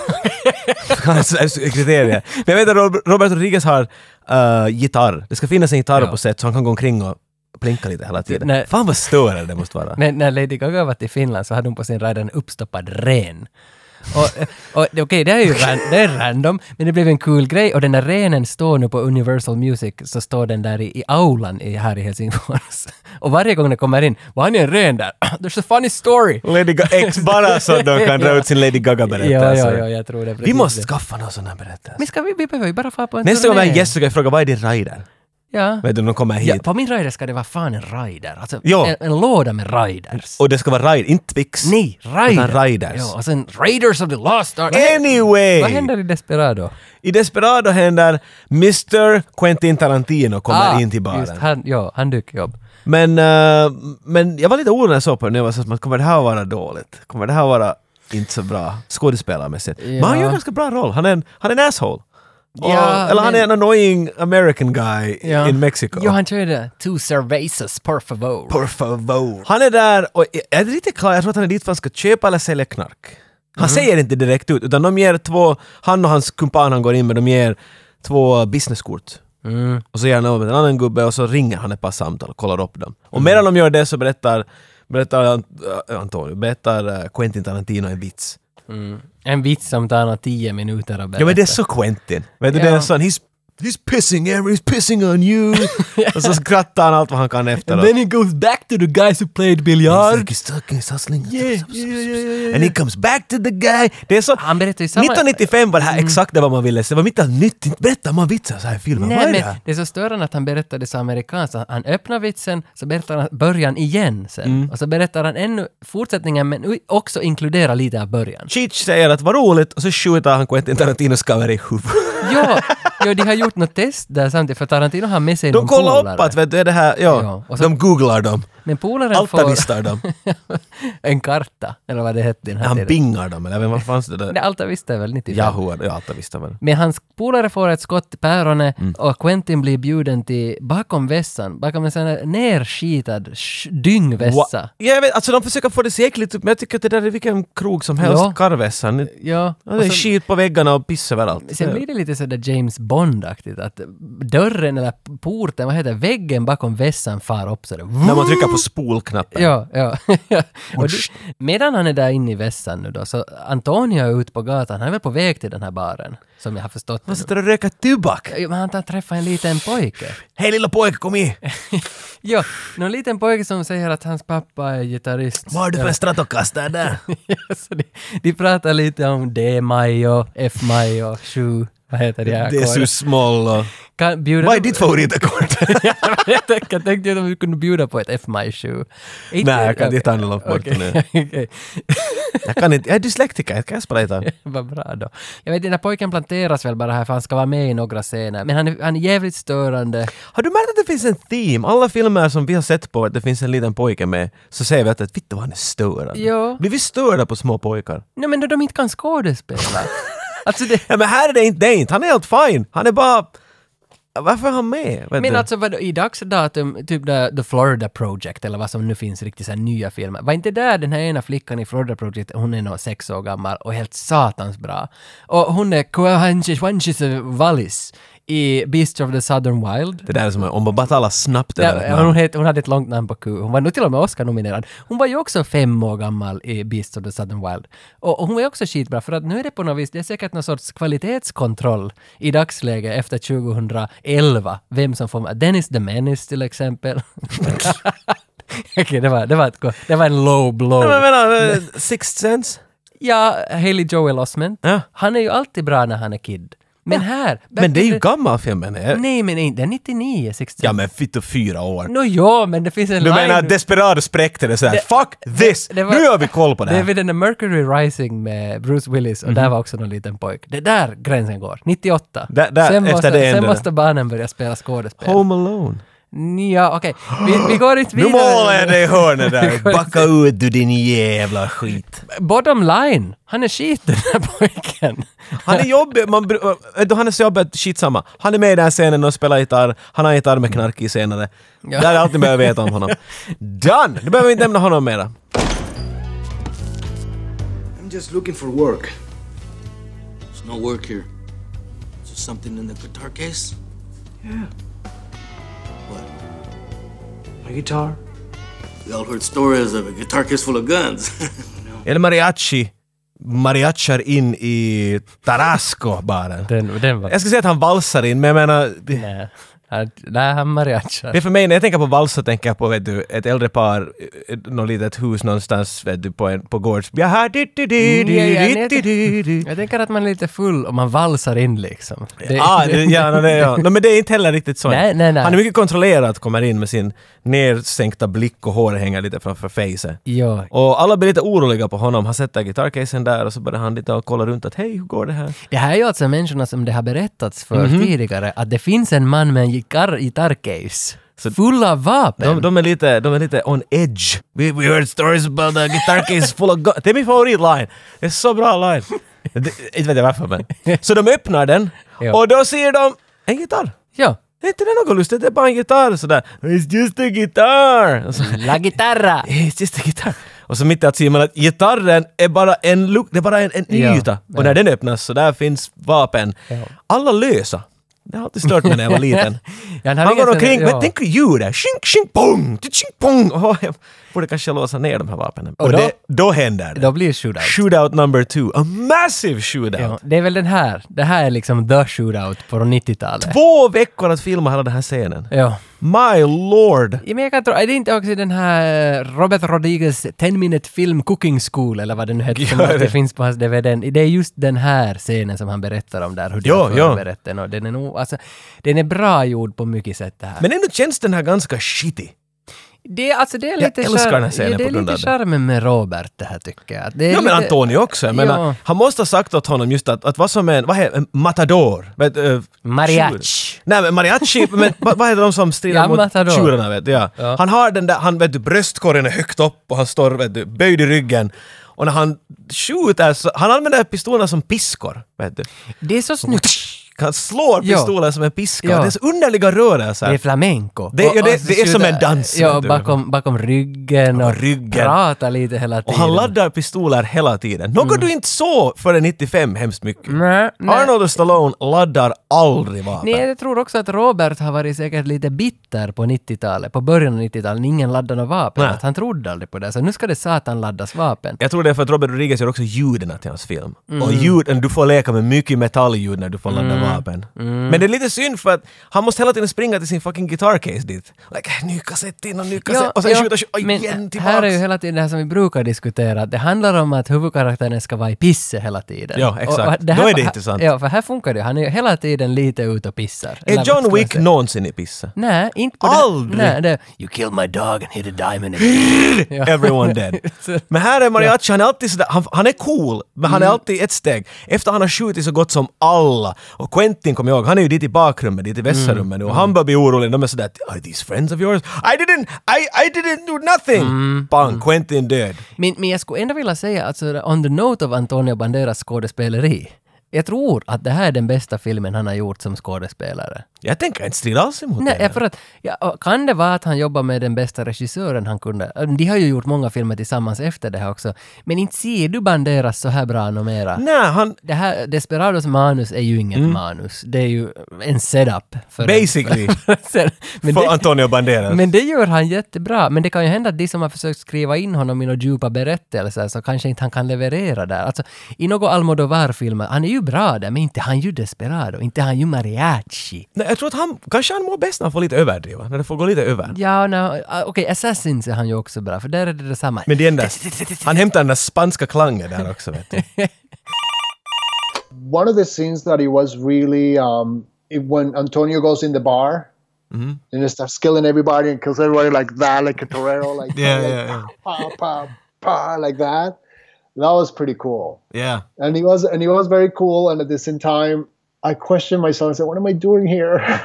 [SPEAKER 1] Sådär kriterier. Men jag vet att Rob- Robert Rodriguez har eh, gitarr. Det ska finnas en gitarr
[SPEAKER 2] Ja.
[SPEAKER 1] på set så han kan gå omkring och plinka lite hela tiden.
[SPEAKER 2] Nej.
[SPEAKER 1] Fan vad störande det måste vara.
[SPEAKER 2] när, när Lady Gaga var i Finland så hade hon på sin rider en uppstoppad ren. Och, och det- okej, det är ju ran, det är random, men det blev en kul grej och den där renen står nu på Universal Music, så står den där i, i aulan i, här i Helsingfors. Och varje gång den kommer in, var han en ren där? There's a funny story!
[SPEAKER 1] Lady Gaga, ex bara så att de kan dra ut sin Lady Gaga-berättelse.
[SPEAKER 2] Ja, ja, ja, jag tror det. är
[SPEAKER 1] alltså. Vi
[SPEAKER 2] precis
[SPEAKER 1] måste
[SPEAKER 2] det.
[SPEAKER 1] skaffa någon sån här berättelse.
[SPEAKER 2] Men ska vi, vi behöver ju bara få på en
[SPEAKER 1] Nästa gång vi
[SPEAKER 2] turné.
[SPEAKER 1] har en gäst så kan jag fråga vad är din rider?
[SPEAKER 2] Ja.
[SPEAKER 1] Vet du, de kommer hit.
[SPEAKER 2] ja. På min rider ska det vara fan en rider. Alltså,
[SPEAKER 1] Ja.
[SPEAKER 2] en, en låda med riders.
[SPEAKER 1] Och det ska vara rider, inte Twix.
[SPEAKER 2] Nej,
[SPEAKER 1] Utan
[SPEAKER 2] Raiders.
[SPEAKER 1] Raiders.
[SPEAKER 2] Ja, och sen Raiders of the Lost Ark.
[SPEAKER 1] Anyway!
[SPEAKER 2] Vad händer i Desperado?
[SPEAKER 1] I Desperado händer Mr. Quentin Tarantino kommer in till baren.
[SPEAKER 2] Ah, Just, han, ja, han dyker upp.
[SPEAKER 1] Men, eh, men jag var lite orolig när jag såg på den. Jag var så att, kommer det här vara dåligt? Kommer det här vara inte så bra skådespelarmässigt? Men han
[SPEAKER 2] Ja.
[SPEAKER 1] gör en ganska bra roll. Han är en, han är en asshole. Och,
[SPEAKER 2] Ja,
[SPEAKER 1] eller han är en
[SPEAKER 2] men-
[SPEAKER 1] annoying American guy in Mexico.
[SPEAKER 2] Ja, han kör ju det. Two cervezas, por favor.
[SPEAKER 1] Por favor. Han är där och jag- jag är inte riktigt klar, jag tror att han är dit för att han ska köpa eller sälja knark. Han säger inte direkt ut, utan de ger två, han och hans kumpan han går in med, de ger två businesskort. Och så ger han över till en annan gubbe och så ringer han ett par samtal och kollar upp dem. Och medan de gör det så berättar, berättar Ant- äh, Antonio, berättar äh, Quentin Tarantino en vits.
[SPEAKER 2] En vits som tar nog tio minuter att berätta.
[SPEAKER 1] Ja men det är så Quentin. Vet du, det är
[SPEAKER 2] Ja.
[SPEAKER 1] en sån, he's, he's pissing, every- he's pissing on you. och så skrattar han allt vad han kan efteråt.
[SPEAKER 2] he goes back to the guys who played
[SPEAKER 1] He's
[SPEAKER 2] billiard.
[SPEAKER 1] like, he's talking, he's hustling.
[SPEAKER 2] Yeah, yeah, yeah, yeah, yeah.
[SPEAKER 1] And he comes back to the guy. Det är så...
[SPEAKER 2] Han berättar ju samma... Mm.
[SPEAKER 1] 1995 var det här exakt det vad man ville se. Det var mitt allt nytt. Inte berättar man vitsar så här i filmen. vad är
[SPEAKER 2] Nej,
[SPEAKER 1] det?
[SPEAKER 2] men
[SPEAKER 1] här?
[SPEAKER 2] det är så störande att han berättade så amerikanskt. Han- Han öppnar vitsen, så berättar han början igen sen. Och så berättar han ännu fortsättningen, men u- också inkludera lite av början.
[SPEAKER 1] Cheech säger att vad roligt och så skjuter han Quentin Tarantinos cover i huvudet.
[SPEAKER 2] ja, ja, de har gjort något test där samtidigt, för Tarantino har med sig
[SPEAKER 1] De
[SPEAKER 2] någon
[SPEAKER 1] kollar
[SPEAKER 2] polare.
[SPEAKER 1] upp att vet du, är det här... Ja,
[SPEAKER 2] Ja, och så-
[SPEAKER 1] de googlar dem.
[SPEAKER 2] Men polaren får
[SPEAKER 1] Altavistar dem.
[SPEAKER 2] en karta, eller vad det hette i den här
[SPEAKER 1] Han
[SPEAKER 2] tiden.
[SPEAKER 1] bingar dem, eller vem vad fanns det där?
[SPEAKER 2] Nej, Altavista är väl 95?
[SPEAKER 1] Yahoo, ja altavistar var det.
[SPEAKER 2] Men hans polare får ett skott i päronet
[SPEAKER 1] Mm.
[SPEAKER 2] och Quentin blir bjuden till bakom vässan, bakom en sån här nerskitad sh- dyngvässa.
[SPEAKER 1] Wa- Ja, jag vet, alltså de försöker få det så äckligt ut, men jag tycker att det där är vilken krog som helst.
[SPEAKER 2] Ja.
[SPEAKER 1] Karvessan.
[SPEAKER 2] Ja,
[SPEAKER 1] Ja, det är
[SPEAKER 2] och sen,
[SPEAKER 1] skit på väggarna och piss överallt.
[SPEAKER 2] sen blir det lite sådär James Bond-aktigt att dörren eller porten, vad heter det, väggen bakom vässan far upp sådär.
[SPEAKER 1] När man trycker på spolknappen.
[SPEAKER 2] Ja, ja. och du, medan han är där inne i vässan nu då, så Antonio är ute på gatan, han är väl på väg till den här baren, som jag har förstått det
[SPEAKER 1] Man sitter och röker tobak.
[SPEAKER 2] nu. Ja, Men han tar- träffar en liten pojke.
[SPEAKER 1] Hej lilla pojke, kom in!
[SPEAKER 2] Ja, någon liten pojke som säger att hans pappa är gitarrist.
[SPEAKER 1] Vad har du för en Stratocaster där?
[SPEAKER 2] Ja, så de, de pratar lite om D-Majo, F-Majo, 7, vad heter det här?
[SPEAKER 1] Det är så småll och...
[SPEAKER 2] Kan bjuda...
[SPEAKER 1] Vad är ditt favoritakord?
[SPEAKER 2] Ja, jag tänkte- jag tänkte att vi kunde bjuda på ett F-Majo 7.
[SPEAKER 1] Nej, jag kan inte ta något bort nu.
[SPEAKER 2] Okej,
[SPEAKER 1] Jag kan inte, jag är dyslektiker, jag kan spela gitarr.
[SPEAKER 2] vad bra då. Jag vet, den där pojken planteras väl bara här för han ska vara med i några scener, men han är, han är jävligt störande.
[SPEAKER 1] Har du märkt att det finns en theme? Alla filmer som vi har sett på, att det finns en liten pojke med, så säger vi att att, vittu vad han är störande.
[SPEAKER 2] Ja.
[SPEAKER 1] Blir vi störda på små pojkar?
[SPEAKER 2] Nej, men då de inte kan skådespela. alltså det...
[SPEAKER 1] Ja, men här är det inte det inte, han är helt fine. Han är bara... Varför är han med? Vet
[SPEAKER 2] Men
[SPEAKER 1] du?
[SPEAKER 2] alltså vadå, i dags datum, typ the, the Florida Project eller vad som nu finns riktigt så här nya filmer. Var inte där den här ena flickan i Florida Project, hon är nog sex år gammal och helt satans bra. Och hon är Coahanchishwanchis Wallis i Beast of the Southern Wild.
[SPEAKER 1] Det där är som om man bara talar snabbt över ett
[SPEAKER 2] Ja, hon,
[SPEAKER 1] namn.
[SPEAKER 2] het, hon hade ett långt namn på Q. Hon var nog till och med Oscar-nominerad. Hon var ju också fem år gammal i Beast of the Southern Wild. Och, och hon var ju också skitbra, för att nu är det på något vis, det är säkert någon sorts kvalitetskontroll i dagsläget efter 2011. Vem som får Dennis the Menace till exempel. Okej, det, var, det, var ett, go- det var en low blow.
[SPEAKER 1] Men jag menar, eh, Sixth Sense?
[SPEAKER 2] Ja, Haley Joel Osment.
[SPEAKER 1] Ja.
[SPEAKER 2] Han är ju alltid bra när han är kid. Men här...
[SPEAKER 1] Men det är ju gammal filmen. är-
[SPEAKER 2] Nej, men inte- den är 99, 67.
[SPEAKER 1] Ja men fitta fyra år.
[SPEAKER 2] Nå ja, men det finns en
[SPEAKER 1] Du
[SPEAKER 2] line...
[SPEAKER 1] menar att Desperado spräckte det sådär, fuck this!
[SPEAKER 2] det var-
[SPEAKER 1] nu har vi koll på det
[SPEAKER 2] Det är
[SPEAKER 1] här. Mhm.
[SPEAKER 2] vid den där Mercury Rising med Bruce Willis och där var också någon liten pojk. Det är där gränsen går, 98.
[SPEAKER 1] Där- där,
[SPEAKER 2] sen
[SPEAKER 1] efter
[SPEAKER 2] måste,
[SPEAKER 1] det
[SPEAKER 2] sen
[SPEAKER 1] ändrar
[SPEAKER 2] måste barnen börja spela skådespel.
[SPEAKER 1] Home Alone.
[SPEAKER 2] Ja, okej. Vi, vi går inte
[SPEAKER 1] Nu
[SPEAKER 2] vidare.
[SPEAKER 1] målar jag dig i hörnet
[SPEAKER 2] Vi
[SPEAKER 1] där.
[SPEAKER 2] går
[SPEAKER 1] Backa ut du din jävla skit.
[SPEAKER 2] Bottom line, han är skit den där pojken.
[SPEAKER 1] Han är jobbig, man, br- äh, då han är så jobbig, skitsamma. Han är med i den här scenen och spelar gitarr, han har gitarr med knark i senare.
[SPEAKER 2] Ja.
[SPEAKER 1] Det är allt ni behöver veta om honom. Done! Nu behöver vi inte nämna honom mera.
[SPEAKER 7] I'm just looking for work. There's no work here. Is there something in the guitar case? Yeah. What? My guitar? We all heard stories of a guitar case full of guns.
[SPEAKER 1] El Mariachi mariachar in i Tarasco-baren.
[SPEAKER 2] Den, den var...
[SPEAKER 1] Jag skulle säga att han valsar in, men jag menar... Det,
[SPEAKER 2] Nej, Han- nej, han mariachar.
[SPEAKER 1] Det är för mig, när jag tänker på valsa tänker jag på vet du, ett äldre par, eh, något litet hus någonstans vet du, på, en, på gårds... Jaha, du, du, du,
[SPEAKER 2] Mm, ja,
[SPEAKER 1] du,
[SPEAKER 2] ja, nej,
[SPEAKER 1] du, du, du.
[SPEAKER 2] Jag tänker att man är lite full och man valsar in liksom. Det-
[SPEAKER 1] Ah, det, ja, no, det, ja. No, men det är inte heller riktigt så.
[SPEAKER 2] Nej, nej, nej.
[SPEAKER 1] Han är mycket kontrollerad, kommer in med sin nedsänkta blick och håret hänger lite framför facet.
[SPEAKER 2] Ja,
[SPEAKER 1] Och alla blir lite oroliga på honom. Han sätter gitarrcasen där och så börjar han lite och kolla runt att hej, hur går det här?
[SPEAKER 2] Det här är ju alltså människorna som det har berättats för
[SPEAKER 1] Mhm.
[SPEAKER 2] tidigare, att det finns en man med en gitarr, gitarrcase. Full av vapen!
[SPEAKER 1] De, de, är lite, de är lite on edge. We, we heard stories about a guitar case full of guns. Det är min favoritline. Det är så bra line. Det, inte vet jag varför men. Så de öppnar den
[SPEAKER 2] Ja.
[SPEAKER 1] och då ser de en gitarr.
[SPEAKER 2] Ja.
[SPEAKER 1] Är inte det något lustigt? Det är bara en gitarr sådär. It's just a guitar! Och så,
[SPEAKER 2] La gitarra!
[SPEAKER 1] It's just a guitar. Och så mitt i att ser man att gitarren är bara en, look, det är bara en, en
[SPEAKER 2] Ja,
[SPEAKER 1] yta.
[SPEAKER 2] ja.
[SPEAKER 1] Och när den öppnas så där finns vapen. Alla lösa. Det har alltid stört mig när jag var liten.
[SPEAKER 2] Ja, han har
[SPEAKER 1] Han
[SPEAKER 2] inga
[SPEAKER 1] går
[SPEAKER 2] såna-
[SPEAKER 1] omkring,
[SPEAKER 2] ja.
[SPEAKER 1] men tänk ljudet! Tjing, tjing, pong! Tjing, pong! Åh, jag borde kanske låsa ner de här vapnen. Och,
[SPEAKER 2] då-
[SPEAKER 1] det, då händer det.
[SPEAKER 2] Då blir det shootout.
[SPEAKER 1] Shootout number two. A massive shootout!
[SPEAKER 2] Ja, det är väl den här. Det här är liksom the shootout på 90-talet.
[SPEAKER 1] Två veckor att filma hela den här scenen.
[SPEAKER 2] Ja.
[SPEAKER 1] My lord!
[SPEAKER 2] Ja, Men jag kan tro, är det inte också den här eh, Robert Rodriguez 10 minute film Cooking School eller vad den nu heter som
[SPEAKER 1] Ja, det-
[SPEAKER 2] alltid finns på hans DVD. Det är just den här scenen som han berättar om där, hur de
[SPEAKER 1] Ja,
[SPEAKER 2] har
[SPEAKER 1] ja.
[SPEAKER 2] förberett den och den är nog, alltså, den är bra gjord på mycket sätt det här.
[SPEAKER 1] Men ändå känns den här ganska shitty.
[SPEAKER 2] Det, alltså det är
[SPEAKER 1] Jag
[SPEAKER 2] lite
[SPEAKER 1] älskar
[SPEAKER 2] char-
[SPEAKER 1] den här scenen
[SPEAKER 2] ja, det
[SPEAKER 1] på
[SPEAKER 2] är
[SPEAKER 1] grund
[SPEAKER 2] lite
[SPEAKER 1] av det.
[SPEAKER 2] charmen med Robert det här tycker jag. Det är
[SPEAKER 1] Ja men
[SPEAKER 2] lite-
[SPEAKER 1] Antonio också, jag menar,
[SPEAKER 2] Ja.
[SPEAKER 1] han måste ha sagt åt honom just att, att vad som är en, vad heter en matador? Vet, eh,
[SPEAKER 2] Mariachi.
[SPEAKER 1] tjur. Nej men mariachi, men vad, vad heter de som strider
[SPEAKER 2] Ja,
[SPEAKER 1] mot
[SPEAKER 2] matador.
[SPEAKER 1] tjurarna vet du, ja.
[SPEAKER 2] Ja.
[SPEAKER 1] Han har den där, han vet du, bröstkorgen är högt upp och han står vet du, böjd i ryggen. Och när han skjuter så, han använder pistolerna som piskor, vet du.
[SPEAKER 2] Det är så snyggt.
[SPEAKER 1] Han slår
[SPEAKER 2] Ja.
[SPEAKER 1] pistolen som en piska,
[SPEAKER 2] Ja.
[SPEAKER 1] det är så underliga rörelser.
[SPEAKER 2] Det är flamenco.
[SPEAKER 1] Det- ja, det-
[SPEAKER 2] så
[SPEAKER 1] det är som en dans,
[SPEAKER 2] Ja,
[SPEAKER 1] vet du.
[SPEAKER 2] bakom, bakom ryggen och
[SPEAKER 1] ryggen.
[SPEAKER 2] pratar lite hela tiden.
[SPEAKER 1] och han laddar pistoler hela tiden. Något du inte såg före 95 hemskt mycket.
[SPEAKER 2] Mm. Nej, nej.
[SPEAKER 1] Arnold och Stallone laddar aldrig vapen.
[SPEAKER 2] Nej, jag tror också att Robert har varit säkert lite bitter på 90-talet, på början av 90-talet, när ingen laddade några vapen.
[SPEAKER 1] Nej.
[SPEAKER 2] Att han trodde aldrig på det, så nu ska det satan laddas vapen.
[SPEAKER 1] Jag tror det är för att Robert Rodriguez gör också ljuden till hans film.
[SPEAKER 2] Mm.
[SPEAKER 1] Och ljuden, du får leka med mycket metallljud när du får ladda vapen.
[SPEAKER 2] Mm.
[SPEAKER 1] Men det är lite synd för att han måste hela tiden springa till sin fucking guitar case dit. Like, ny kassett in och ny kassett och sen skjuta skjuta oj, igen tillbaks.
[SPEAKER 2] Här är ju hela tiden det här som vi brukar diskutera, att det handlar om att huvudkaraktären ska vara i pisse hela tiden.
[SPEAKER 1] Ja, exakt.
[SPEAKER 2] det här-
[SPEAKER 1] Då är det intressant.
[SPEAKER 2] Ja, för här funkar det ju. Han är ju hela tiden lite ute och pissar.
[SPEAKER 1] Är
[SPEAKER 2] Eller vad
[SPEAKER 1] John
[SPEAKER 2] ska jag
[SPEAKER 1] Wick
[SPEAKER 2] säga?
[SPEAKER 1] någonsin i pisse?
[SPEAKER 2] Nej, inte på
[SPEAKER 1] Aldrig.
[SPEAKER 2] Det, nej, det, you killed my dog and hit a diamond. in it." ja.
[SPEAKER 1] Everyone dead. Men här är Mariachi, han är alltid sådär, han, han är cool, men han är
[SPEAKER 2] Mm.
[SPEAKER 1] alltid ett steg. Efter han har skjutit så gott som alla, och Quentin kommer jag ihåg, han är ju dit i bakrummet, dit i vässarummet
[SPEAKER 2] Mm.
[SPEAKER 1] nu, och han börjar bli orolig, de är sådär “Are these friends of yours? I didn't, I, I didn't do nothing!”
[SPEAKER 2] Mm.
[SPEAKER 1] Bang, Quentin död.
[SPEAKER 2] Men, men jag skulle ändå vilja säga, alltså, on the note of Antonio Banderas skådespeleri, jag tror att det här är den bästa filmen han har gjort som skådespelare.
[SPEAKER 1] Jag tänker inte strida alls emot
[SPEAKER 2] Nej,
[SPEAKER 1] det.
[SPEAKER 2] för att, ja, och kan det vara att han jobbar med den bästa regissören han kunde? äh, De har ju gjort många filmer tillsammans efter det här också. Men inte ser du Banderas så här bra numera.
[SPEAKER 1] Nej, han...
[SPEAKER 2] Det här Desperados manus är ju inget manus. Det är ju en setup. För
[SPEAKER 1] Basically.
[SPEAKER 2] Sen- men,
[SPEAKER 1] för
[SPEAKER 2] det,
[SPEAKER 1] Antonio Banderas.
[SPEAKER 2] men det gör han jättebra. Men det kan ju hända att de som har försökt skriva in honom i några djupa berättelser så kanske inte han kan leverera där. Alltså, i något Almodovar-film, han är ju bra där, men inte han ju Desperado, inte han ju Mariachi.
[SPEAKER 1] Nej, jag tror att han, kanske han mår bäst när han får lite överdriva, när det får gå lite över.
[SPEAKER 2] Ja, no, ah, okej, Assassins är han ju också bra, för där är det detsamma.
[SPEAKER 1] Men det är den där, han hämtar den där spanska klangen där också vet du.
[SPEAKER 3] one of the scenes that it was really um, it, when Antonio goes in the bar
[SPEAKER 1] Mm-hmm.
[SPEAKER 3] and he starts killing everybody and kills everybody like that, like a torero, like
[SPEAKER 1] Yeah,
[SPEAKER 3] like,
[SPEAKER 1] yeah, yeah.
[SPEAKER 3] Pa, pa, pa, like that. That was pretty cool,
[SPEAKER 1] Yeah.
[SPEAKER 3] and he was and he was very cool. And at the same time, I questioned myself. I said, "What am I doing here?"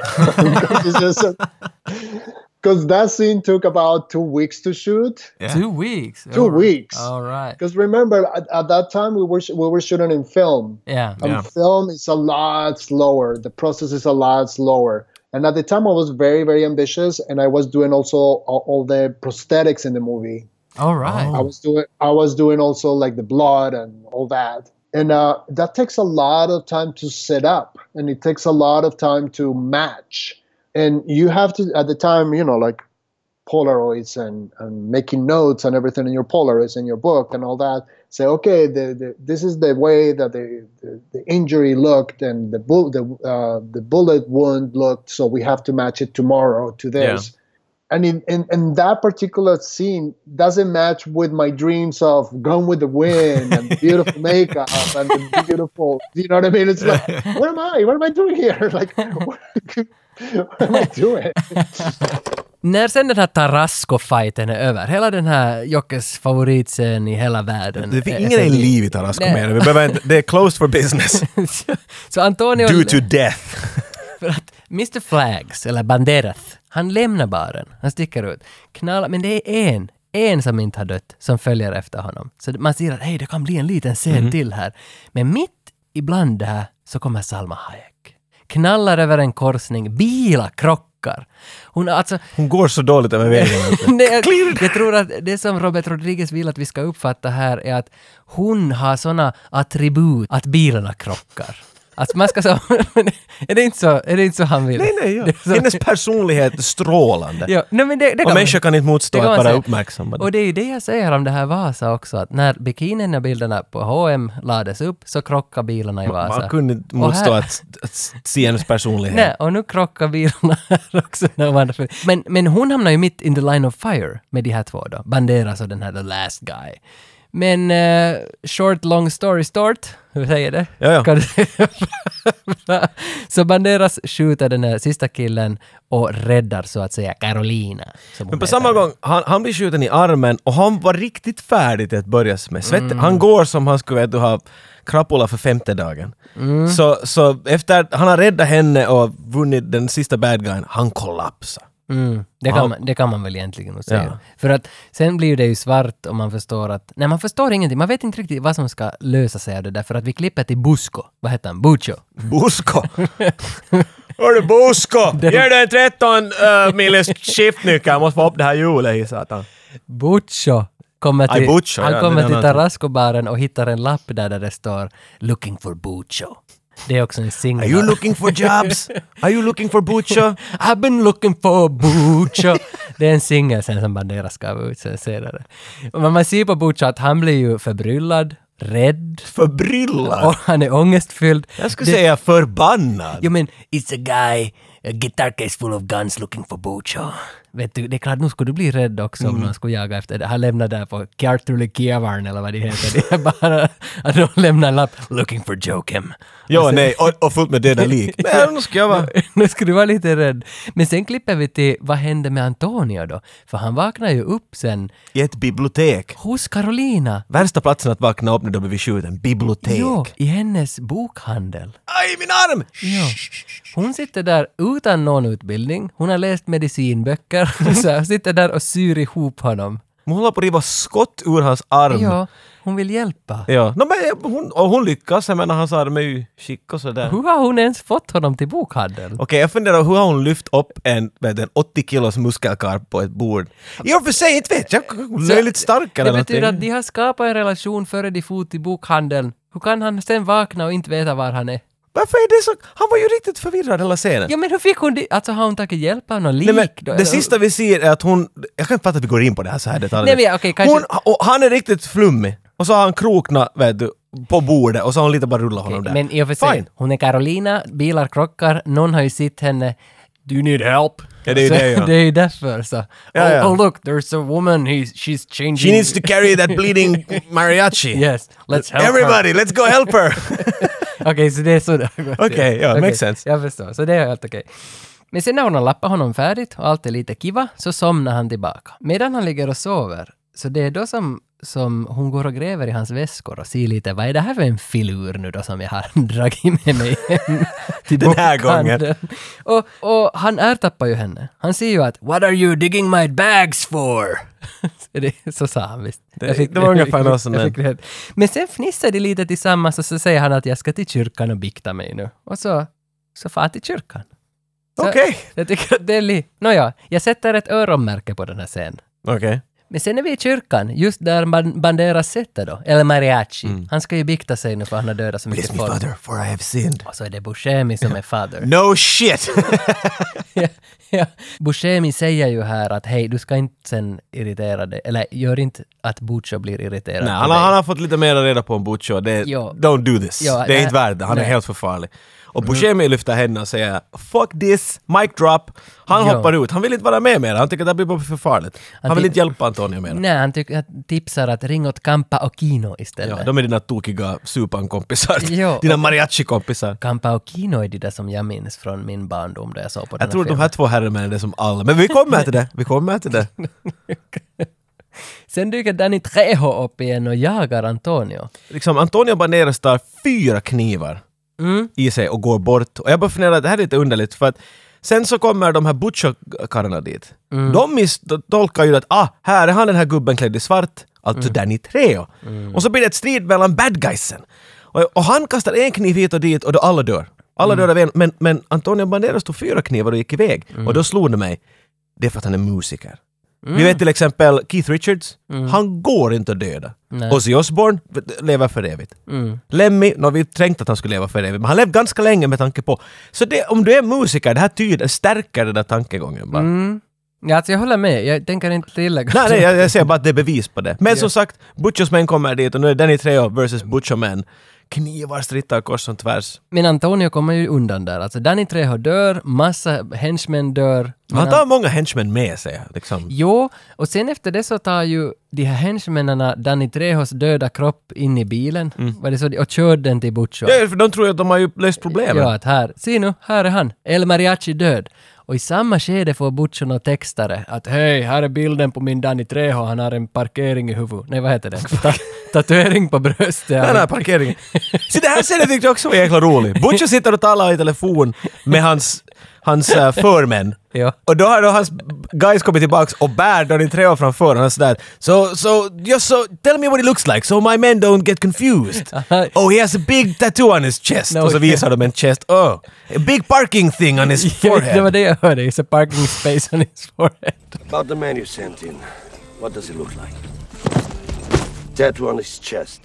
[SPEAKER 3] Because that scene took about two weeks to shoot.
[SPEAKER 1] Yeah.
[SPEAKER 2] Two weeks. Two
[SPEAKER 3] Two weeks.
[SPEAKER 2] All right.
[SPEAKER 3] Because remember, at, at that time we were sh- we were shooting in film,
[SPEAKER 2] Yeah.
[SPEAKER 3] and
[SPEAKER 1] Yeah.
[SPEAKER 3] film is a lot slower. The process is a lot slower. And at the time, I was very very ambitious, and I was doing also all, all the prosthetics in the movie.
[SPEAKER 2] All right.
[SPEAKER 3] I was doing I was doing also like the blood and all that. And uh, that takes a lot of time to set up, and it takes a lot of time to match. And you have to at the time, you know, like Polaroids and, and making notes and everything in your Polaroids and your book and all that. Say, okay, the, the, this is the way that the, the, the injury looked and the, bu- the, uh, the bullet wound looked, so we have to match it tomorrow to this. And in, in, in that particular scene doesn't match with my dreams of Gone with the Wind and beautiful makeup and the beautiful, you know what I mean? It's like, what am I? What am I doing here? Like, what, what am I doing?
[SPEAKER 2] När sen den här Tarasco-fighten är över, hela den här Jockes favoritscen i hela världen.
[SPEAKER 1] Det finns
[SPEAKER 2] är-
[SPEAKER 1] ingen
[SPEAKER 2] är-
[SPEAKER 1] är liv i Tarasco
[SPEAKER 2] Nej.
[SPEAKER 1] mer. Vi behöver inte- Det är closed for business.
[SPEAKER 2] Så Antonio...
[SPEAKER 1] Due to death.
[SPEAKER 2] För att Mr Flags, eller Banderas, han lämnar baren. Han sticker ut. Knallar, men det är en, en som inte har dött, som följer efter honom. Så man ser att hej, det kan bli en liten scen
[SPEAKER 1] Mhm.
[SPEAKER 2] till här. Men mitt ibland det här så kommer Salma Hayek. Knallar över en korsning, bilar krockar. Hon har alltså...
[SPEAKER 1] Hon går så dåligt över vägen.
[SPEAKER 2] Nej, jag, jag tror att det som Robert Rodriguez vill att vi ska uppfatta här är att hon har såna attribut att bilarna krockar. Att man ska så... men är, det inte så är det inte så han vill?
[SPEAKER 1] Nej, nej, ja.
[SPEAKER 2] Det är så-
[SPEAKER 1] Hennes personlighet är strålande.
[SPEAKER 2] Ja, nej, men det, det
[SPEAKER 1] Och
[SPEAKER 2] man-
[SPEAKER 1] människor kan inte motstå
[SPEAKER 2] det kan
[SPEAKER 1] att
[SPEAKER 2] man
[SPEAKER 1] bara
[SPEAKER 2] säga.
[SPEAKER 1] uppmärksamma
[SPEAKER 2] Och
[SPEAKER 1] det.
[SPEAKER 2] det är ju det jag säger om det här Vasa också, att när bikinierna bilderna på H&M lades upp så krockade bilarna i Vasa.
[SPEAKER 1] Man kunde inte
[SPEAKER 2] Och
[SPEAKER 1] motstå
[SPEAKER 2] här-
[SPEAKER 1] att, att se hennes personlighet.
[SPEAKER 2] Nej, och nu krockar bilarna här också. när man- Men, men hon hamnar ju mitt in the line of fire med de här två då. Banderas och den här the last guy. Men eh, short long story short, hur säger det?
[SPEAKER 1] Ja, ja.
[SPEAKER 2] Kan du- så Banderas skjuter den här sista killen och räddar så att säga Carolina. som hon
[SPEAKER 1] Men på
[SPEAKER 2] heter.
[SPEAKER 1] samma gång, han, han blir skjuten i armen och han var riktigt färdig till att börja med. Svett,
[SPEAKER 2] Mm.
[SPEAKER 1] Han går som han skulle veta, ha krapula för femte dagen.
[SPEAKER 2] Mm.
[SPEAKER 1] Så, så efter att han har räddat henne och vunnit den sista bad guyen, han kollapsar.
[SPEAKER 2] Mm, det, kan man, det kan man väl egentligen nog säga.
[SPEAKER 1] Ja.
[SPEAKER 2] För att sen blir det ju svart och man förstår att... Nej, man förstår ingenting. Man vet inte riktigt vad som ska lösa sig av det där. För att vi klipper till Busco. Vad heter han? Bucho.
[SPEAKER 1] Bosko! Hörru Bosko! Ger du en 13 uh, milles skiftnyckel? Jag måste få upp det här hjulet i satan.
[SPEAKER 2] Bucho kommer
[SPEAKER 1] Aj,
[SPEAKER 2] till,
[SPEAKER 1] Bucho, ja,
[SPEAKER 2] han
[SPEAKER 1] det är
[SPEAKER 2] kommer
[SPEAKER 1] en
[SPEAKER 2] till
[SPEAKER 1] annan-
[SPEAKER 2] Tarasco-baren och hittar en lapp där, där det står “Looking for Bucho”. Det är också en
[SPEAKER 1] Are
[SPEAKER 2] singel.
[SPEAKER 1] you looking for jobs? Are you looking for butcher?
[SPEAKER 2] I've been looking for Bucho. Det är en singel sen som Banderas gav ut sen senare. Men man ser på Bucho att han blir ju förbryllad, rädd,
[SPEAKER 1] Förbryllad?
[SPEAKER 2] och han är ångestfylld.
[SPEAKER 1] Jag skulle säga förbannad.
[SPEAKER 2] Jo men, it's a guy, a guitar case full of guns looking for Mm. Bucho. Vet du, det är klart, nu skulle du bli rädd också om någon skulle jaga efter dig. Han lämnar där på Kjartuli Kievarn eller vad det heter. Det är bara att de lämnar en lapp, looking for Jokem. alltså-
[SPEAKER 1] Ja, nej, och, och fullt med döda lik. Men nu ska jag vara...
[SPEAKER 2] nu skulle du vara lite rädd. Men sen klipper vi till, vad hände med Antonio då? För han vaknar ju upp sen
[SPEAKER 1] I ett bibliotek.
[SPEAKER 2] hos Carolina.
[SPEAKER 1] Värsta platsen att vakna upp när de blir skjuten. Bibliotek.
[SPEAKER 2] Jo, i hennes bokhandel.
[SPEAKER 1] Aj, min arm!
[SPEAKER 2] Ja. Hon sitter där utan någon utbildning, hon har läst medicinböcker, så här, sitter där och syr ihop honom.
[SPEAKER 1] Hon håller på att riva skott ur hans arm.
[SPEAKER 2] Ja, hon vill hjälpa.
[SPEAKER 1] Ja. No, men hon, och hon lyckas, jag menar hans arm är ju chick och sådär.
[SPEAKER 2] Hur har hon ens fått honom till bokhandeln?
[SPEAKER 1] Okej, jag funderar hur har hon lyft upp en, vet, en 80 kilos muskelkarp på ett bord? I och för sig, inte vet jag. Hon är lite stark eller
[SPEAKER 2] Det betyder att
[SPEAKER 1] någonting.
[SPEAKER 2] de har skapat en relation före de for till bokhandeln. Hur kan han sen vakna och inte veta var han är?
[SPEAKER 1] Varför är det så? Han var ju riktigt förvirrad hela scenen.
[SPEAKER 2] Ja men hur fick hon det? Alltså har hon tagit hjälp av någon lik?
[SPEAKER 1] Nej, men,
[SPEAKER 2] då?
[SPEAKER 1] det sista vi ser är att hon... Jag kan inte fatta att vi går in på det här så här detaljer.
[SPEAKER 2] Nej, men okej, kanske-
[SPEAKER 1] hon, och han är riktigt flummig. Och så har han krokna, vet du, på bordet och så har hon lite bara rullat honom där.
[SPEAKER 2] Men i och för sig,
[SPEAKER 1] Fine.
[SPEAKER 2] hon är Carolina, bilar krockar, någon har ju sett henne Do you need help?
[SPEAKER 1] Ja, det är ju
[SPEAKER 2] så,
[SPEAKER 1] det, ja.
[SPEAKER 2] det är ju därför så.
[SPEAKER 1] Ja,
[SPEAKER 2] oh,
[SPEAKER 1] ja.
[SPEAKER 2] oh look, there's a woman, he's, she's changing...
[SPEAKER 1] She needs to carry that bleeding mariachi.
[SPEAKER 2] Yes, let's help her.
[SPEAKER 1] Everybody, let's go help her!
[SPEAKER 2] Okej, så det är så det har gått.
[SPEAKER 1] Okej, ja,
[SPEAKER 2] Okej,
[SPEAKER 1] makes sense.
[SPEAKER 2] Jag förstår, så det är helt okej. Men sen när hon har lappat honom färdigt och allt är lite kiva, så somnar han tillbaka. Medan han ligger och sover, så det är då som, som hon går och gräver i hans väskor och ser lite, vad är det här för en filur nu då som jag har dragit med mig hem till
[SPEAKER 1] Den här
[SPEAKER 2] bokhandeln?" Och, och han ertappar ju henne. Han säger ju att “What are you digging my bags for?” Så det- Så sa han visst.
[SPEAKER 1] Det-
[SPEAKER 2] Jag fick-
[SPEAKER 1] det var ungefär något sånt
[SPEAKER 2] jag
[SPEAKER 1] där.
[SPEAKER 2] fick det. Men sen fnissar de lite tillsammans och så säger han att jag ska till kyrkan och bikta mig nu. Och så, så far han till kyrkan. Så-
[SPEAKER 1] Okej.
[SPEAKER 2] Jag tycker att det är li... Nåja, jag sätter ett öronmärke på den här scenen.
[SPEAKER 1] Okej.
[SPEAKER 2] Men sen är vi i kyrkan, just där Ban- Banderas sitter då, eller Mariachi.
[SPEAKER 1] Mm.
[SPEAKER 2] Han ska ju bikta sig nu för han har dödat så mycket folk.
[SPEAKER 1] for I have sinned.
[SPEAKER 2] Och så är det Buscemi som är fader.
[SPEAKER 1] No shit!
[SPEAKER 2] ja, ja. Buscemi säger ju här att hej, du ska inte sen irritera dig, eller gör inte att Buccio blir irriterad
[SPEAKER 1] Nej,
[SPEAKER 2] på
[SPEAKER 1] han, har,
[SPEAKER 2] dig.
[SPEAKER 1] han har fått lite mer reda på om Butcho. Det,
[SPEAKER 2] Ja.
[SPEAKER 1] Don't do this.
[SPEAKER 2] Ja,
[SPEAKER 1] det är
[SPEAKER 2] nej,
[SPEAKER 1] inte värt det. Han är
[SPEAKER 2] nej. Mm.
[SPEAKER 1] helt för farlig. Och Buscemi lyfter henne och säger “Fuck this, mic drop”. Han
[SPEAKER 2] Ja.
[SPEAKER 1] hoppar ut. Han vill inte vara med mer. Han tycker att det här blir bara för farligt. Han,
[SPEAKER 2] Han
[SPEAKER 1] vill
[SPEAKER 2] ty-
[SPEAKER 1] inte hjälpa Antonio mer.
[SPEAKER 2] Nej, han tycker att tipsar att ring åt Campa och Kino istället.
[SPEAKER 1] Ja, de är dina tokiga supankompisar.
[SPEAKER 2] Jo,
[SPEAKER 1] dina
[SPEAKER 2] och-
[SPEAKER 1] mariachi-kompisar.
[SPEAKER 2] Campa och Kino är de där som jag minns från min barndom då jag såg på den
[SPEAKER 1] Jag tror de
[SPEAKER 2] filmen.
[SPEAKER 1] här två herremännen är som alla. Men vi kommer till det. Vi kommer till det.
[SPEAKER 2] Sen dyker Danny Trejo upp igen och jagar Antonio.
[SPEAKER 1] liksom Antonio Banderas tar fyra knivar i sig och går bort. Och jag bara funderar, det här är lite underligt för att sen så kommer de här butcherkarlarna dit. De misstolkar ju att ah, här är han den här gubben klädd i svart, alltså Danny Trejo. Och så blir det ett strid mellan bad guysen. Och, och han kastar en kniv hit och dit och då alla dör. Alla dör av en, men, men Antonio Banderas tog fyra knivar och gick iväg. Och då slog det mig, det är för att han är musiker. Vi
[SPEAKER 2] Mm.
[SPEAKER 1] vet till exempel Keith Richards, han går inte att döda.
[SPEAKER 2] Nej.
[SPEAKER 1] Ozzy Osbourne lever för evigt.
[SPEAKER 2] Mm.
[SPEAKER 1] Lemmy, no, vi trängt att han skulle leva för evigt, men han levde ganska länge med tanke på... Så det, om du är musiker, det här tyder, stärker den där tankegången bara.
[SPEAKER 2] Mm. Ja, alltså jag håller med. Jag tänker inte tillägga.
[SPEAKER 1] Nej, nej, jag, jag säger bara att det är bevis på det. Men som sagt, Butchos män kommer dit och nu är Danny Trejo versus Butcho män. Knivar strittar kors och tvärs.
[SPEAKER 2] Men Antonio kommer ju undan där. Alltså Danny Trejo dör, massa henchmen dör. men
[SPEAKER 1] Han tar många henchmen med sig, liksom.
[SPEAKER 2] Jo, och sen efter det så tar ju de här henchmännena Danny Trejos döda kropp in i bilen var det så, de- och körde den till Butcho.
[SPEAKER 1] Mm. Ja, för de tror ju att de har ju löst problemet.
[SPEAKER 2] Ja, att här, se nu, här är han, El Mariachi död. Och i samma skede får Butcho några textare att hej, här är bilden på min Danny Trejo, han har en parkering i huvudet. Nej, vad heter det? Ta- tatuering på bröstet.
[SPEAKER 1] Den här parkeringen. Så det här scenen tyckte jag också var jäkla rolig. Butcher sitter och talar i telefon med hans, hans uh, förmän.
[SPEAKER 2] Ja.
[SPEAKER 1] Och då har då hans guys kommit tillbaks och bär Donny Trejo framför honom och sådär. So, so, just so, tell me what he looks like so my men don't get confused. Oh, he has a big tattoo on his chest.
[SPEAKER 2] No,
[SPEAKER 1] och så
[SPEAKER 2] okay.
[SPEAKER 1] visar de en chest. Oh, a big parking thing on his
[SPEAKER 2] det var
[SPEAKER 1] forehead.
[SPEAKER 2] det jag hörde, it's a parking space on his forehead.
[SPEAKER 4] About the man you sent in, what does he look like? Tattoo on his chest.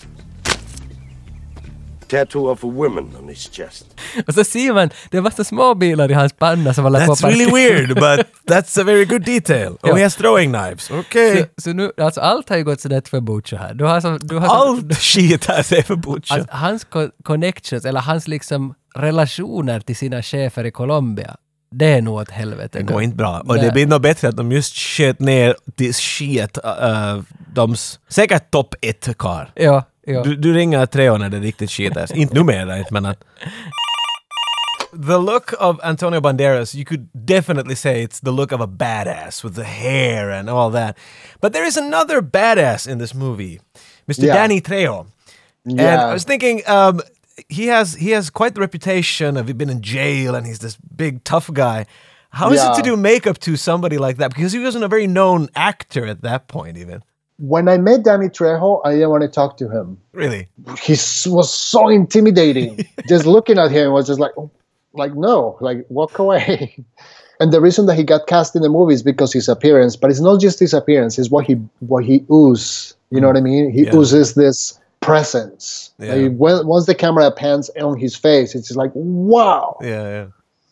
[SPEAKER 4] Tattoo of a woman on his chest.
[SPEAKER 2] Och så ser man, det var så små bilar i hans panna som var på
[SPEAKER 1] That's really weird, but that's a very good detail. Oh,
[SPEAKER 2] Ja.
[SPEAKER 1] he has throwing knives. Okej.
[SPEAKER 2] Så, så nu, alltså allt har ju gått sådär för Butcho här. Du har som, du har som,
[SPEAKER 1] Allt skit här säger för Butcher.
[SPEAKER 2] Alltså, hans co- connections, eller hans liksom relationer till sina chefer i Colombia, det är nog åt helvete.
[SPEAKER 1] Det går inte bra. Och
[SPEAKER 2] Nej.
[SPEAKER 1] det blir nog bättre att de just sköt ner till shit, äh, doms säkert topp ett kar.
[SPEAKER 2] Ja, ja.
[SPEAKER 1] Du, du ringer Treo när det är riktigt shit alltså. Inte numera inte men att... The look of Antonio Banderas, you could definitely say it's the look of a badass with the hair and all that. But there is another badass in this movie, Mr.
[SPEAKER 3] Yeah.
[SPEAKER 1] Danny Trejo. And
[SPEAKER 3] Yeah.
[SPEAKER 1] I was thinking, um, he has he has quite the reputation of he's been in jail and he's this big tough guy. How is
[SPEAKER 3] Yeah.
[SPEAKER 1] it to do makeup to somebody like that? Because he wasn't a very known actor at that point, even.
[SPEAKER 3] When I met Danny Trejo, I didn't want to talk to him.
[SPEAKER 1] Really?
[SPEAKER 3] he s- was so intimidating. just looking at him was just like, oh, like no, like walk away. and the reason that he got cast in the movie is because his appearance, but it's not just his appearance; it's what he what he oozes. You know what I mean? He
[SPEAKER 1] Mm. Yeah.
[SPEAKER 3] oozes this presence.
[SPEAKER 1] Yeah.
[SPEAKER 3] Like, when, once the camera pans on his face, it's just like wow.
[SPEAKER 1] Yeah, yeah.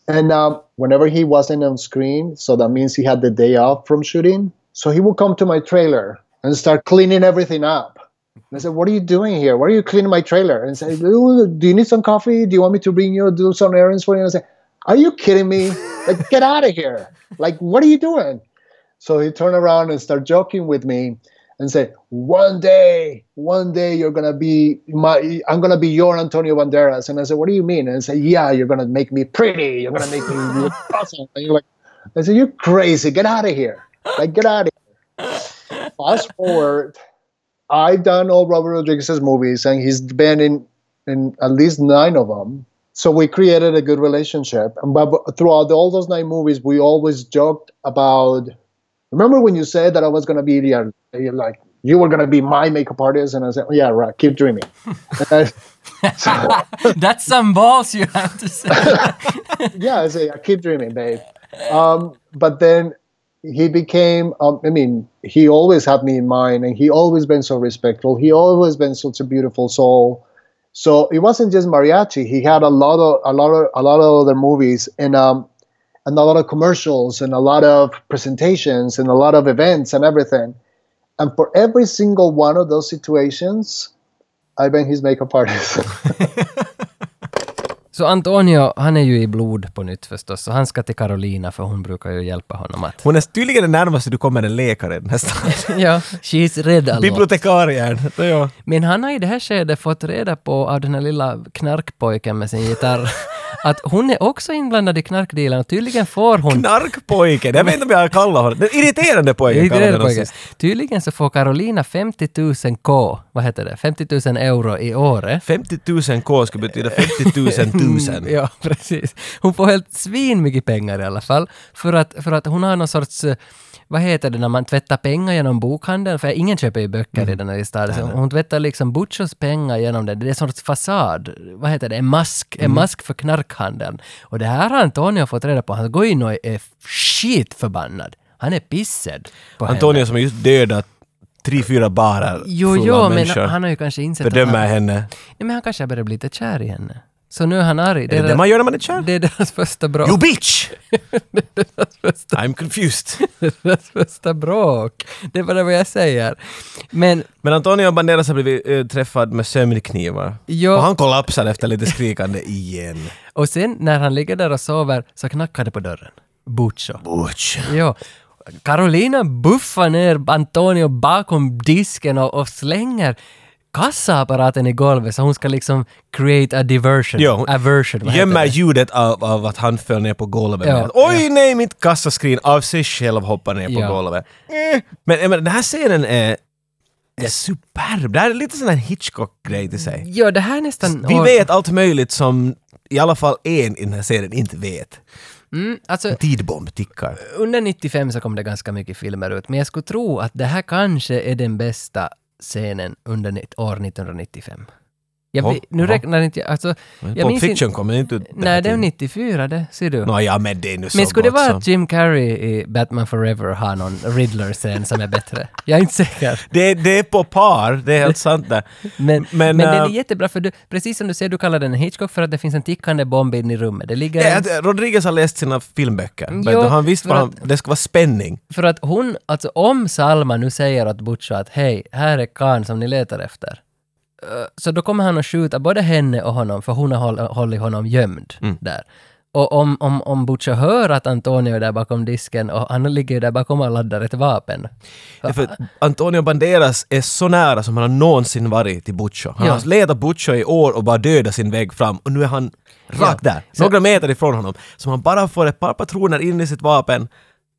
[SPEAKER 3] And um, whenever he wasn't on screen, so that means he had the day off from shooting. So he would come to my trailer and start cleaning everything up. And I said, "What are you doing here? Why are you cleaning my trailer?" And say, "Oh, "Do you need some coffee? Do you want me to bring you do some errands for you?" And I say, "Are you kidding me? Like, get out of here! Like, what are you doing?" So he turned around and started joking with me. and say, "One day, one day, you're gonna be my. I'm gonna be your Antonio Banderas." And I said, "What do you mean?" And I said, "Yeah, you're gonna make me pretty. You're gonna make me look awesome." And you're like, "I said, you're crazy. Get out of here. Like, get out of here." Fast forward, I've done all Robert Rodriguez's movies, and he's been in in at least nine of them. So we created a good relationship. And but but throughout all those nine movies, we always joked about. Remember when you said that I was gonna be the you're like you were gonna be my makeup artist, and I said, "Yeah, right. Keep dreaming." And I- so-
[SPEAKER 2] That's some balls you have to say.
[SPEAKER 3] yeah, I say, "Yeah, keep dreaming, babe. Um, but then he became, um, I mean, he always had me in mind and he always been so respectful. He always been such a beautiful soul. So it wasn't just mariachi. He had a lot of, a lot of, a lot of other movies and, um, and a lot of commercials and a lot of presentations and a lot of events and everything. And for every single one of those situations, I've been his makeup artist.
[SPEAKER 2] Så Antonio, han är ju i blod på nytt förstås, så han ska till Carolina för hon brukar ju hjälpa honom att...
[SPEAKER 1] Hon är tydligen den närmaste du kommer en läkare i den här staden.
[SPEAKER 2] ja, she's red a lot.
[SPEAKER 1] Bibliotekarien. Det är jag.
[SPEAKER 2] Men han har i det här skedet fått reda på av den här lilla knarkpojken med sin gitarr att hon är också inblandad i knarkdealen och tydligen får hon...
[SPEAKER 1] Knarkpojken. Jag vet inte om jag kallar honom. Den irriterande pojken
[SPEAKER 2] Jag är
[SPEAKER 1] kallar
[SPEAKER 2] irriterad
[SPEAKER 1] jag
[SPEAKER 2] på
[SPEAKER 1] honom
[SPEAKER 2] det.
[SPEAKER 1] sist.
[SPEAKER 2] Tydligen så får Carolina 50 000 K, vad heter det, 50 000 euro i året.
[SPEAKER 1] 50 000 K skulle betyda 50 000
[SPEAKER 2] Mm.
[SPEAKER 1] tusen.
[SPEAKER 2] Ja, precis. Hon får helt svin mycket pengar i alla fall. För att, för att hon har någon sorts, eh, vad heter det när man tvättar pengar genom bokhandeln? För ingen köper ju böcker i den här staden. Så hon tvättar liksom Butchos pengar genom det. Det är en sorts fasad. Vad heter det? En mask. En mask för knarkhandeln. Och det här har Antonio fått reda på. Han går in och är skitförbannad. Han är pissed på henne.
[SPEAKER 1] Antonio som just dödat tre, fyra barer
[SPEAKER 2] Jo,
[SPEAKER 1] fulla
[SPEAKER 2] jo,
[SPEAKER 1] av
[SPEAKER 2] men
[SPEAKER 1] människor.
[SPEAKER 2] han har ju kanske insett
[SPEAKER 1] Bedömer
[SPEAKER 2] han,
[SPEAKER 1] henne.
[SPEAKER 2] Nej, men han kanske har börjat bli lite kär i henne. Så nu är han arg.
[SPEAKER 1] Är det det man gör när man är kär?
[SPEAKER 2] det är deras första bra.
[SPEAKER 1] You bitch! I'm confused.
[SPEAKER 2] deras första bråk. Det är bara vad jag säger. Men
[SPEAKER 1] Men Antonio Banderas har blivit eh, träffad med sömnknivar.
[SPEAKER 2] Ja.
[SPEAKER 1] Och han kollapsar efter lite skrikande igen.
[SPEAKER 2] och sen när han ligger där och sover så knackar det på dörren. Butcho.
[SPEAKER 1] Butch.
[SPEAKER 2] Ja. Carolina buffar ner Antonio bakom disken och, och slänger kassaapparaten i golvet så hon ska liksom create a diversion.
[SPEAKER 1] Jo,
[SPEAKER 2] Aversion, vad heter
[SPEAKER 1] gömmer
[SPEAKER 2] det?
[SPEAKER 1] ljudet av, av att han föll ner på golvet.
[SPEAKER 2] Ja,
[SPEAKER 1] med att, Oj nej, mitt kassaskrin av sig själv hoppar ner på
[SPEAKER 2] Ja.
[SPEAKER 1] golvet. Eh. Men, men den här scenen är, är superb. Det här är lite sån här Hitchcock-grej till sig.
[SPEAKER 2] Ja, det här är nästan...
[SPEAKER 1] Vi
[SPEAKER 2] och-
[SPEAKER 1] vet allt möjligt som i alla fall en i den här serien inte vet.
[SPEAKER 2] Mm, alltså,
[SPEAKER 1] Tidbomb tickar.
[SPEAKER 2] under 95 så kom det ganska mycket filmer ut, men jag skulle tro att det här kanske är den bästa scenen under ni- år 1995. Jag,
[SPEAKER 1] Ja,
[SPEAKER 2] vet- nu
[SPEAKER 1] ja.
[SPEAKER 2] räknar inte jag... Alltså, jag
[SPEAKER 1] Pulp
[SPEAKER 2] minns inte-
[SPEAKER 1] Fiction kommer inte ut.
[SPEAKER 2] Nej, det är 94 det, ser du.
[SPEAKER 1] Nåja, men det är nu så
[SPEAKER 2] Men skulle det
[SPEAKER 1] gott
[SPEAKER 2] vara typ-
[SPEAKER 1] som.
[SPEAKER 2] att Jim Carrey i Batman Forever har någon Riddler-scen som är bättre? Jag är inte säker.
[SPEAKER 1] Det, det är på par, det är helt sant där.
[SPEAKER 2] Men, men,
[SPEAKER 1] Men,
[SPEAKER 2] den är
[SPEAKER 1] äh,
[SPEAKER 2] jättebra, för du, precis som du säger, du kallar den Hitchcock för att det finns en tickande bomb in i rummet. Det ligger
[SPEAKER 1] Det är
[SPEAKER 2] en,
[SPEAKER 1] att Rodriguez har läst sina filmböcker.
[SPEAKER 2] Mm, Jo,
[SPEAKER 1] Vet du, han visste
[SPEAKER 2] för
[SPEAKER 1] vad han, det ska vara spänning.
[SPEAKER 2] För att hon, alltså om Salma nu säger åt Butcho att hej, här är kan som ni letar efter. eh, Så då kommer han att skjuta både henne och honom, för hon har håll, hållit honom gömd
[SPEAKER 1] Mm.
[SPEAKER 2] där. Och om, om, om Butcho hör att Antonio är där bakom disken och han ligger ju där bakom och laddar ett vapen.
[SPEAKER 1] Ja, för Antonio Banderas är så nära som han har någonsin varit till Butcho. Han
[SPEAKER 2] Ja.
[SPEAKER 1] har letat Butcho i år och bara dödat sin väg fram och nu är han rakt
[SPEAKER 2] Ja.
[SPEAKER 1] där, några meter ifrån honom. Så han bara får ett par patroner in i sitt vapen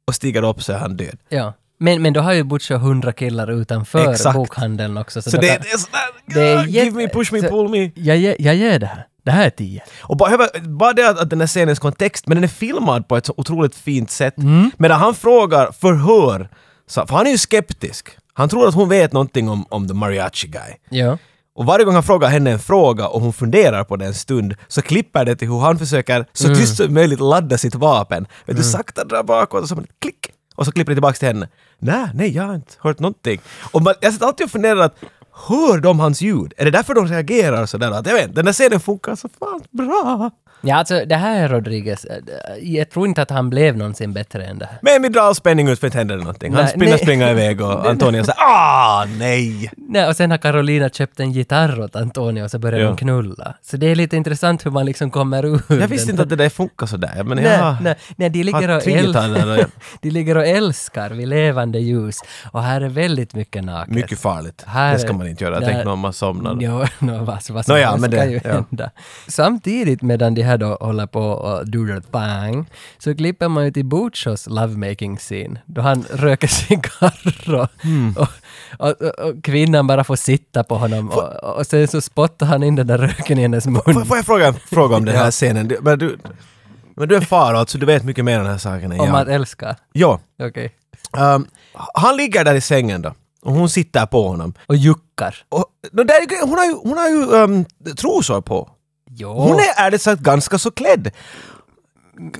[SPEAKER 1] och stiger upp så är han död.
[SPEAKER 2] Ja. Men, men då har ju Butcho hundra killar utanför
[SPEAKER 1] Exakt.
[SPEAKER 2] bokhandeln också. Så,
[SPEAKER 1] Så
[SPEAKER 2] då
[SPEAKER 1] det,
[SPEAKER 2] kan,
[SPEAKER 1] det är sådär,
[SPEAKER 2] Det är
[SPEAKER 1] ah, give
[SPEAKER 2] jätte-
[SPEAKER 1] me, push me,
[SPEAKER 2] så-
[SPEAKER 1] pull me.
[SPEAKER 2] jag, ge- jag ger det här. Det här är tio.
[SPEAKER 1] Och bara, över- bara det att, att den här scenens kontext, men den är filmad på ett så otroligt fint sätt.
[SPEAKER 2] Mm.
[SPEAKER 1] Medan han frågar, förhör, så, för han är ju skeptisk. Han tror att hon vet någonting om, om the mariachi guy.
[SPEAKER 2] Ja.
[SPEAKER 1] Och varje gång han frågar henne en fråga och hon funderar på den en stund så klipper det till hur han försöker så
[SPEAKER 2] Mm.
[SPEAKER 1] tyst som möjligt ladda sitt vapen. Vet du, sakta drar bakåt och så bara klick! Och så klipper det tillbaks till henne. Nej, nej, jag har inte hört någonting. Och man, jag sitter alltid och funderar att hör de hans ljud? Är det därför de reagerar sådär? Att, jag vet, den där scenen funkar så fan bra.
[SPEAKER 2] Ja, alltså det här är Rodriguez. Eh, Jag tror inte att han blev någonsin bättre än det här.
[SPEAKER 1] Men vi drar spänning ut för att det händer någonting. Han
[SPEAKER 2] Nej,
[SPEAKER 1] springer,
[SPEAKER 2] nej.
[SPEAKER 1] springer iväg och Antonio säger ah nej.
[SPEAKER 2] Nej, och sen har Carolina köpt en gitarr åt Antonio och så börjar
[SPEAKER 1] Ja.
[SPEAKER 2] de knulla. Så det är lite intressant hur man liksom kommer ur
[SPEAKER 1] Jag visste inte att det där funkar sådär. Men
[SPEAKER 2] Nej,
[SPEAKER 1] ja.
[SPEAKER 2] nej, nej, de, ligger
[SPEAKER 1] Har
[SPEAKER 2] och
[SPEAKER 1] tre gitarrer
[SPEAKER 2] äl-
[SPEAKER 1] och-
[SPEAKER 2] de ligger och älskar vid levande ljus. Och här är väldigt mycket naket.
[SPEAKER 1] Mycket farligt.
[SPEAKER 2] Här
[SPEAKER 1] det ska
[SPEAKER 2] är-
[SPEAKER 1] man inte göra. Jag
[SPEAKER 2] där-
[SPEAKER 1] tänkte någon man somnar.
[SPEAKER 2] Jo, no, vad, vad som
[SPEAKER 1] Nå ja,
[SPEAKER 2] helst
[SPEAKER 1] men det-
[SPEAKER 2] kan ju
[SPEAKER 1] ja.
[SPEAKER 2] hända. Samtidigt medan de här då håller på och doodle bang, så klipper man ju till Buchos lovemaking scene, då han röker cigarr och,
[SPEAKER 1] Mm.
[SPEAKER 2] och, och, och, och kvinnan bara får sitta på honom och, och sen så spottar han in den där röken i hennes mun.
[SPEAKER 1] Får, får jag fråga, fråga om den här scenen? Du, men, du, men du är far alltså, du vet mycket mer om den här saken än
[SPEAKER 2] Om att
[SPEAKER 1] jag.
[SPEAKER 2] älska.
[SPEAKER 1] Ja.
[SPEAKER 2] Okej.
[SPEAKER 1] Ehm, han ligger där i sängen då. Och hon sitter på honom.
[SPEAKER 2] Och juckar.
[SPEAKER 1] Och, no, där, är gre- hon har ju, hon har ju ehm, trosor på.
[SPEAKER 2] Jo.
[SPEAKER 1] Hon är ärligt sagt ganska så klädd.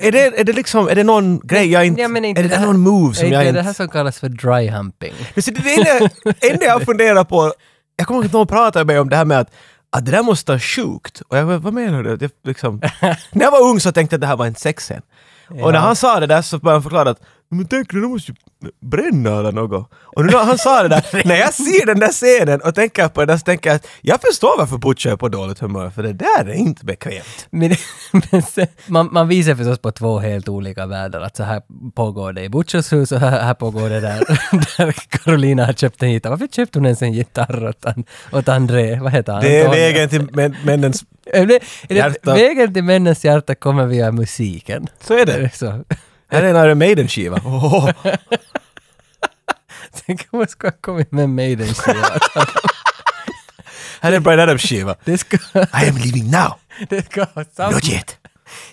[SPEAKER 1] Är det, är det liksom, är det någon grej jag inte...
[SPEAKER 2] Ja, men
[SPEAKER 1] är det,
[SPEAKER 2] här-
[SPEAKER 1] någon move som
[SPEAKER 2] inte
[SPEAKER 1] jag
[SPEAKER 2] det här
[SPEAKER 1] inte...
[SPEAKER 2] som kallas för dry humping.
[SPEAKER 1] Men så Det är det enda- enda jag funderar på, jag kommer ihåg att någon pratade med mig om det här med att att det där måste vara sjukt. Och jag bara, vad menar du? Det, liksom, när jag var ung så tänkte jag att det här var en sexscen. Och när han sa det där så började han förklara att men tänk du, de måste ju bränna eller något. Och nu när han sa det där, när jag ser den där scenen och tänker på det så tänker jag att jag förstår varför Butch är på dåligt humör, för det där är inte bekvämt.
[SPEAKER 2] Men, men sen, man, man visar förstås på två helt olika världar, att så här pågår det i Butchers hus och här, här pågår det där, där Carolina har köpt en gitarr. Varför köpte hon ens en gitarr åt, an, åt André? Vad heter han?
[SPEAKER 1] Det är
[SPEAKER 2] Antonio?
[SPEAKER 1] vägen till män- männens...
[SPEAKER 2] Är det, är det,
[SPEAKER 1] hjärta.
[SPEAKER 2] Vägen till männens hjärta kommer via musiken.
[SPEAKER 1] Så är det.
[SPEAKER 2] Så.
[SPEAKER 1] Här är en Iron Maiden-skiva. Åh.
[SPEAKER 2] Tänk om man skulle ha kommit med Maiden-skiva.
[SPEAKER 1] Här är en Brian Adams-skiva.
[SPEAKER 2] Det ska,
[SPEAKER 1] I am leaving now!
[SPEAKER 2] det ska ha samma...
[SPEAKER 1] Not yet!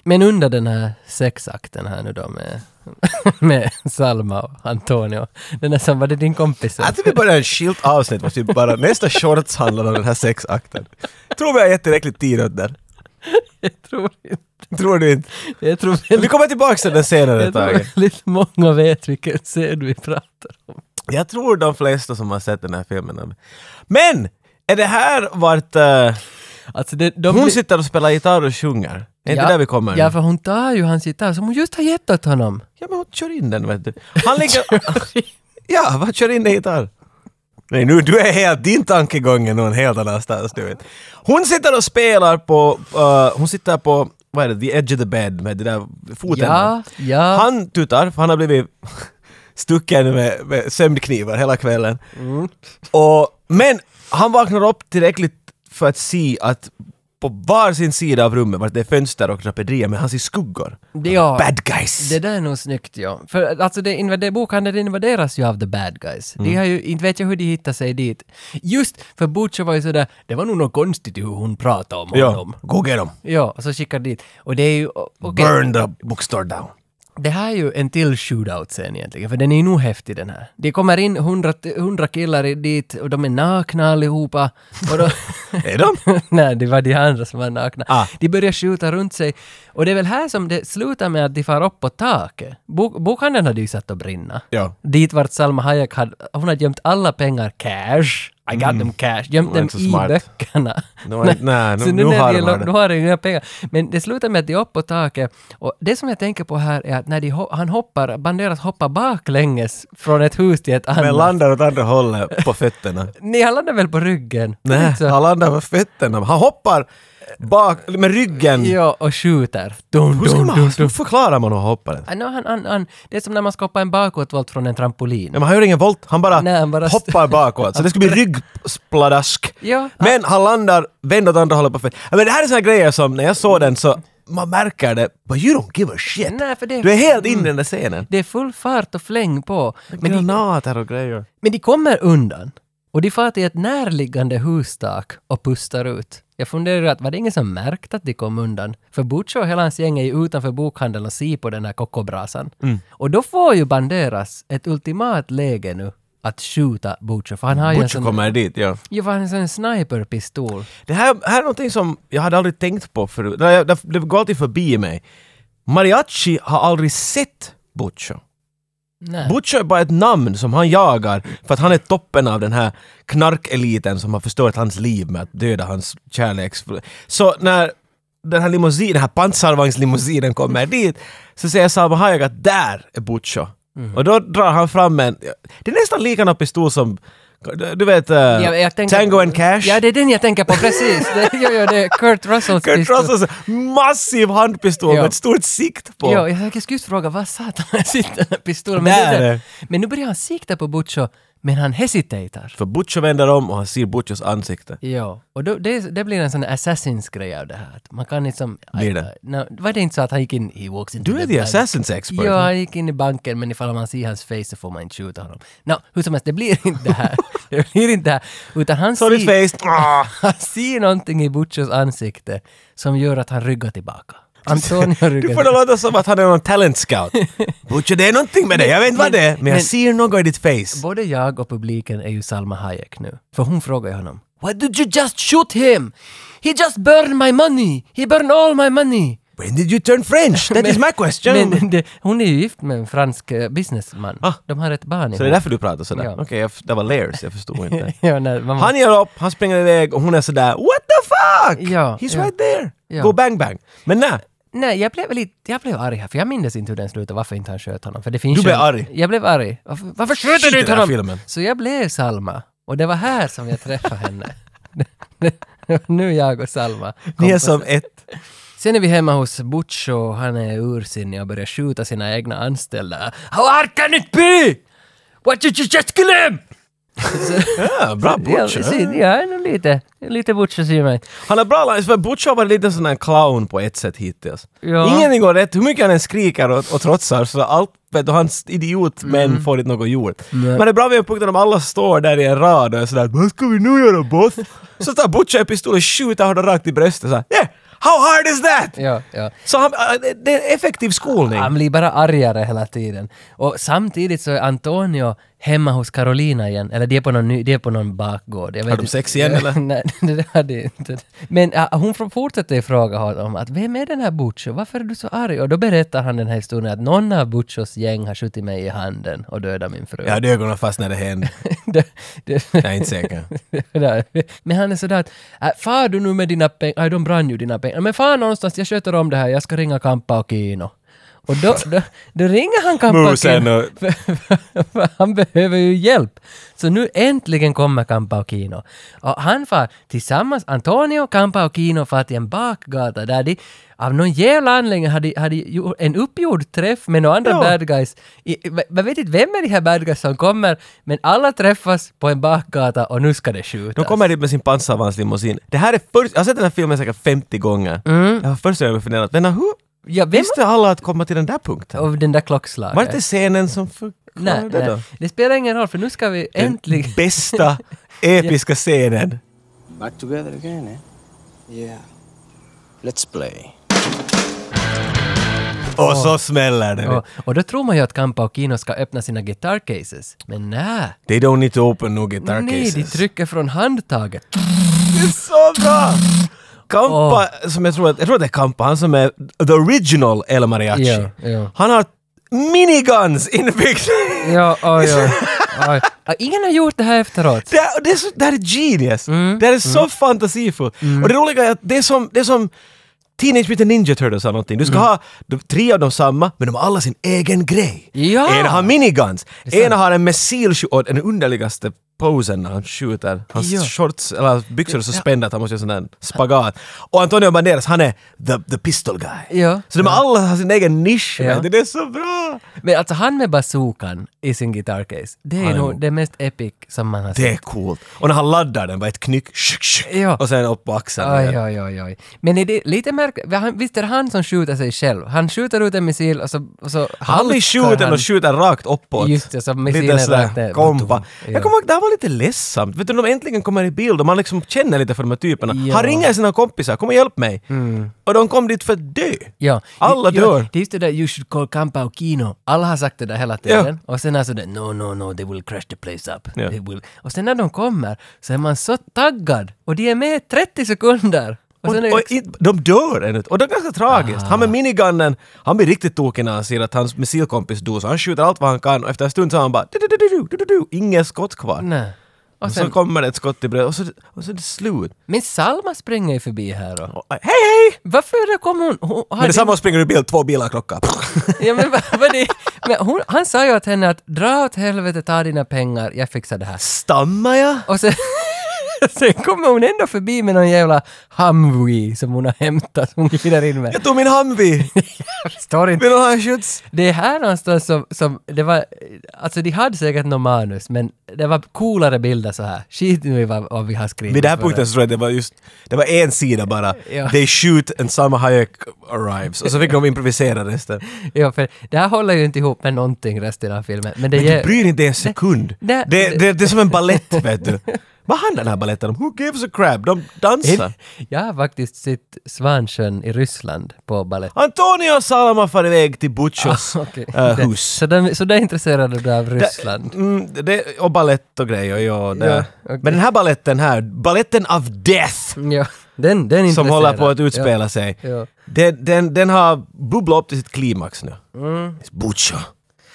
[SPEAKER 2] Men under den här sexakten här nu då med, med Salma och Antonio. Den här som, var det din kompis? som-
[SPEAKER 1] Att vi börjar ett skilt avsnitt måste vi bara... Nästa shorts handlar om den här sexakten. Tror vi har gett tillräckligt tid åt den.
[SPEAKER 2] Jag tror inte.
[SPEAKER 1] Tror du inte?
[SPEAKER 2] Jag tror
[SPEAKER 1] Vi
[SPEAKER 2] väldigt,
[SPEAKER 1] kommer tillbaka till den senare
[SPEAKER 2] jag tror
[SPEAKER 1] taget.
[SPEAKER 2] väldigt många vet vilken scen vi pratar om.
[SPEAKER 1] Jag tror de flesta som har sett den här filmen har- Men! Är det här vart... eh,
[SPEAKER 2] Alltså det, de
[SPEAKER 1] hon
[SPEAKER 2] blir-
[SPEAKER 1] sitter och spelar gitarr och sjunger? Är inte
[SPEAKER 2] Ja.
[SPEAKER 1] där vi kommer?
[SPEAKER 2] Ja,
[SPEAKER 1] Ja,
[SPEAKER 2] för hon tar ju hans gitarr som hon just har gett åt honom.
[SPEAKER 1] ja men hon kör in den vet du. Han ligger... ja, vad kör in den gitarr? Nej nu, du är helt... Din tankegång är någon helt annanstans du vet. Hon sitter och spelar på... eh, hon sitter på... Vad är det? The edge of the bed med det där foten.
[SPEAKER 2] Ja, ja.
[SPEAKER 1] Han tutar, för han har blivit stucken med, med sömnknivar hela kvällen. Och, men han vaknar upp tillräckligt för att se att på var sin sida av rummet, vart det är fönster och draperier, men han ser skuggor.
[SPEAKER 2] Det- ja.
[SPEAKER 1] Bad guys!
[SPEAKER 2] Det där är nog snyggt ja. För alltså det invader, bokhandeln invaderas ju av the bad guys.
[SPEAKER 1] Mm.
[SPEAKER 2] De har ju, inte vet jag hur de hittar sig dit. Just för Butcher var ju sådär, det var nog något konstigt i hur hon pratade om
[SPEAKER 1] ja,
[SPEAKER 2] honom.
[SPEAKER 1] go get them.
[SPEAKER 2] Ja, och så skickar de dit. Och det är ju... o- okej.
[SPEAKER 1] Burn the bookstore down.
[SPEAKER 2] Det här är ju en till shootout-scen egentligen, för den är ju nog häftig den här. Det kommer in hundra, hundra killar i- dit och de är nakna allihopa. Och då,
[SPEAKER 1] Är de?
[SPEAKER 2] nej, det var de andra som var nakna.
[SPEAKER 1] Ah.
[SPEAKER 2] De börjar skjuta runt sig. Och det är väl här som det slutar med att de far upp på taket. Bok, bokhandeln hade ju satt att brinna.
[SPEAKER 1] Ja.
[SPEAKER 2] Dit vart Salma Hayek hade, hon hade gömt alla pengar cash. I got them cash. Gömt
[SPEAKER 1] Mm. var
[SPEAKER 2] dem
[SPEAKER 1] inte så
[SPEAKER 2] i
[SPEAKER 1] smart.
[SPEAKER 2] böckerna.
[SPEAKER 1] Det var inte- nej, nu-
[SPEAKER 2] så
[SPEAKER 1] nu
[SPEAKER 2] när
[SPEAKER 1] har
[SPEAKER 2] de
[SPEAKER 1] de
[SPEAKER 2] lo-
[SPEAKER 1] det.
[SPEAKER 2] nu har de inga pengar. Men det slutar med att de är uppe på taket. Och det som jag tänker på här är att när de ho- han hoppar, Banderas hoppar baklänges från ett hus till ett annat.
[SPEAKER 1] Men landar åt andra hållet på fötterna.
[SPEAKER 2] Nej, han landar väl på ryggen?
[SPEAKER 1] Nej, Mm.
[SPEAKER 2] Inte så?
[SPEAKER 1] han landar på fötterna. Han hoppar bak med ryggen.
[SPEAKER 2] Ja, och skjuter. Dun,
[SPEAKER 1] Hur ska
[SPEAKER 2] dun, dun,
[SPEAKER 1] man, hur
[SPEAKER 2] dun.
[SPEAKER 1] förklarar man att hoppa?
[SPEAKER 2] Ah, no, han, han, han, det är som när man ska hoppa en bakåtvolt från en trampolin.
[SPEAKER 1] Nej, men han gör ingen volt, han bara,
[SPEAKER 2] Nej, han bara
[SPEAKER 1] hoppar bakåt. Så det skulle bli ryggspladask.
[SPEAKER 2] Ja.
[SPEAKER 1] men han landar, vänder åt andra hållet på fel. Ja, Men det här är såna grejer som, när jag såg den så, man märker det, but you don't give a shit.
[SPEAKER 2] Nej, för det-
[SPEAKER 1] Du är helt inne i den där scenen.
[SPEAKER 2] Det är full fart och fläng på. Men de,
[SPEAKER 1] Granater och grejer.
[SPEAKER 2] men de kommer undan. Och de far till ett närliggande hustak och pustar ut. Jag funderar att var det ingen som märkt att de kom undan? För Butch och hela hans gäng är ju utanför bokhandeln och ser på den här kokobrasan.
[SPEAKER 1] Mm.
[SPEAKER 2] Och då får ju Banderas ett ultimat läge nu att skjuta Butch. För han har ju en
[SPEAKER 1] Butcher
[SPEAKER 2] sån,
[SPEAKER 1] kommer dit, ja.
[SPEAKER 2] ju för han har en sån sniperpistol.
[SPEAKER 1] Det här, här är någonting som jag hade aldrig tänkt på förut. Det, det, det går alltid förbi mig. Mariachi har aldrig sett Butcher.
[SPEAKER 2] Nej.
[SPEAKER 1] Butcher är bara ett namn som han jagar för att han är toppen av den här knarkeliten som har förstört hans liv med att döda hans kärleks... Så när den här limousinen, den här pansarvagnslimousinen kommer dit så säger Salma Hayek att där är Butcher.
[SPEAKER 2] Mhm.
[SPEAKER 1] Och då drar han fram en... Det är nästan likadan pistol som... Du vet... eh,
[SPEAKER 2] Jag- jag tänker-
[SPEAKER 1] Tango and Cash?
[SPEAKER 2] Ja, det är den jag tänker på, precis. Det, jo, jo, det är Kurt Russells
[SPEAKER 1] Kurt
[SPEAKER 2] pistol.
[SPEAKER 1] Russells alltså, massiv handpistol
[SPEAKER 2] Ja.
[SPEAKER 1] med ett stort sikt på.
[SPEAKER 2] Jo, jag jag skulle just fråga, vad satan sitter den här pistolen? Men,
[SPEAKER 1] Där
[SPEAKER 2] det
[SPEAKER 1] är
[SPEAKER 2] är
[SPEAKER 1] det.
[SPEAKER 2] det. men nu börjar han sikta på Butcho, men han hesitatar.
[SPEAKER 1] För Butcher vänder om och han ser Butchers ansikte.
[SPEAKER 2] Ja, och då, det, det blir en sån Assassins-grej av det här. Att Man kan liksom...
[SPEAKER 1] Blir det?
[SPEAKER 2] No, var det inte så att han gick in... He walks into
[SPEAKER 1] Du är
[SPEAKER 2] the
[SPEAKER 1] the
[SPEAKER 2] bank.
[SPEAKER 1] Assassins expert.
[SPEAKER 2] Ja, han gick in i banken, men ifall man ser hans face så får man inte skjuta honom. No, hur som helst, det blir inte det här. det blir inte det här. Utan han
[SPEAKER 1] Sorry
[SPEAKER 2] ser,
[SPEAKER 1] face. Ah.
[SPEAKER 2] han ser någonting i Butchers ansikte som gör att han ryggar tillbaka. Antonio
[SPEAKER 1] Du
[SPEAKER 2] ryggar
[SPEAKER 1] får det låta som att han är någon talent scout. Butcher, det är någonting med dig. Jag vet inte vad det är, men jag
[SPEAKER 2] men-
[SPEAKER 1] ser något i ditt face.
[SPEAKER 2] Alltså, Både jag och publiken är ju Salma Hayek nu. För hon frågar ju honom “Why did you just shoot him? He just burned my money! He burned all my money!”
[SPEAKER 1] When did you turn French? That is my question.
[SPEAKER 2] Men det, hon är ju gift med en fransk eh, businessman.
[SPEAKER 1] Ah.
[SPEAKER 2] De har ett barn
[SPEAKER 1] så det är
[SPEAKER 2] ihop.
[SPEAKER 1] därför du pratar sådär?
[SPEAKER 2] Ja.
[SPEAKER 1] Okej, jag f- det var layers, jag förstod inte.
[SPEAKER 2] ja, nej, man,
[SPEAKER 1] Han ger upp, han springer iväg och hon är sådär “What the fuck?”
[SPEAKER 2] Ja,
[SPEAKER 1] He's
[SPEAKER 2] ja.
[SPEAKER 1] right there!
[SPEAKER 2] Ja.
[SPEAKER 1] Go bang bang! Men nej,
[SPEAKER 2] nej, jag blev lite... Jag blev arg här, för jag minns inte hur den slutade, varför inte han sköt honom. För det finns
[SPEAKER 1] Du
[SPEAKER 2] ju
[SPEAKER 1] blev
[SPEAKER 2] en-
[SPEAKER 1] arg?
[SPEAKER 2] Jag blev arg. Varför, varför
[SPEAKER 1] Shit,
[SPEAKER 2] sköt du
[SPEAKER 1] den
[SPEAKER 2] ut
[SPEAKER 1] här
[SPEAKER 2] honom?
[SPEAKER 1] filmen.
[SPEAKER 2] Så jag blev Salma. Och det var här som jag träffade henne. nu jag och Salma.
[SPEAKER 1] ni är
[SPEAKER 2] kom på-
[SPEAKER 1] som ett.
[SPEAKER 2] Sen är vi hemma hos Butch och han är ursinnig och börjar skjuta sina egna anställda. How hard can it be? What did you just kill him?
[SPEAKER 1] Ja, bra Butcher!
[SPEAKER 2] Ja, ja, nog lite. Lite Butch i mig.
[SPEAKER 1] Han har bra lines, för Butcher har varit lite sån här clown på ett sätt hittills.
[SPEAKER 2] Ja.
[SPEAKER 1] Ingenting går rätt, hur mycket han än skriker och, och trotsar så allt, vet du, hans idiot
[SPEAKER 2] Mm.
[SPEAKER 1] men får inte något gjort. Men det är bra vid en punkt när de alla står där i en rad och är sådär ”Vad ska vi nu göra boss?” Så tar Butcher en pistol och skjuter honom rakt i bröstet såhär ”Yeah! How hard is that?”
[SPEAKER 2] Ja, ja.
[SPEAKER 1] Så han, äh, det- det är en effektiv skolning.
[SPEAKER 2] Han blir bara argare hela tiden. Och samtidigt så är Antonio hemma hos Carolina igen. Eller det är på någon, ny, det är på någon bakgård. Jag vet
[SPEAKER 1] Har de
[SPEAKER 2] inte.
[SPEAKER 1] sex igen, eller?
[SPEAKER 2] Nej, det där hade jag inte. Men äh, hon får- fortsätter ju fråga honom att vem är den här Butcho? Varför är du så arg? Och då berättar han den här historien att någon av Butchos gäng har skjutit mig i handen och dödat min fru.
[SPEAKER 1] Jag hade ögonen fast när det hände.
[SPEAKER 2] det, det,
[SPEAKER 1] Jag är inte säker.
[SPEAKER 2] Nej. Men han är sådär att, äh, far du nu med dina pengar, äh, de brann ju dina pengar, men far någonstans, jag sköter om det här, jag ska ringa Kampa och Kino. Och då, då, då ringer han Kampa och
[SPEAKER 1] Musen
[SPEAKER 2] Kino,
[SPEAKER 1] och...
[SPEAKER 2] för, för, för han behöver ju hjälp. Så nu äntligen kommer Kampa och Kino. Och han far tillsammans, Antonio, Kampa och Kino far till en bakgata där de av någon jävla anledning hade, hade gjort en uppgjord träff med några andra
[SPEAKER 1] Ja.
[SPEAKER 2] bad guys. I, va- man vet inte vem är de här bad guys som kommer, men alla träffas på en bakgata och nu ska det skjutas.
[SPEAKER 1] De kommer dit med sin pansarvagnslimousin. Det här är först... Jag har sett den här filmen säkert 50 gånger. Det var första gången jag funderade, vänta hur
[SPEAKER 2] Ja, Mm. vem
[SPEAKER 1] visste alla att komma till den där punkten?
[SPEAKER 2] av den där klockslaget?
[SPEAKER 1] Var det inte scenen som förklarade
[SPEAKER 2] Nej,
[SPEAKER 1] det då?
[SPEAKER 2] nej. Det spelar ingen roll, för nu ska vi äntligen...
[SPEAKER 1] Bästa episka scenen!
[SPEAKER 8] Back together again, eh?
[SPEAKER 7] Yeah.
[SPEAKER 8] Let's play.
[SPEAKER 1] Och så smäller det!
[SPEAKER 2] Och, och då tror man ju att Kampa och Kino ska öppna sina guitar cases. Men nej.
[SPEAKER 1] They don't need to open no guitar
[SPEAKER 2] Nej, de
[SPEAKER 1] cases.
[SPEAKER 2] trycker från handtaget.
[SPEAKER 1] Det är så bra! Kampa, som jag tror, att, jag tror att det är Kampa, han som är the original El Mariachi.
[SPEAKER 2] Ja, ja.
[SPEAKER 1] Han har miniguns inbyggda!
[SPEAKER 2] Ja, oj, oj. oj. Ja, Ingen har gjort det här efteråt.
[SPEAKER 1] Det, är- det, är så, det här är genius!
[SPEAKER 2] Mm.
[SPEAKER 1] Det här är så fantasifullt! Och det roliga är att det är som, det är som Teenage Mutant Ninja Turtles eller någonting. Du
[SPEAKER 2] Mm.
[SPEAKER 1] ska ha de, tre av dem samma, men de har alla sin egen grej.
[SPEAKER 2] Ja!
[SPEAKER 1] En har miniguns,
[SPEAKER 2] sant.
[SPEAKER 1] en har en missilskjut och den underligaste posen när han skjuter. Hans
[SPEAKER 2] Ja.
[SPEAKER 1] shorts, eller hans byxor är så spända att han måste göra sån där spagat. Och Antonio Banderas, han är the, the pistol guy.
[SPEAKER 2] Ja.
[SPEAKER 1] Så de har alla har sin egen nisch.
[SPEAKER 2] Ja.
[SPEAKER 1] vet du. Det är så bra!
[SPEAKER 2] Men alltså han med bazookan i sin guitar case, det är
[SPEAKER 1] är
[SPEAKER 2] nog
[SPEAKER 1] nog-
[SPEAKER 2] det mest epic som man har
[SPEAKER 1] Det är coolt. Och när han laddar den, bara ett knyck, shuk, shuk,
[SPEAKER 2] Ja.
[SPEAKER 1] och sen upp på axeln. igen.
[SPEAKER 2] Oj, oj, oj, oj. Men är det lite märkligt? Han- Visst är det han som skjuter sig själv? Han skjuter ut en missil och så... Och så
[SPEAKER 1] Han blir
[SPEAKER 2] halkar
[SPEAKER 1] skjuten
[SPEAKER 2] han.
[SPEAKER 1] och skjuter rakt uppåt.
[SPEAKER 2] Just det, så missilen
[SPEAKER 1] Lite sådär
[SPEAKER 2] rakt ner.
[SPEAKER 1] Kompa.
[SPEAKER 2] Ja.
[SPEAKER 1] Jag kommer ihåg, det här var lite ledsamt. Vet du, de äntligen kommer i bild och man liksom känner lite för de här typerna.
[SPEAKER 2] Ja. Mm.
[SPEAKER 1] Han ringer sina kompisar, kom och hjälp mig. Och de kom dit för att dö.
[SPEAKER 2] Ja.
[SPEAKER 1] Alla
[SPEAKER 2] Jo,
[SPEAKER 1] dör.
[SPEAKER 2] Det är just det där “You should call Kampa och Kino”. Alla har sagt det där hela tiden. Och sen alltså det “No, no, no, they will crash the place up”.
[SPEAKER 1] Ja.
[SPEAKER 2] They will. Och sen när de kommer så är man så taggad och de är med 30 sekunder. Och
[SPEAKER 1] Och,
[SPEAKER 2] sen är
[SPEAKER 1] och
[SPEAKER 2] det- liksom, Ah.
[SPEAKER 1] i- de dör ännu. Och det är ganska tragiskt. Han med minigunnen, han blir riktigt tokig när han ser att hans missilkompis dog, så han skjuter allt vad han kan och efter en stund så har han bara du-du-du-du-du, du-du-du, inget skott kvar.
[SPEAKER 2] Nej. Och
[SPEAKER 1] och sen,
[SPEAKER 2] sen,
[SPEAKER 1] så kommer det ett skott i bröstet och så, och så är det slut.
[SPEAKER 2] men Salma springer ju förbi här då.
[SPEAKER 1] Och, hej hej!
[SPEAKER 2] Varför det kommer hon... hon har
[SPEAKER 1] Men det
[SPEAKER 2] det-
[SPEAKER 1] samma springer ur bil, två bilar krockar.
[SPEAKER 2] Ja, men, vad, vad det, men hon, han sa ju åt henne att dra åt helvete, ta dina pengar, jag fixar det här.
[SPEAKER 1] Stammar jag?
[SPEAKER 2] Och sen, sen kommer hon ändå förbi med någon jävla Humvee som hon har hämtat, som hon glider in med.
[SPEAKER 1] Jag tog min Humvee!
[SPEAKER 2] Jag förstår inte.
[SPEAKER 1] Vill någon ha en skjuts?
[SPEAKER 2] Det är här någonstans som, som det var, alltså de hade säkert något manus, men det var coolare bilder så här. Skit nu i vad, vad vi har skrivit.
[SPEAKER 1] Vid den här
[SPEAKER 2] för
[SPEAKER 1] punkten så tror jag det var just, det var en sida bara.
[SPEAKER 2] Ja.
[SPEAKER 1] They shoot and Salma Hayek arrives. Och så fick de improvisera resten.
[SPEAKER 2] Ja, för det här håller ju inte ihop med någonting resten av filmen. Men det
[SPEAKER 1] Men
[SPEAKER 2] ger...
[SPEAKER 1] du bryr dig inte en sekund.
[SPEAKER 2] det-
[SPEAKER 1] Det, det, det, är som en ballett vet du. Vad handlar den här balletten om? Who gives a crap? De dansar.
[SPEAKER 2] Jag har faktiskt sett Svansjön i Ryssland på balett.
[SPEAKER 1] Antonio Salama far iväg till Butchos
[SPEAKER 2] Ah, Okej.
[SPEAKER 1] eh,
[SPEAKER 2] Det-
[SPEAKER 1] hus.
[SPEAKER 2] Så, de, så där är intresserade du av Ryssland?
[SPEAKER 1] Mm, det, och ballett och grejer, ja. Det.
[SPEAKER 2] Ja, okej.
[SPEAKER 1] Men den här balletten här, balletten of death,
[SPEAKER 2] Ja, den, den är
[SPEAKER 1] som
[SPEAKER 2] intresserad.
[SPEAKER 1] håller på att utspela sig.
[SPEAKER 2] Ja.
[SPEAKER 1] Den, den, den har bubblat upp till sitt klimax nu.
[SPEAKER 2] Mm.
[SPEAKER 1] It's Butcho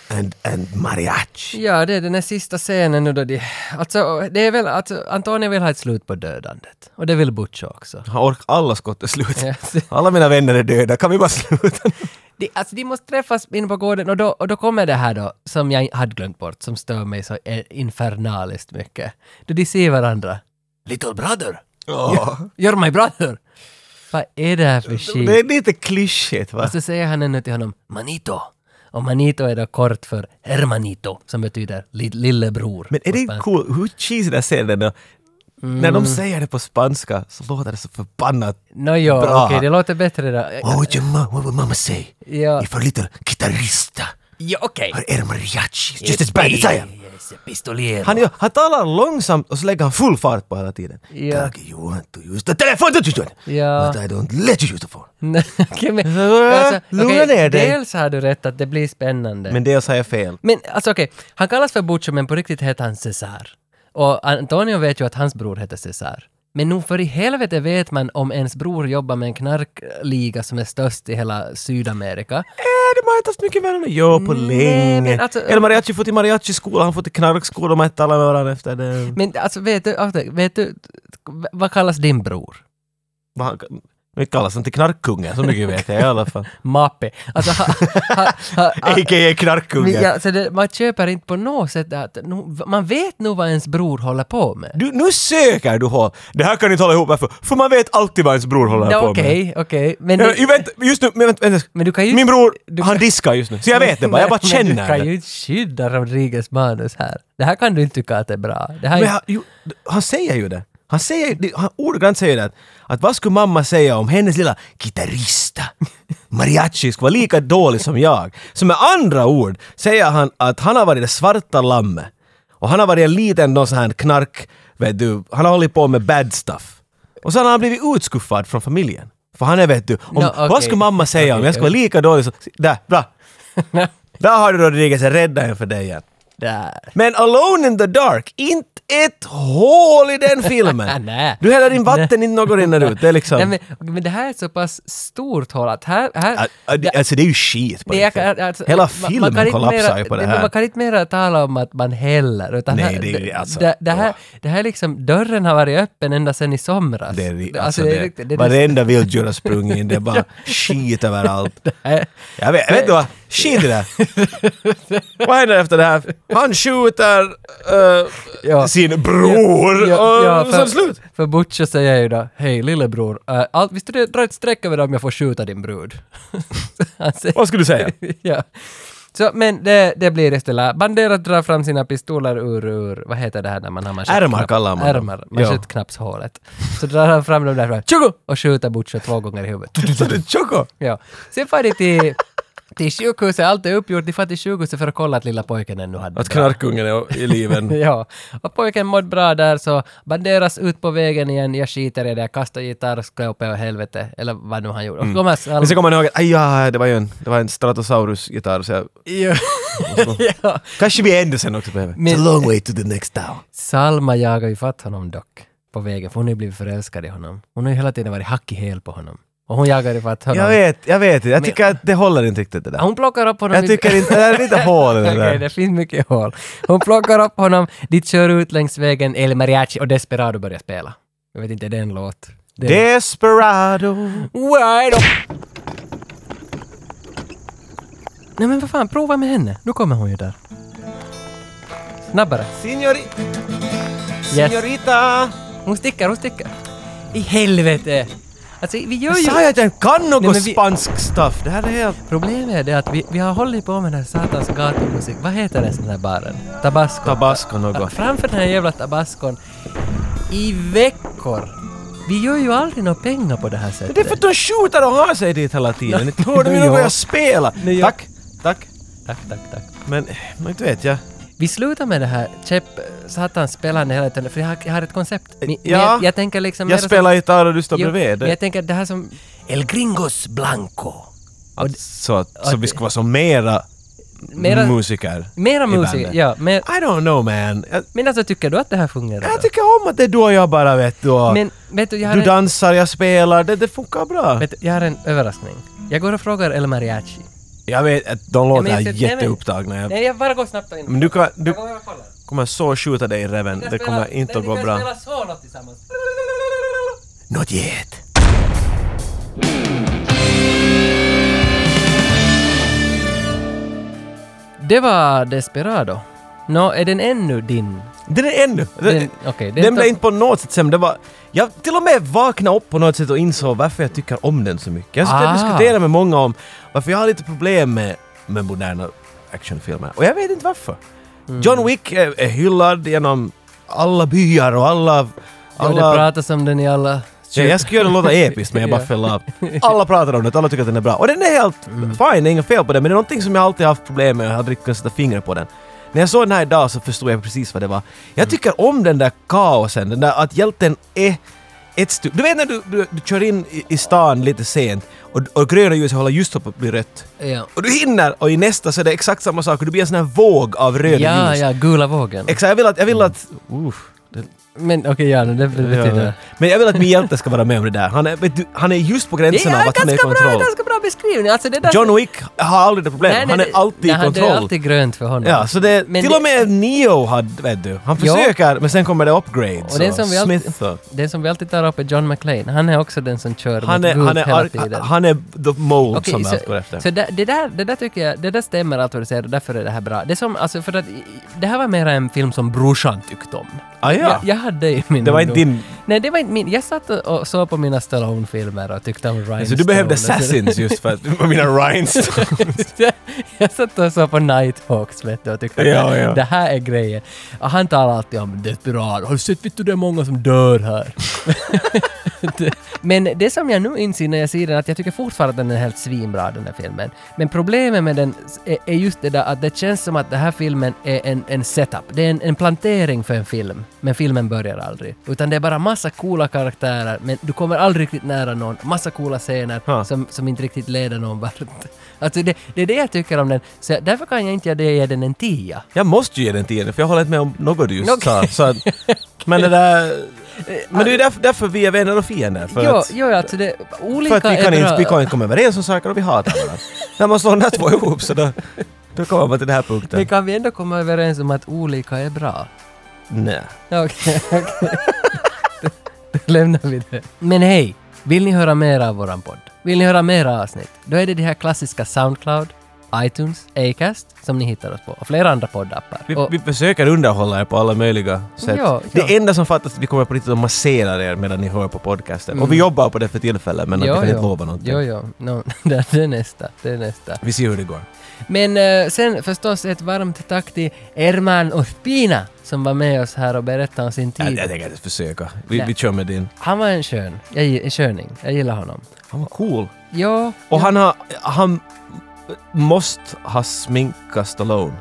[SPEAKER 1] and, and mariachi.
[SPEAKER 2] Ja, det är den här sista scenen nu då de... Alltså, det är väl... Alltså, Antonio vill ha ett slut på dödandet. Och det vill Butch också.
[SPEAKER 1] Han orkar alla skott är slut.
[SPEAKER 2] Ja.
[SPEAKER 1] Alla mina vänner är döda, kan vi bara sluta?
[SPEAKER 2] De, alltså, de måste träffas inne på gården och då, och då kommer det här då, som jag hade glömt bort, som stör mig så eh, infernaliskt mycket. Då de ser varandra. Little brother!
[SPEAKER 1] Ja.
[SPEAKER 2] You're my brother! Vad är det här för shit?
[SPEAKER 1] Det är lite klyschigt va?
[SPEAKER 2] Och så säger han ännu till honom Manito. Och Manito är då kort för Hermanito, som betyder li- lillebror.
[SPEAKER 1] Men är
[SPEAKER 2] på
[SPEAKER 1] det inte
[SPEAKER 2] spanska.
[SPEAKER 1] cool, hur cheesy den här scenen är? När
[SPEAKER 2] Mm.
[SPEAKER 1] de säger det på spanska så låter det så förbannat
[SPEAKER 2] Nåjo, okej,
[SPEAKER 1] bra.
[SPEAKER 2] det låter bättre då.
[SPEAKER 1] What would, your ma- what would mamma say?
[SPEAKER 2] Ja,
[SPEAKER 1] If a little guitarista
[SPEAKER 2] ja okej.
[SPEAKER 1] or el mariachi is just as bad as I am.
[SPEAKER 2] Yes, pistolero.
[SPEAKER 1] Han, gör- han talar långsamt och så lägger han full fart på hela tiden.
[SPEAKER 2] Ja.
[SPEAKER 1] Kage, you want to use the telephone, don't you John?
[SPEAKER 2] Ja.
[SPEAKER 1] But I don't let you use the phone.
[SPEAKER 2] Nej, okej, men, Alltså,
[SPEAKER 1] Äh, lugna
[SPEAKER 2] okej,
[SPEAKER 1] ner dig.
[SPEAKER 2] Dels har du rätt att det blir spännande.
[SPEAKER 1] Men
[SPEAKER 2] Men,
[SPEAKER 1] dels har jag fel.
[SPEAKER 2] alltså okej, han kallas för Butcher men på riktigt heter han Cesar. Och Antonio vet ju att hans bror heter Cesar. Men nog för i helvete vet man om ens bror jobbar med en knarkliga som är störst i hela Sydamerika.
[SPEAKER 1] Äh, de har inte haft mycket vänner nu. Jo, på
[SPEAKER 2] Nej, men
[SPEAKER 1] länge.
[SPEAKER 2] alltså-
[SPEAKER 1] El Mariachi får till mariachi-skola, han får till knarkskola, de har inte talat med varandra efter det.
[SPEAKER 2] Men alltså vet du, alltså, vet du vad kallas din bror?
[SPEAKER 1] Vad han- Nu kallas han till knarkkungen, så mycket vet jag i alla fall.
[SPEAKER 2] Mappe. Alltså, ha, ha, ha, ha,
[SPEAKER 1] A.k.a.
[SPEAKER 2] men,
[SPEAKER 1] knarkkungen.
[SPEAKER 2] ja, så det, man köper inte på något sätt att nu- man vet nog vad ens bror håller på med.
[SPEAKER 1] Du, nu söker du hål. Det här kan ni tala ihop varför. För man vet alltid vad ens bror håller
[SPEAKER 2] Ja,
[SPEAKER 1] på med.
[SPEAKER 2] Okej, okej. Men,
[SPEAKER 1] Ja,
[SPEAKER 2] det-
[SPEAKER 1] ju vänta, just nu, men vänta, vänta.
[SPEAKER 2] Men du kan ju-
[SPEAKER 1] Min bror,
[SPEAKER 2] du kan-
[SPEAKER 1] han diskar just nu. Så jag vet det bara, jag bara
[SPEAKER 2] Men Du
[SPEAKER 1] känner
[SPEAKER 2] kan ju
[SPEAKER 1] det.
[SPEAKER 2] inte skydda Rodriguez manus här. Det här kan du inte tycka att det är bra. Det här
[SPEAKER 1] Men
[SPEAKER 2] är,
[SPEAKER 1] han, ju, han säger ju det. Han säger det- han ordagrant säger det att, att vad skulle mamma säga om hennes lilla gitarrista mariachi skulle vara lika dålig som jag. Så med andra ord säger han att han har varit det svarta lammet. Och han har varit en liten någon sån här knark, vet du, han har hållit på med bad stuff. Och sen har han blivit utskuffad från familjen. För han är vet du, om,
[SPEAKER 2] Nå, okej.
[SPEAKER 1] vad skulle mamma säga om
[SPEAKER 2] Okej,
[SPEAKER 1] jag skulle vara lika dålig som... Där, bra! Där har du Rodriguez, jag räddade en för dig igen.
[SPEAKER 2] där.
[SPEAKER 1] Men Alone in the Dark, inte ett hål i den filmen!
[SPEAKER 2] Nej.
[SPEAKER 1] Du häller in vatten, inte något rinner ut. Det är liksom...
[SPEAKER 2] Nej, men, men det här är ett så pass stort hål att här... här
[SPEAKER 1] Ah, ah, det- Alltså det är ju shit på
[SPEAKER 2] det- jag
[SPEAKER 1] riktigt.
[SPEAKER 2] kan- alltså,
[SPEAKER 1] Hela
[SPEAKER 2] man- man kan
[SPEAKER 1] filmen
[SPEAKER 2] inte
[SPEAKER 1] kollapsar
[SPEAKER 2] mera-
[SPEAKER 1] ju på det
[SPEAKER 2] men Man
[SPEAKER 1] här.
[SPEAKER 2] kan inte mera tala om att man häller. Utan
[SPEAKER 1] Nej,
[SPEAKER 2] här,
[SPEAKER 1] det är ju- alltså,
[SPEAKER 2] det, det, här, det här är liksom, dörren har varit öppen ända sedan i somras.
[SPEAKER 1] Det är,
[SPEAKER 2] Alltså,
[SPEAKER 1] alltså
[SPEAKER 2] det är
[SPEAKER 1] det,
[SPEAKER 2] riktigt- det är
[SPEAKER 1] varenda vilddjur har sprungit in, det är bara skit överallt.
[SPEAKER 2] här-
[SPEAKER 1] Jag vet, vet du vad? Skit i det! Vad händer efter det här? Han skjuter eh,
[SPEAKER 2] Ja.
[SPEAKER 1] sin bror eh, och så är det slut!
[SPEAKER 2] För Butcher säger ju då, hej lillebror, uh, allt, visst du det drar ett streck över det om jag får skjuta din brud? Han säger-
[SPEAKER 1] Vad skulle du säga?
[SPEAKER 2] ja. Så, men det, det blir istället, Banderas drar fram sina pistoler ur, ur, vad heter det här när man har manschettknapp?
[SPEAKER 1] Ärmar kallar man dem.
[SPEAKER 2] Ärmar,
[SPEAKER 1] Ja.
[SPEAKER 2] manschettknappshålet. Så drar han fram dem därifrån, tjogo! Och skjuter Butcher två gånger i huvudet.
[SPEAKER 1] Choco!
[SPEAKER 2] Ja. Sen far de till, till sjukhuset, allt är uppgjort, de far till sjukhuset för att kolla att lilla pojken ännu hade
[SPEAKER 1] Att knarkungen är i liven.
[SPEAKER 2] Ja, och pojken mådde bra där så Banderas ut på vägen igen, jag skiter i det, kastar gitarr, skåpet och helvete, eller vad nu han gjorde. Och kommer Salma...
[SPEAKER 1] Mm. Men sen kommer man ihåg att aj, ja, det var ju en, det var en Stratosaurus-gitarr så jag,
[SPEAKER 2] Ja. ja.
[SPEAKER 1] kanske vi ändå sen också behöver.
[SPEAKER 2] Men-
[SPEAKER 1] long way to the next town.
[SPEAKER 2] Salma jagar ju fatt honom dock. på vägen, för hon har ju blivit förälskad i honom. Hon har ju hela tiden varit hack i häl på honom. Och hon jagar ifatt honom.
[SPEAKER 1] Jag vet, jag vet. Jag tycker att det håller inte riktigt det där.
[SPEAKER 2] Hon plockar upp honom.
[SPEAKER 1] Jag
[SPEAKER 2] i-
[SPEAKER 1] tycker inte, det är lite hål i det
[SPEAKER 2] Okej,
[SPEAKER 1] där.
[SPEAKER 2] det finns mycket hål. Hon plockar upp honom, de kör ut längs vägen, El Mariachi och Desperado börjar spela. Jag vet inte, det är en låt. Det är-
[SPEAKER 1] Desperado.
[SPEAKER 2] Wide up. Nej men vad fan, prova med henne. Nu kommer hon ju där. Snabbare.
[SPEAKER 1] Signori,
[SPEAKER 2] Yes.
[SPEAKER 1] signorita.
[SPEAKER 2] Hon sticker, hon sticker. I helvete! Alltså vi gör
[SPEAKER 1] Jag
[SPEAKER 2] ju...
[SPEAKER 1] sa ju att jag kan
[SPEAKER 2] Nej,
[SPEAKER 1] något
[SPEAKER 2] men vi-
[SPEAKER 1] spansk stuff. Det här är helt...
[SPEAKER 2] Problemet är det att vi, vi har hållit på med den här satans gatumusik. Vad heter den sån här baren? Tabasco.
[SPEAKER 1] Tabasco
[SPEAKER 2] Ja,
[SPEAKER 1] något.
[SPEAKER 2] Framför den här jävla tabascon. I veckor. Vi gör ju aldrig några pengar på det här
[SPEAKER 1] Men
[SPEAKER 2] sättet.
[SPEAKER 1] Det är för att de skjuter och har sig dit hela tiden. Inte hör de ju
[SPEAKER 2] Ja.
[SPEAKER 1] något jag spelar.
[SPEAKER 2] Nej, ja.
[SPEAKER 1] Tack, tack.
[SPEAKER 2] Tack, tack, tack.
[SPEAKER 1] Men, men inte vet jag.
[SPEAKER 2] Vi slutar med det här käpp satans spelande hela tiden, för jag har, jag har ett koncept. Men- men
[SPEAKER 1] Eh, Ja.
[SPEAKER 2] jag, jag tänker liksom... mera
[SPEAKER 1] Jag
[SPEAKER 2] som-
[SPEAKER 1] spelar gitarr och du står
[SPEAKER 2] Jo,
[SPEAKER 1] bredvid.
[SPEAKER 2] Men jag tänker det här som... El Gringos Blanco. Och
[SPEAKER 1] Att,
[SPEAKER 2] d-
[SPEAKER 1] så att, så
[SPEAKER 2] att-
[SPEAKER 1] vi ska vara som mera,
[SPEAKER 2] Mera-
[SPEAKER 1] musiker.
[SPEAKER 2] Mera
[SPEAKER 1] i
[SPEAKER 2] musik,
[SPEAKER 1] bandet.
[SPEAKER 2] ja. Men,
[SPEAKER 1] I don't know man. Jag,
[SPEAKER 2] men alltså tycker du att det här fungerar?
[SPEAKER 1] jag tycker om att det är du och jag bara vet du. och-
[SPEAKER 2] men vet du, jag har
[SPEAKER 1] Du
[SPEAKER 2] en-
[SPEAKER 1] dansar, jag spelar, det, det funkar bra.
[SPEAKER 2] Vet, jag har en överraskning. Jag går och frågar El Mariachi.
[SPEAKER 1] jag vet att de
[SPEAKER 2] Ja,
[SPEAKER 1] låter
[SPEAKER 2] men jag ser- nej, men-
[SPEAKER 1] jätteupptagna. Jag,
[SPEAKER 2] Nej, jag bara går snabbt in.
[SPEAKER 1] men du, kan, du
[SPEAKER 2] Jag går och kollar.
[SPEAKER 1] kommer så skjuta dig i reven,
[SPEAKER 2] Vi kan
[SPEAKER 1] det
[SPEAKER 2] spela-
[SPEAKER 1] kommer inte
[SPEAKER 2] nej,
[SPEAKER 1] att gå
[SPEAKER 2] Vi
[SPEAKER 1] bra.
[SPEAKER 2] kan spela solo tillsammans.
[SPEAKER 1] Not yet.
[SPEAKER 2] Det var Desperado. Nå, är den ännu din?
[SPEAKER 1] Den är ännu...
[SPEAKER 2] Den-
[SPEAKER 1] Den,
[SPEAKER 2] okej, den
[SPEAKER 1] den,
[SPEAKER 2] tar-
[SPEAKER 1] blev inte på något sätt sämre. Det var, jag till och med vaknade upp på något sätt och insåg varför jag tycker om den så mycket. Jag
[SPEAKER 2] Ah.
[SPEAKER 1] ah. diskutera med många om varför jag har lite problem med, med moderna actionfilmer. Och jag vet inte varför.
[SPEAKER 2] Mm.
[SPEAKER 1] John Wick är, är hyllad genom alla byar och alla...
[SPEAKER 2] Ja, det
[SPEAKER 1] alla
[SPEAKER 2] pratas om den i alla...
[SPEAKER 1] Ja, jag skulle göra den låta episkt men jag bara
[SPEAKER 2] Ja.
[SPEAKER 1] föll av. Alla pratar om det, alla tycker att den är bra. Och den är helt
[SPEAKER 2] Mm.
[SPEAKER 1] fine, det är inget fel på den men det är någonting som jag alltid haft problem med och jag hade inte kunnat sätta fingret på den. När jag såg den här idag så förstod jag precis vad det var.
[SPEAKER 2] Mm.
[SPEAKER 1] Jag tycker om den där kaosen, den där att hjälten är ett styr. Du vet när du, du, du kör in i, i stan lite sent och, och gröna ljuset håller just på att bli rött.
[SPEAKER 2] Ja,
[SPEAKER 1] Och du hinner och i nästa så är det exakt samma sak och du blir en sån här våg av röda
[SPEAKER 2] ja,
[SPEAKER 1] ljus.
[SPEAKER 2] ja Mm. gula vågen.
[SPEAKER 1] Exakt, jag vill att... Jag vill att Uff, det-
[SPEAKER 2] Men okej, ja, det betyder...
[SPEAKER 1] Ja. Men jag vill att min hjälte ska vara med om det där. Han är, vet du, han är just på
[SPEAKER 2] Det
[SPEAKER 1] gränsen
[SPEAKER 2] är
[SPEAKER 1] av att han är i
[SPEAKER 2] ganska bra,
[SPEAKER 1] kontroll.
[SPEAKER 2] ganska bra beskrivning. Alltså det där...
[SPEAKER 1] John Wick har aldrig det problemet.
[SPEAKER 2] Nej, nej,
[SPEAKER 1] han är
[SPEAKER 2] det-
[SPEAKER 1] alltid
[SPEAKER 2] nej,
[SPEAKER 1] i
[SPEAKER 2] Det är
[SPEAKER 1] kontroll.
[SPEAKER 2] alltid grönt för honom.
[SPEAKER 1] Ja, så det,
[SPEAKER 2] Men
[SPEAKER 1] till
[SPEAKER 2] det-
[SPEAKER 1] och med Neo hade, vet du. Han
[SPEAKER 2] Ja.
[SPEAKER 1] försöker, men sen kommer det upgrades
[SPEAKER 2] Och den som vi alltid-
[SPEAKER 1] Smith och...
[SPEAKER 2] Den som vi alltid tar upp är John McClane. Han är också den som kör
[SPEAKER 1] Han
[SPEAKER 2] mot
[SPEAKER 1] är,
[SPEAKER 2] gult
[SPEAKER 1] han, är,
[SPEAKER 2] hela
[SPEAKER 1] ar-
[SPEAKER 2] tiden.
[SPEAKER 1] han är the mold
[SPEAKER 2] Okej,
[SPEAKER 1] som
[SPEAKER 2] så,
[SPEAKER 1] allt går efter.
[SPEAKER 2] så det, det, där, det där tycker jag, det där stämmer allt vad du säger och därför är det här bra. Det, är som, alltså, för att, det här var mer en film som brorsan tyckte om.
[SPEAKER 1] ah, ja.
[SPEAKER 2] Jag, jag hade i min
[SPEAKER 1] det var inte
[SPEAKER 2] ungdom-
[SPEAKER 1] din...
[SPEAKER 2] Nej, det var inte min. Jag satt och- och såg på mina Stallone-filmer och tyckte om Ryan
[SPEAKER 1] Så Alltså, du behövde
[SPEAKER 2] Stone.
[SPEAKER 1] assassins just för att... Jag menar rhinestones.
[SPEAKER 2] jag satt och såg på Nighthawks vet du, och tyckte att
[SPEAKER 1] Ja,
[SPEAKER 2] det-
[SPEAKER 1] ja.
[SPEAKER 2] det här är grejen. Och han talar alltid om desperat. Har du sett vet du, det är många som dör här? Men det som jag nu inser när jag ser den, att jag tycker fortfarande att den är helt svinbra den här filmen. Men problemet med den s- är- är just det där att det känns som att den här filmen är en, en setup. Det är en, en plantering för en film, men filmen börjar aldrig. Utan det är bara massa coola karaktärer, men du kommer aldrig riktigt nära någon. Massa coola scener
[SPEAKER 1] Ha.
[SPEAKER 2] som, som inte riktigt leder någon vart. Alltså det, det är det jag tycker om den, så därför kan jag inte ge det- ge den en tia.
[SPEAKER 1] Jag måste ju ge den tiden för jag håller inte med om något du just sa.
[SPEAKER 2] Okej.
[SPEAKER 1] Så att, men det där... Men det är ju därför, därför vi är vänner och fiender. För
[SPEAKER 2] Jo,
[SPEAKER 1] att,
[SPEAKER 2] jo, alltså det,
[SPEAKER 1] För
[SPEAKER 2] olika
[SPEAKER 1] att vi kan,
[SPEAKER 2] är
[SPEAKER 1] inte,
[SPEAKER 2] bra.
[SPEAKER 1] vi kan inte komma överens om saker och vi hatar varandra. När man slår de där två ihop så då, då kommer man till den här punkten.
[SPEAKER 2] Men kan vi ändå komma överens om att olika är bra?
[SPEAKER 1] Nej.
[SPEAKER 2] Okej, okej. Då lämnar vi det. Men hej, vill ni höra mer av våran podd? Vill ni höra mer avsnitt? Då är det de här klassiska Soundcloud, iTunes, Acast som ni hittar oss på och flera andra poddappar.
[SPEAKER 1] Vi,
[SPEAKER 2] och,
[SPEAKER 1] vi försöker underhålla er på alla möjliga sätt.
[SPEAKER 2] Ja, ja.
[SPEAKER 1] Det enda som fattas är att vi kommer på riktigt att massera er medan ni hör på podcasten. Och vi jobbar på det för tillfället men vi kan inte lova någonting.
[SPEAKER 2] Jo, jo. No, det det är nästa. Det är nästa.
[SPEAKER 1] Vi ser hur det går.
[SPEAKER 2] Men eh, sen förstås ett varmt tack till Erman Uspina som var med oss här och berättade om sin
[SPEAKER 1] Jag,
[SPEAKER 2] tid.
[SPEAKER 1] jag tänker inte försöka. Vi,
[SPEAKER 2] Nej.
[SPEAKER 1] vi kör med din.
[SPEAKER 2] Han var en skön. Jag, gi- en sköning. Jag gillar honom.
[SPEAKER 1] Han var cool.
[SPEAKER 2] Ja,
[SPEAKER 1] Och han har... Han måste ha sminkat Stallone.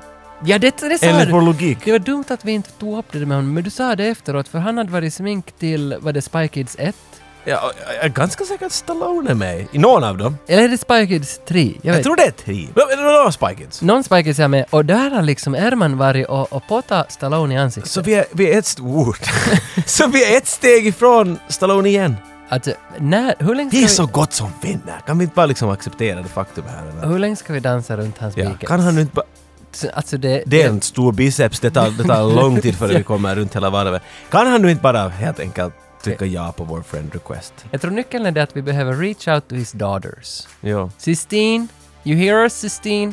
[SPEAKER 2] ja det, det sa
[SPEAKER 1] Enligt
[SPEAKER 2] du.
[SPEAKER 1] vår logik.
[SPEAKER 2] Det var dumt att vi inte tog upp det med honom, men du sa det efteråt, för han hade varit smink till, var det Spy Kids 1?
[SPEAKER 1] Ja, jag är ganska säker att Stallone är med i någon av dem.
[SPEAKER 2] Eller är det Spy Kids 3? Jag,
[SPEAKER 1] Jag
[SPEAKER 2] vet.
[SPEAKER 1] tror det är tre. Eller några Spy Kids.
[SPEAKER 2] Någon Spy Kids är med och där har liksom Erman varit och, och potat Stallone i ansiktet.
[SPEAKER 1] Så vi är, vi är ett stort. så vi är ett steg ifrån Stallone igen.
[SPEAKER 2] Alltså, när, hur länge
[SPEAKER 1] Vi är
[SPEAKER 2] ska
[SPEAKER 1] så gott som vinner. Kan vi inte bara liksom acceptera det faktum här?
[SPEAKER 2] vi,
[SPEAKER 1] Eller?
[SPEAKER 2] hur länge ska vi dansa runt hans
[SPEAKER 1] Ja.
[SPEAKER 2] biceps?
[SPEAKER 1] Kan han nu inte bara...
[SPEAKER 2] Alltså det...
[SPEAKER 1] Det är en stor biceps, det tar, det tar lång tid före vi kommer runt hela varvet. Kan han nu inte bara helt enkelt trycka ja på vår friend request?
[SPEAKER 2] Jag tror nyckeln är det att vi behöver reach out to his daughters.
[SPEAKER 1] Jo.
[SPEAKER 2] Sistine, you hear us Sistine?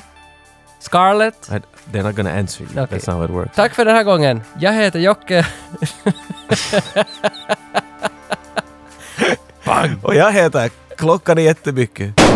[SPEAKER 2] Scarlett?
[SPEAKER 1] I- They're not gonna answer you.
[SPEAKER 2] Okej.
[SPEAKER 1] That's not how it works.
[SPEAKER 2] Tack för den här gången. Jag heter Jocke.
[SPEAKER 1] Och jag heter Klockan är jättemycket.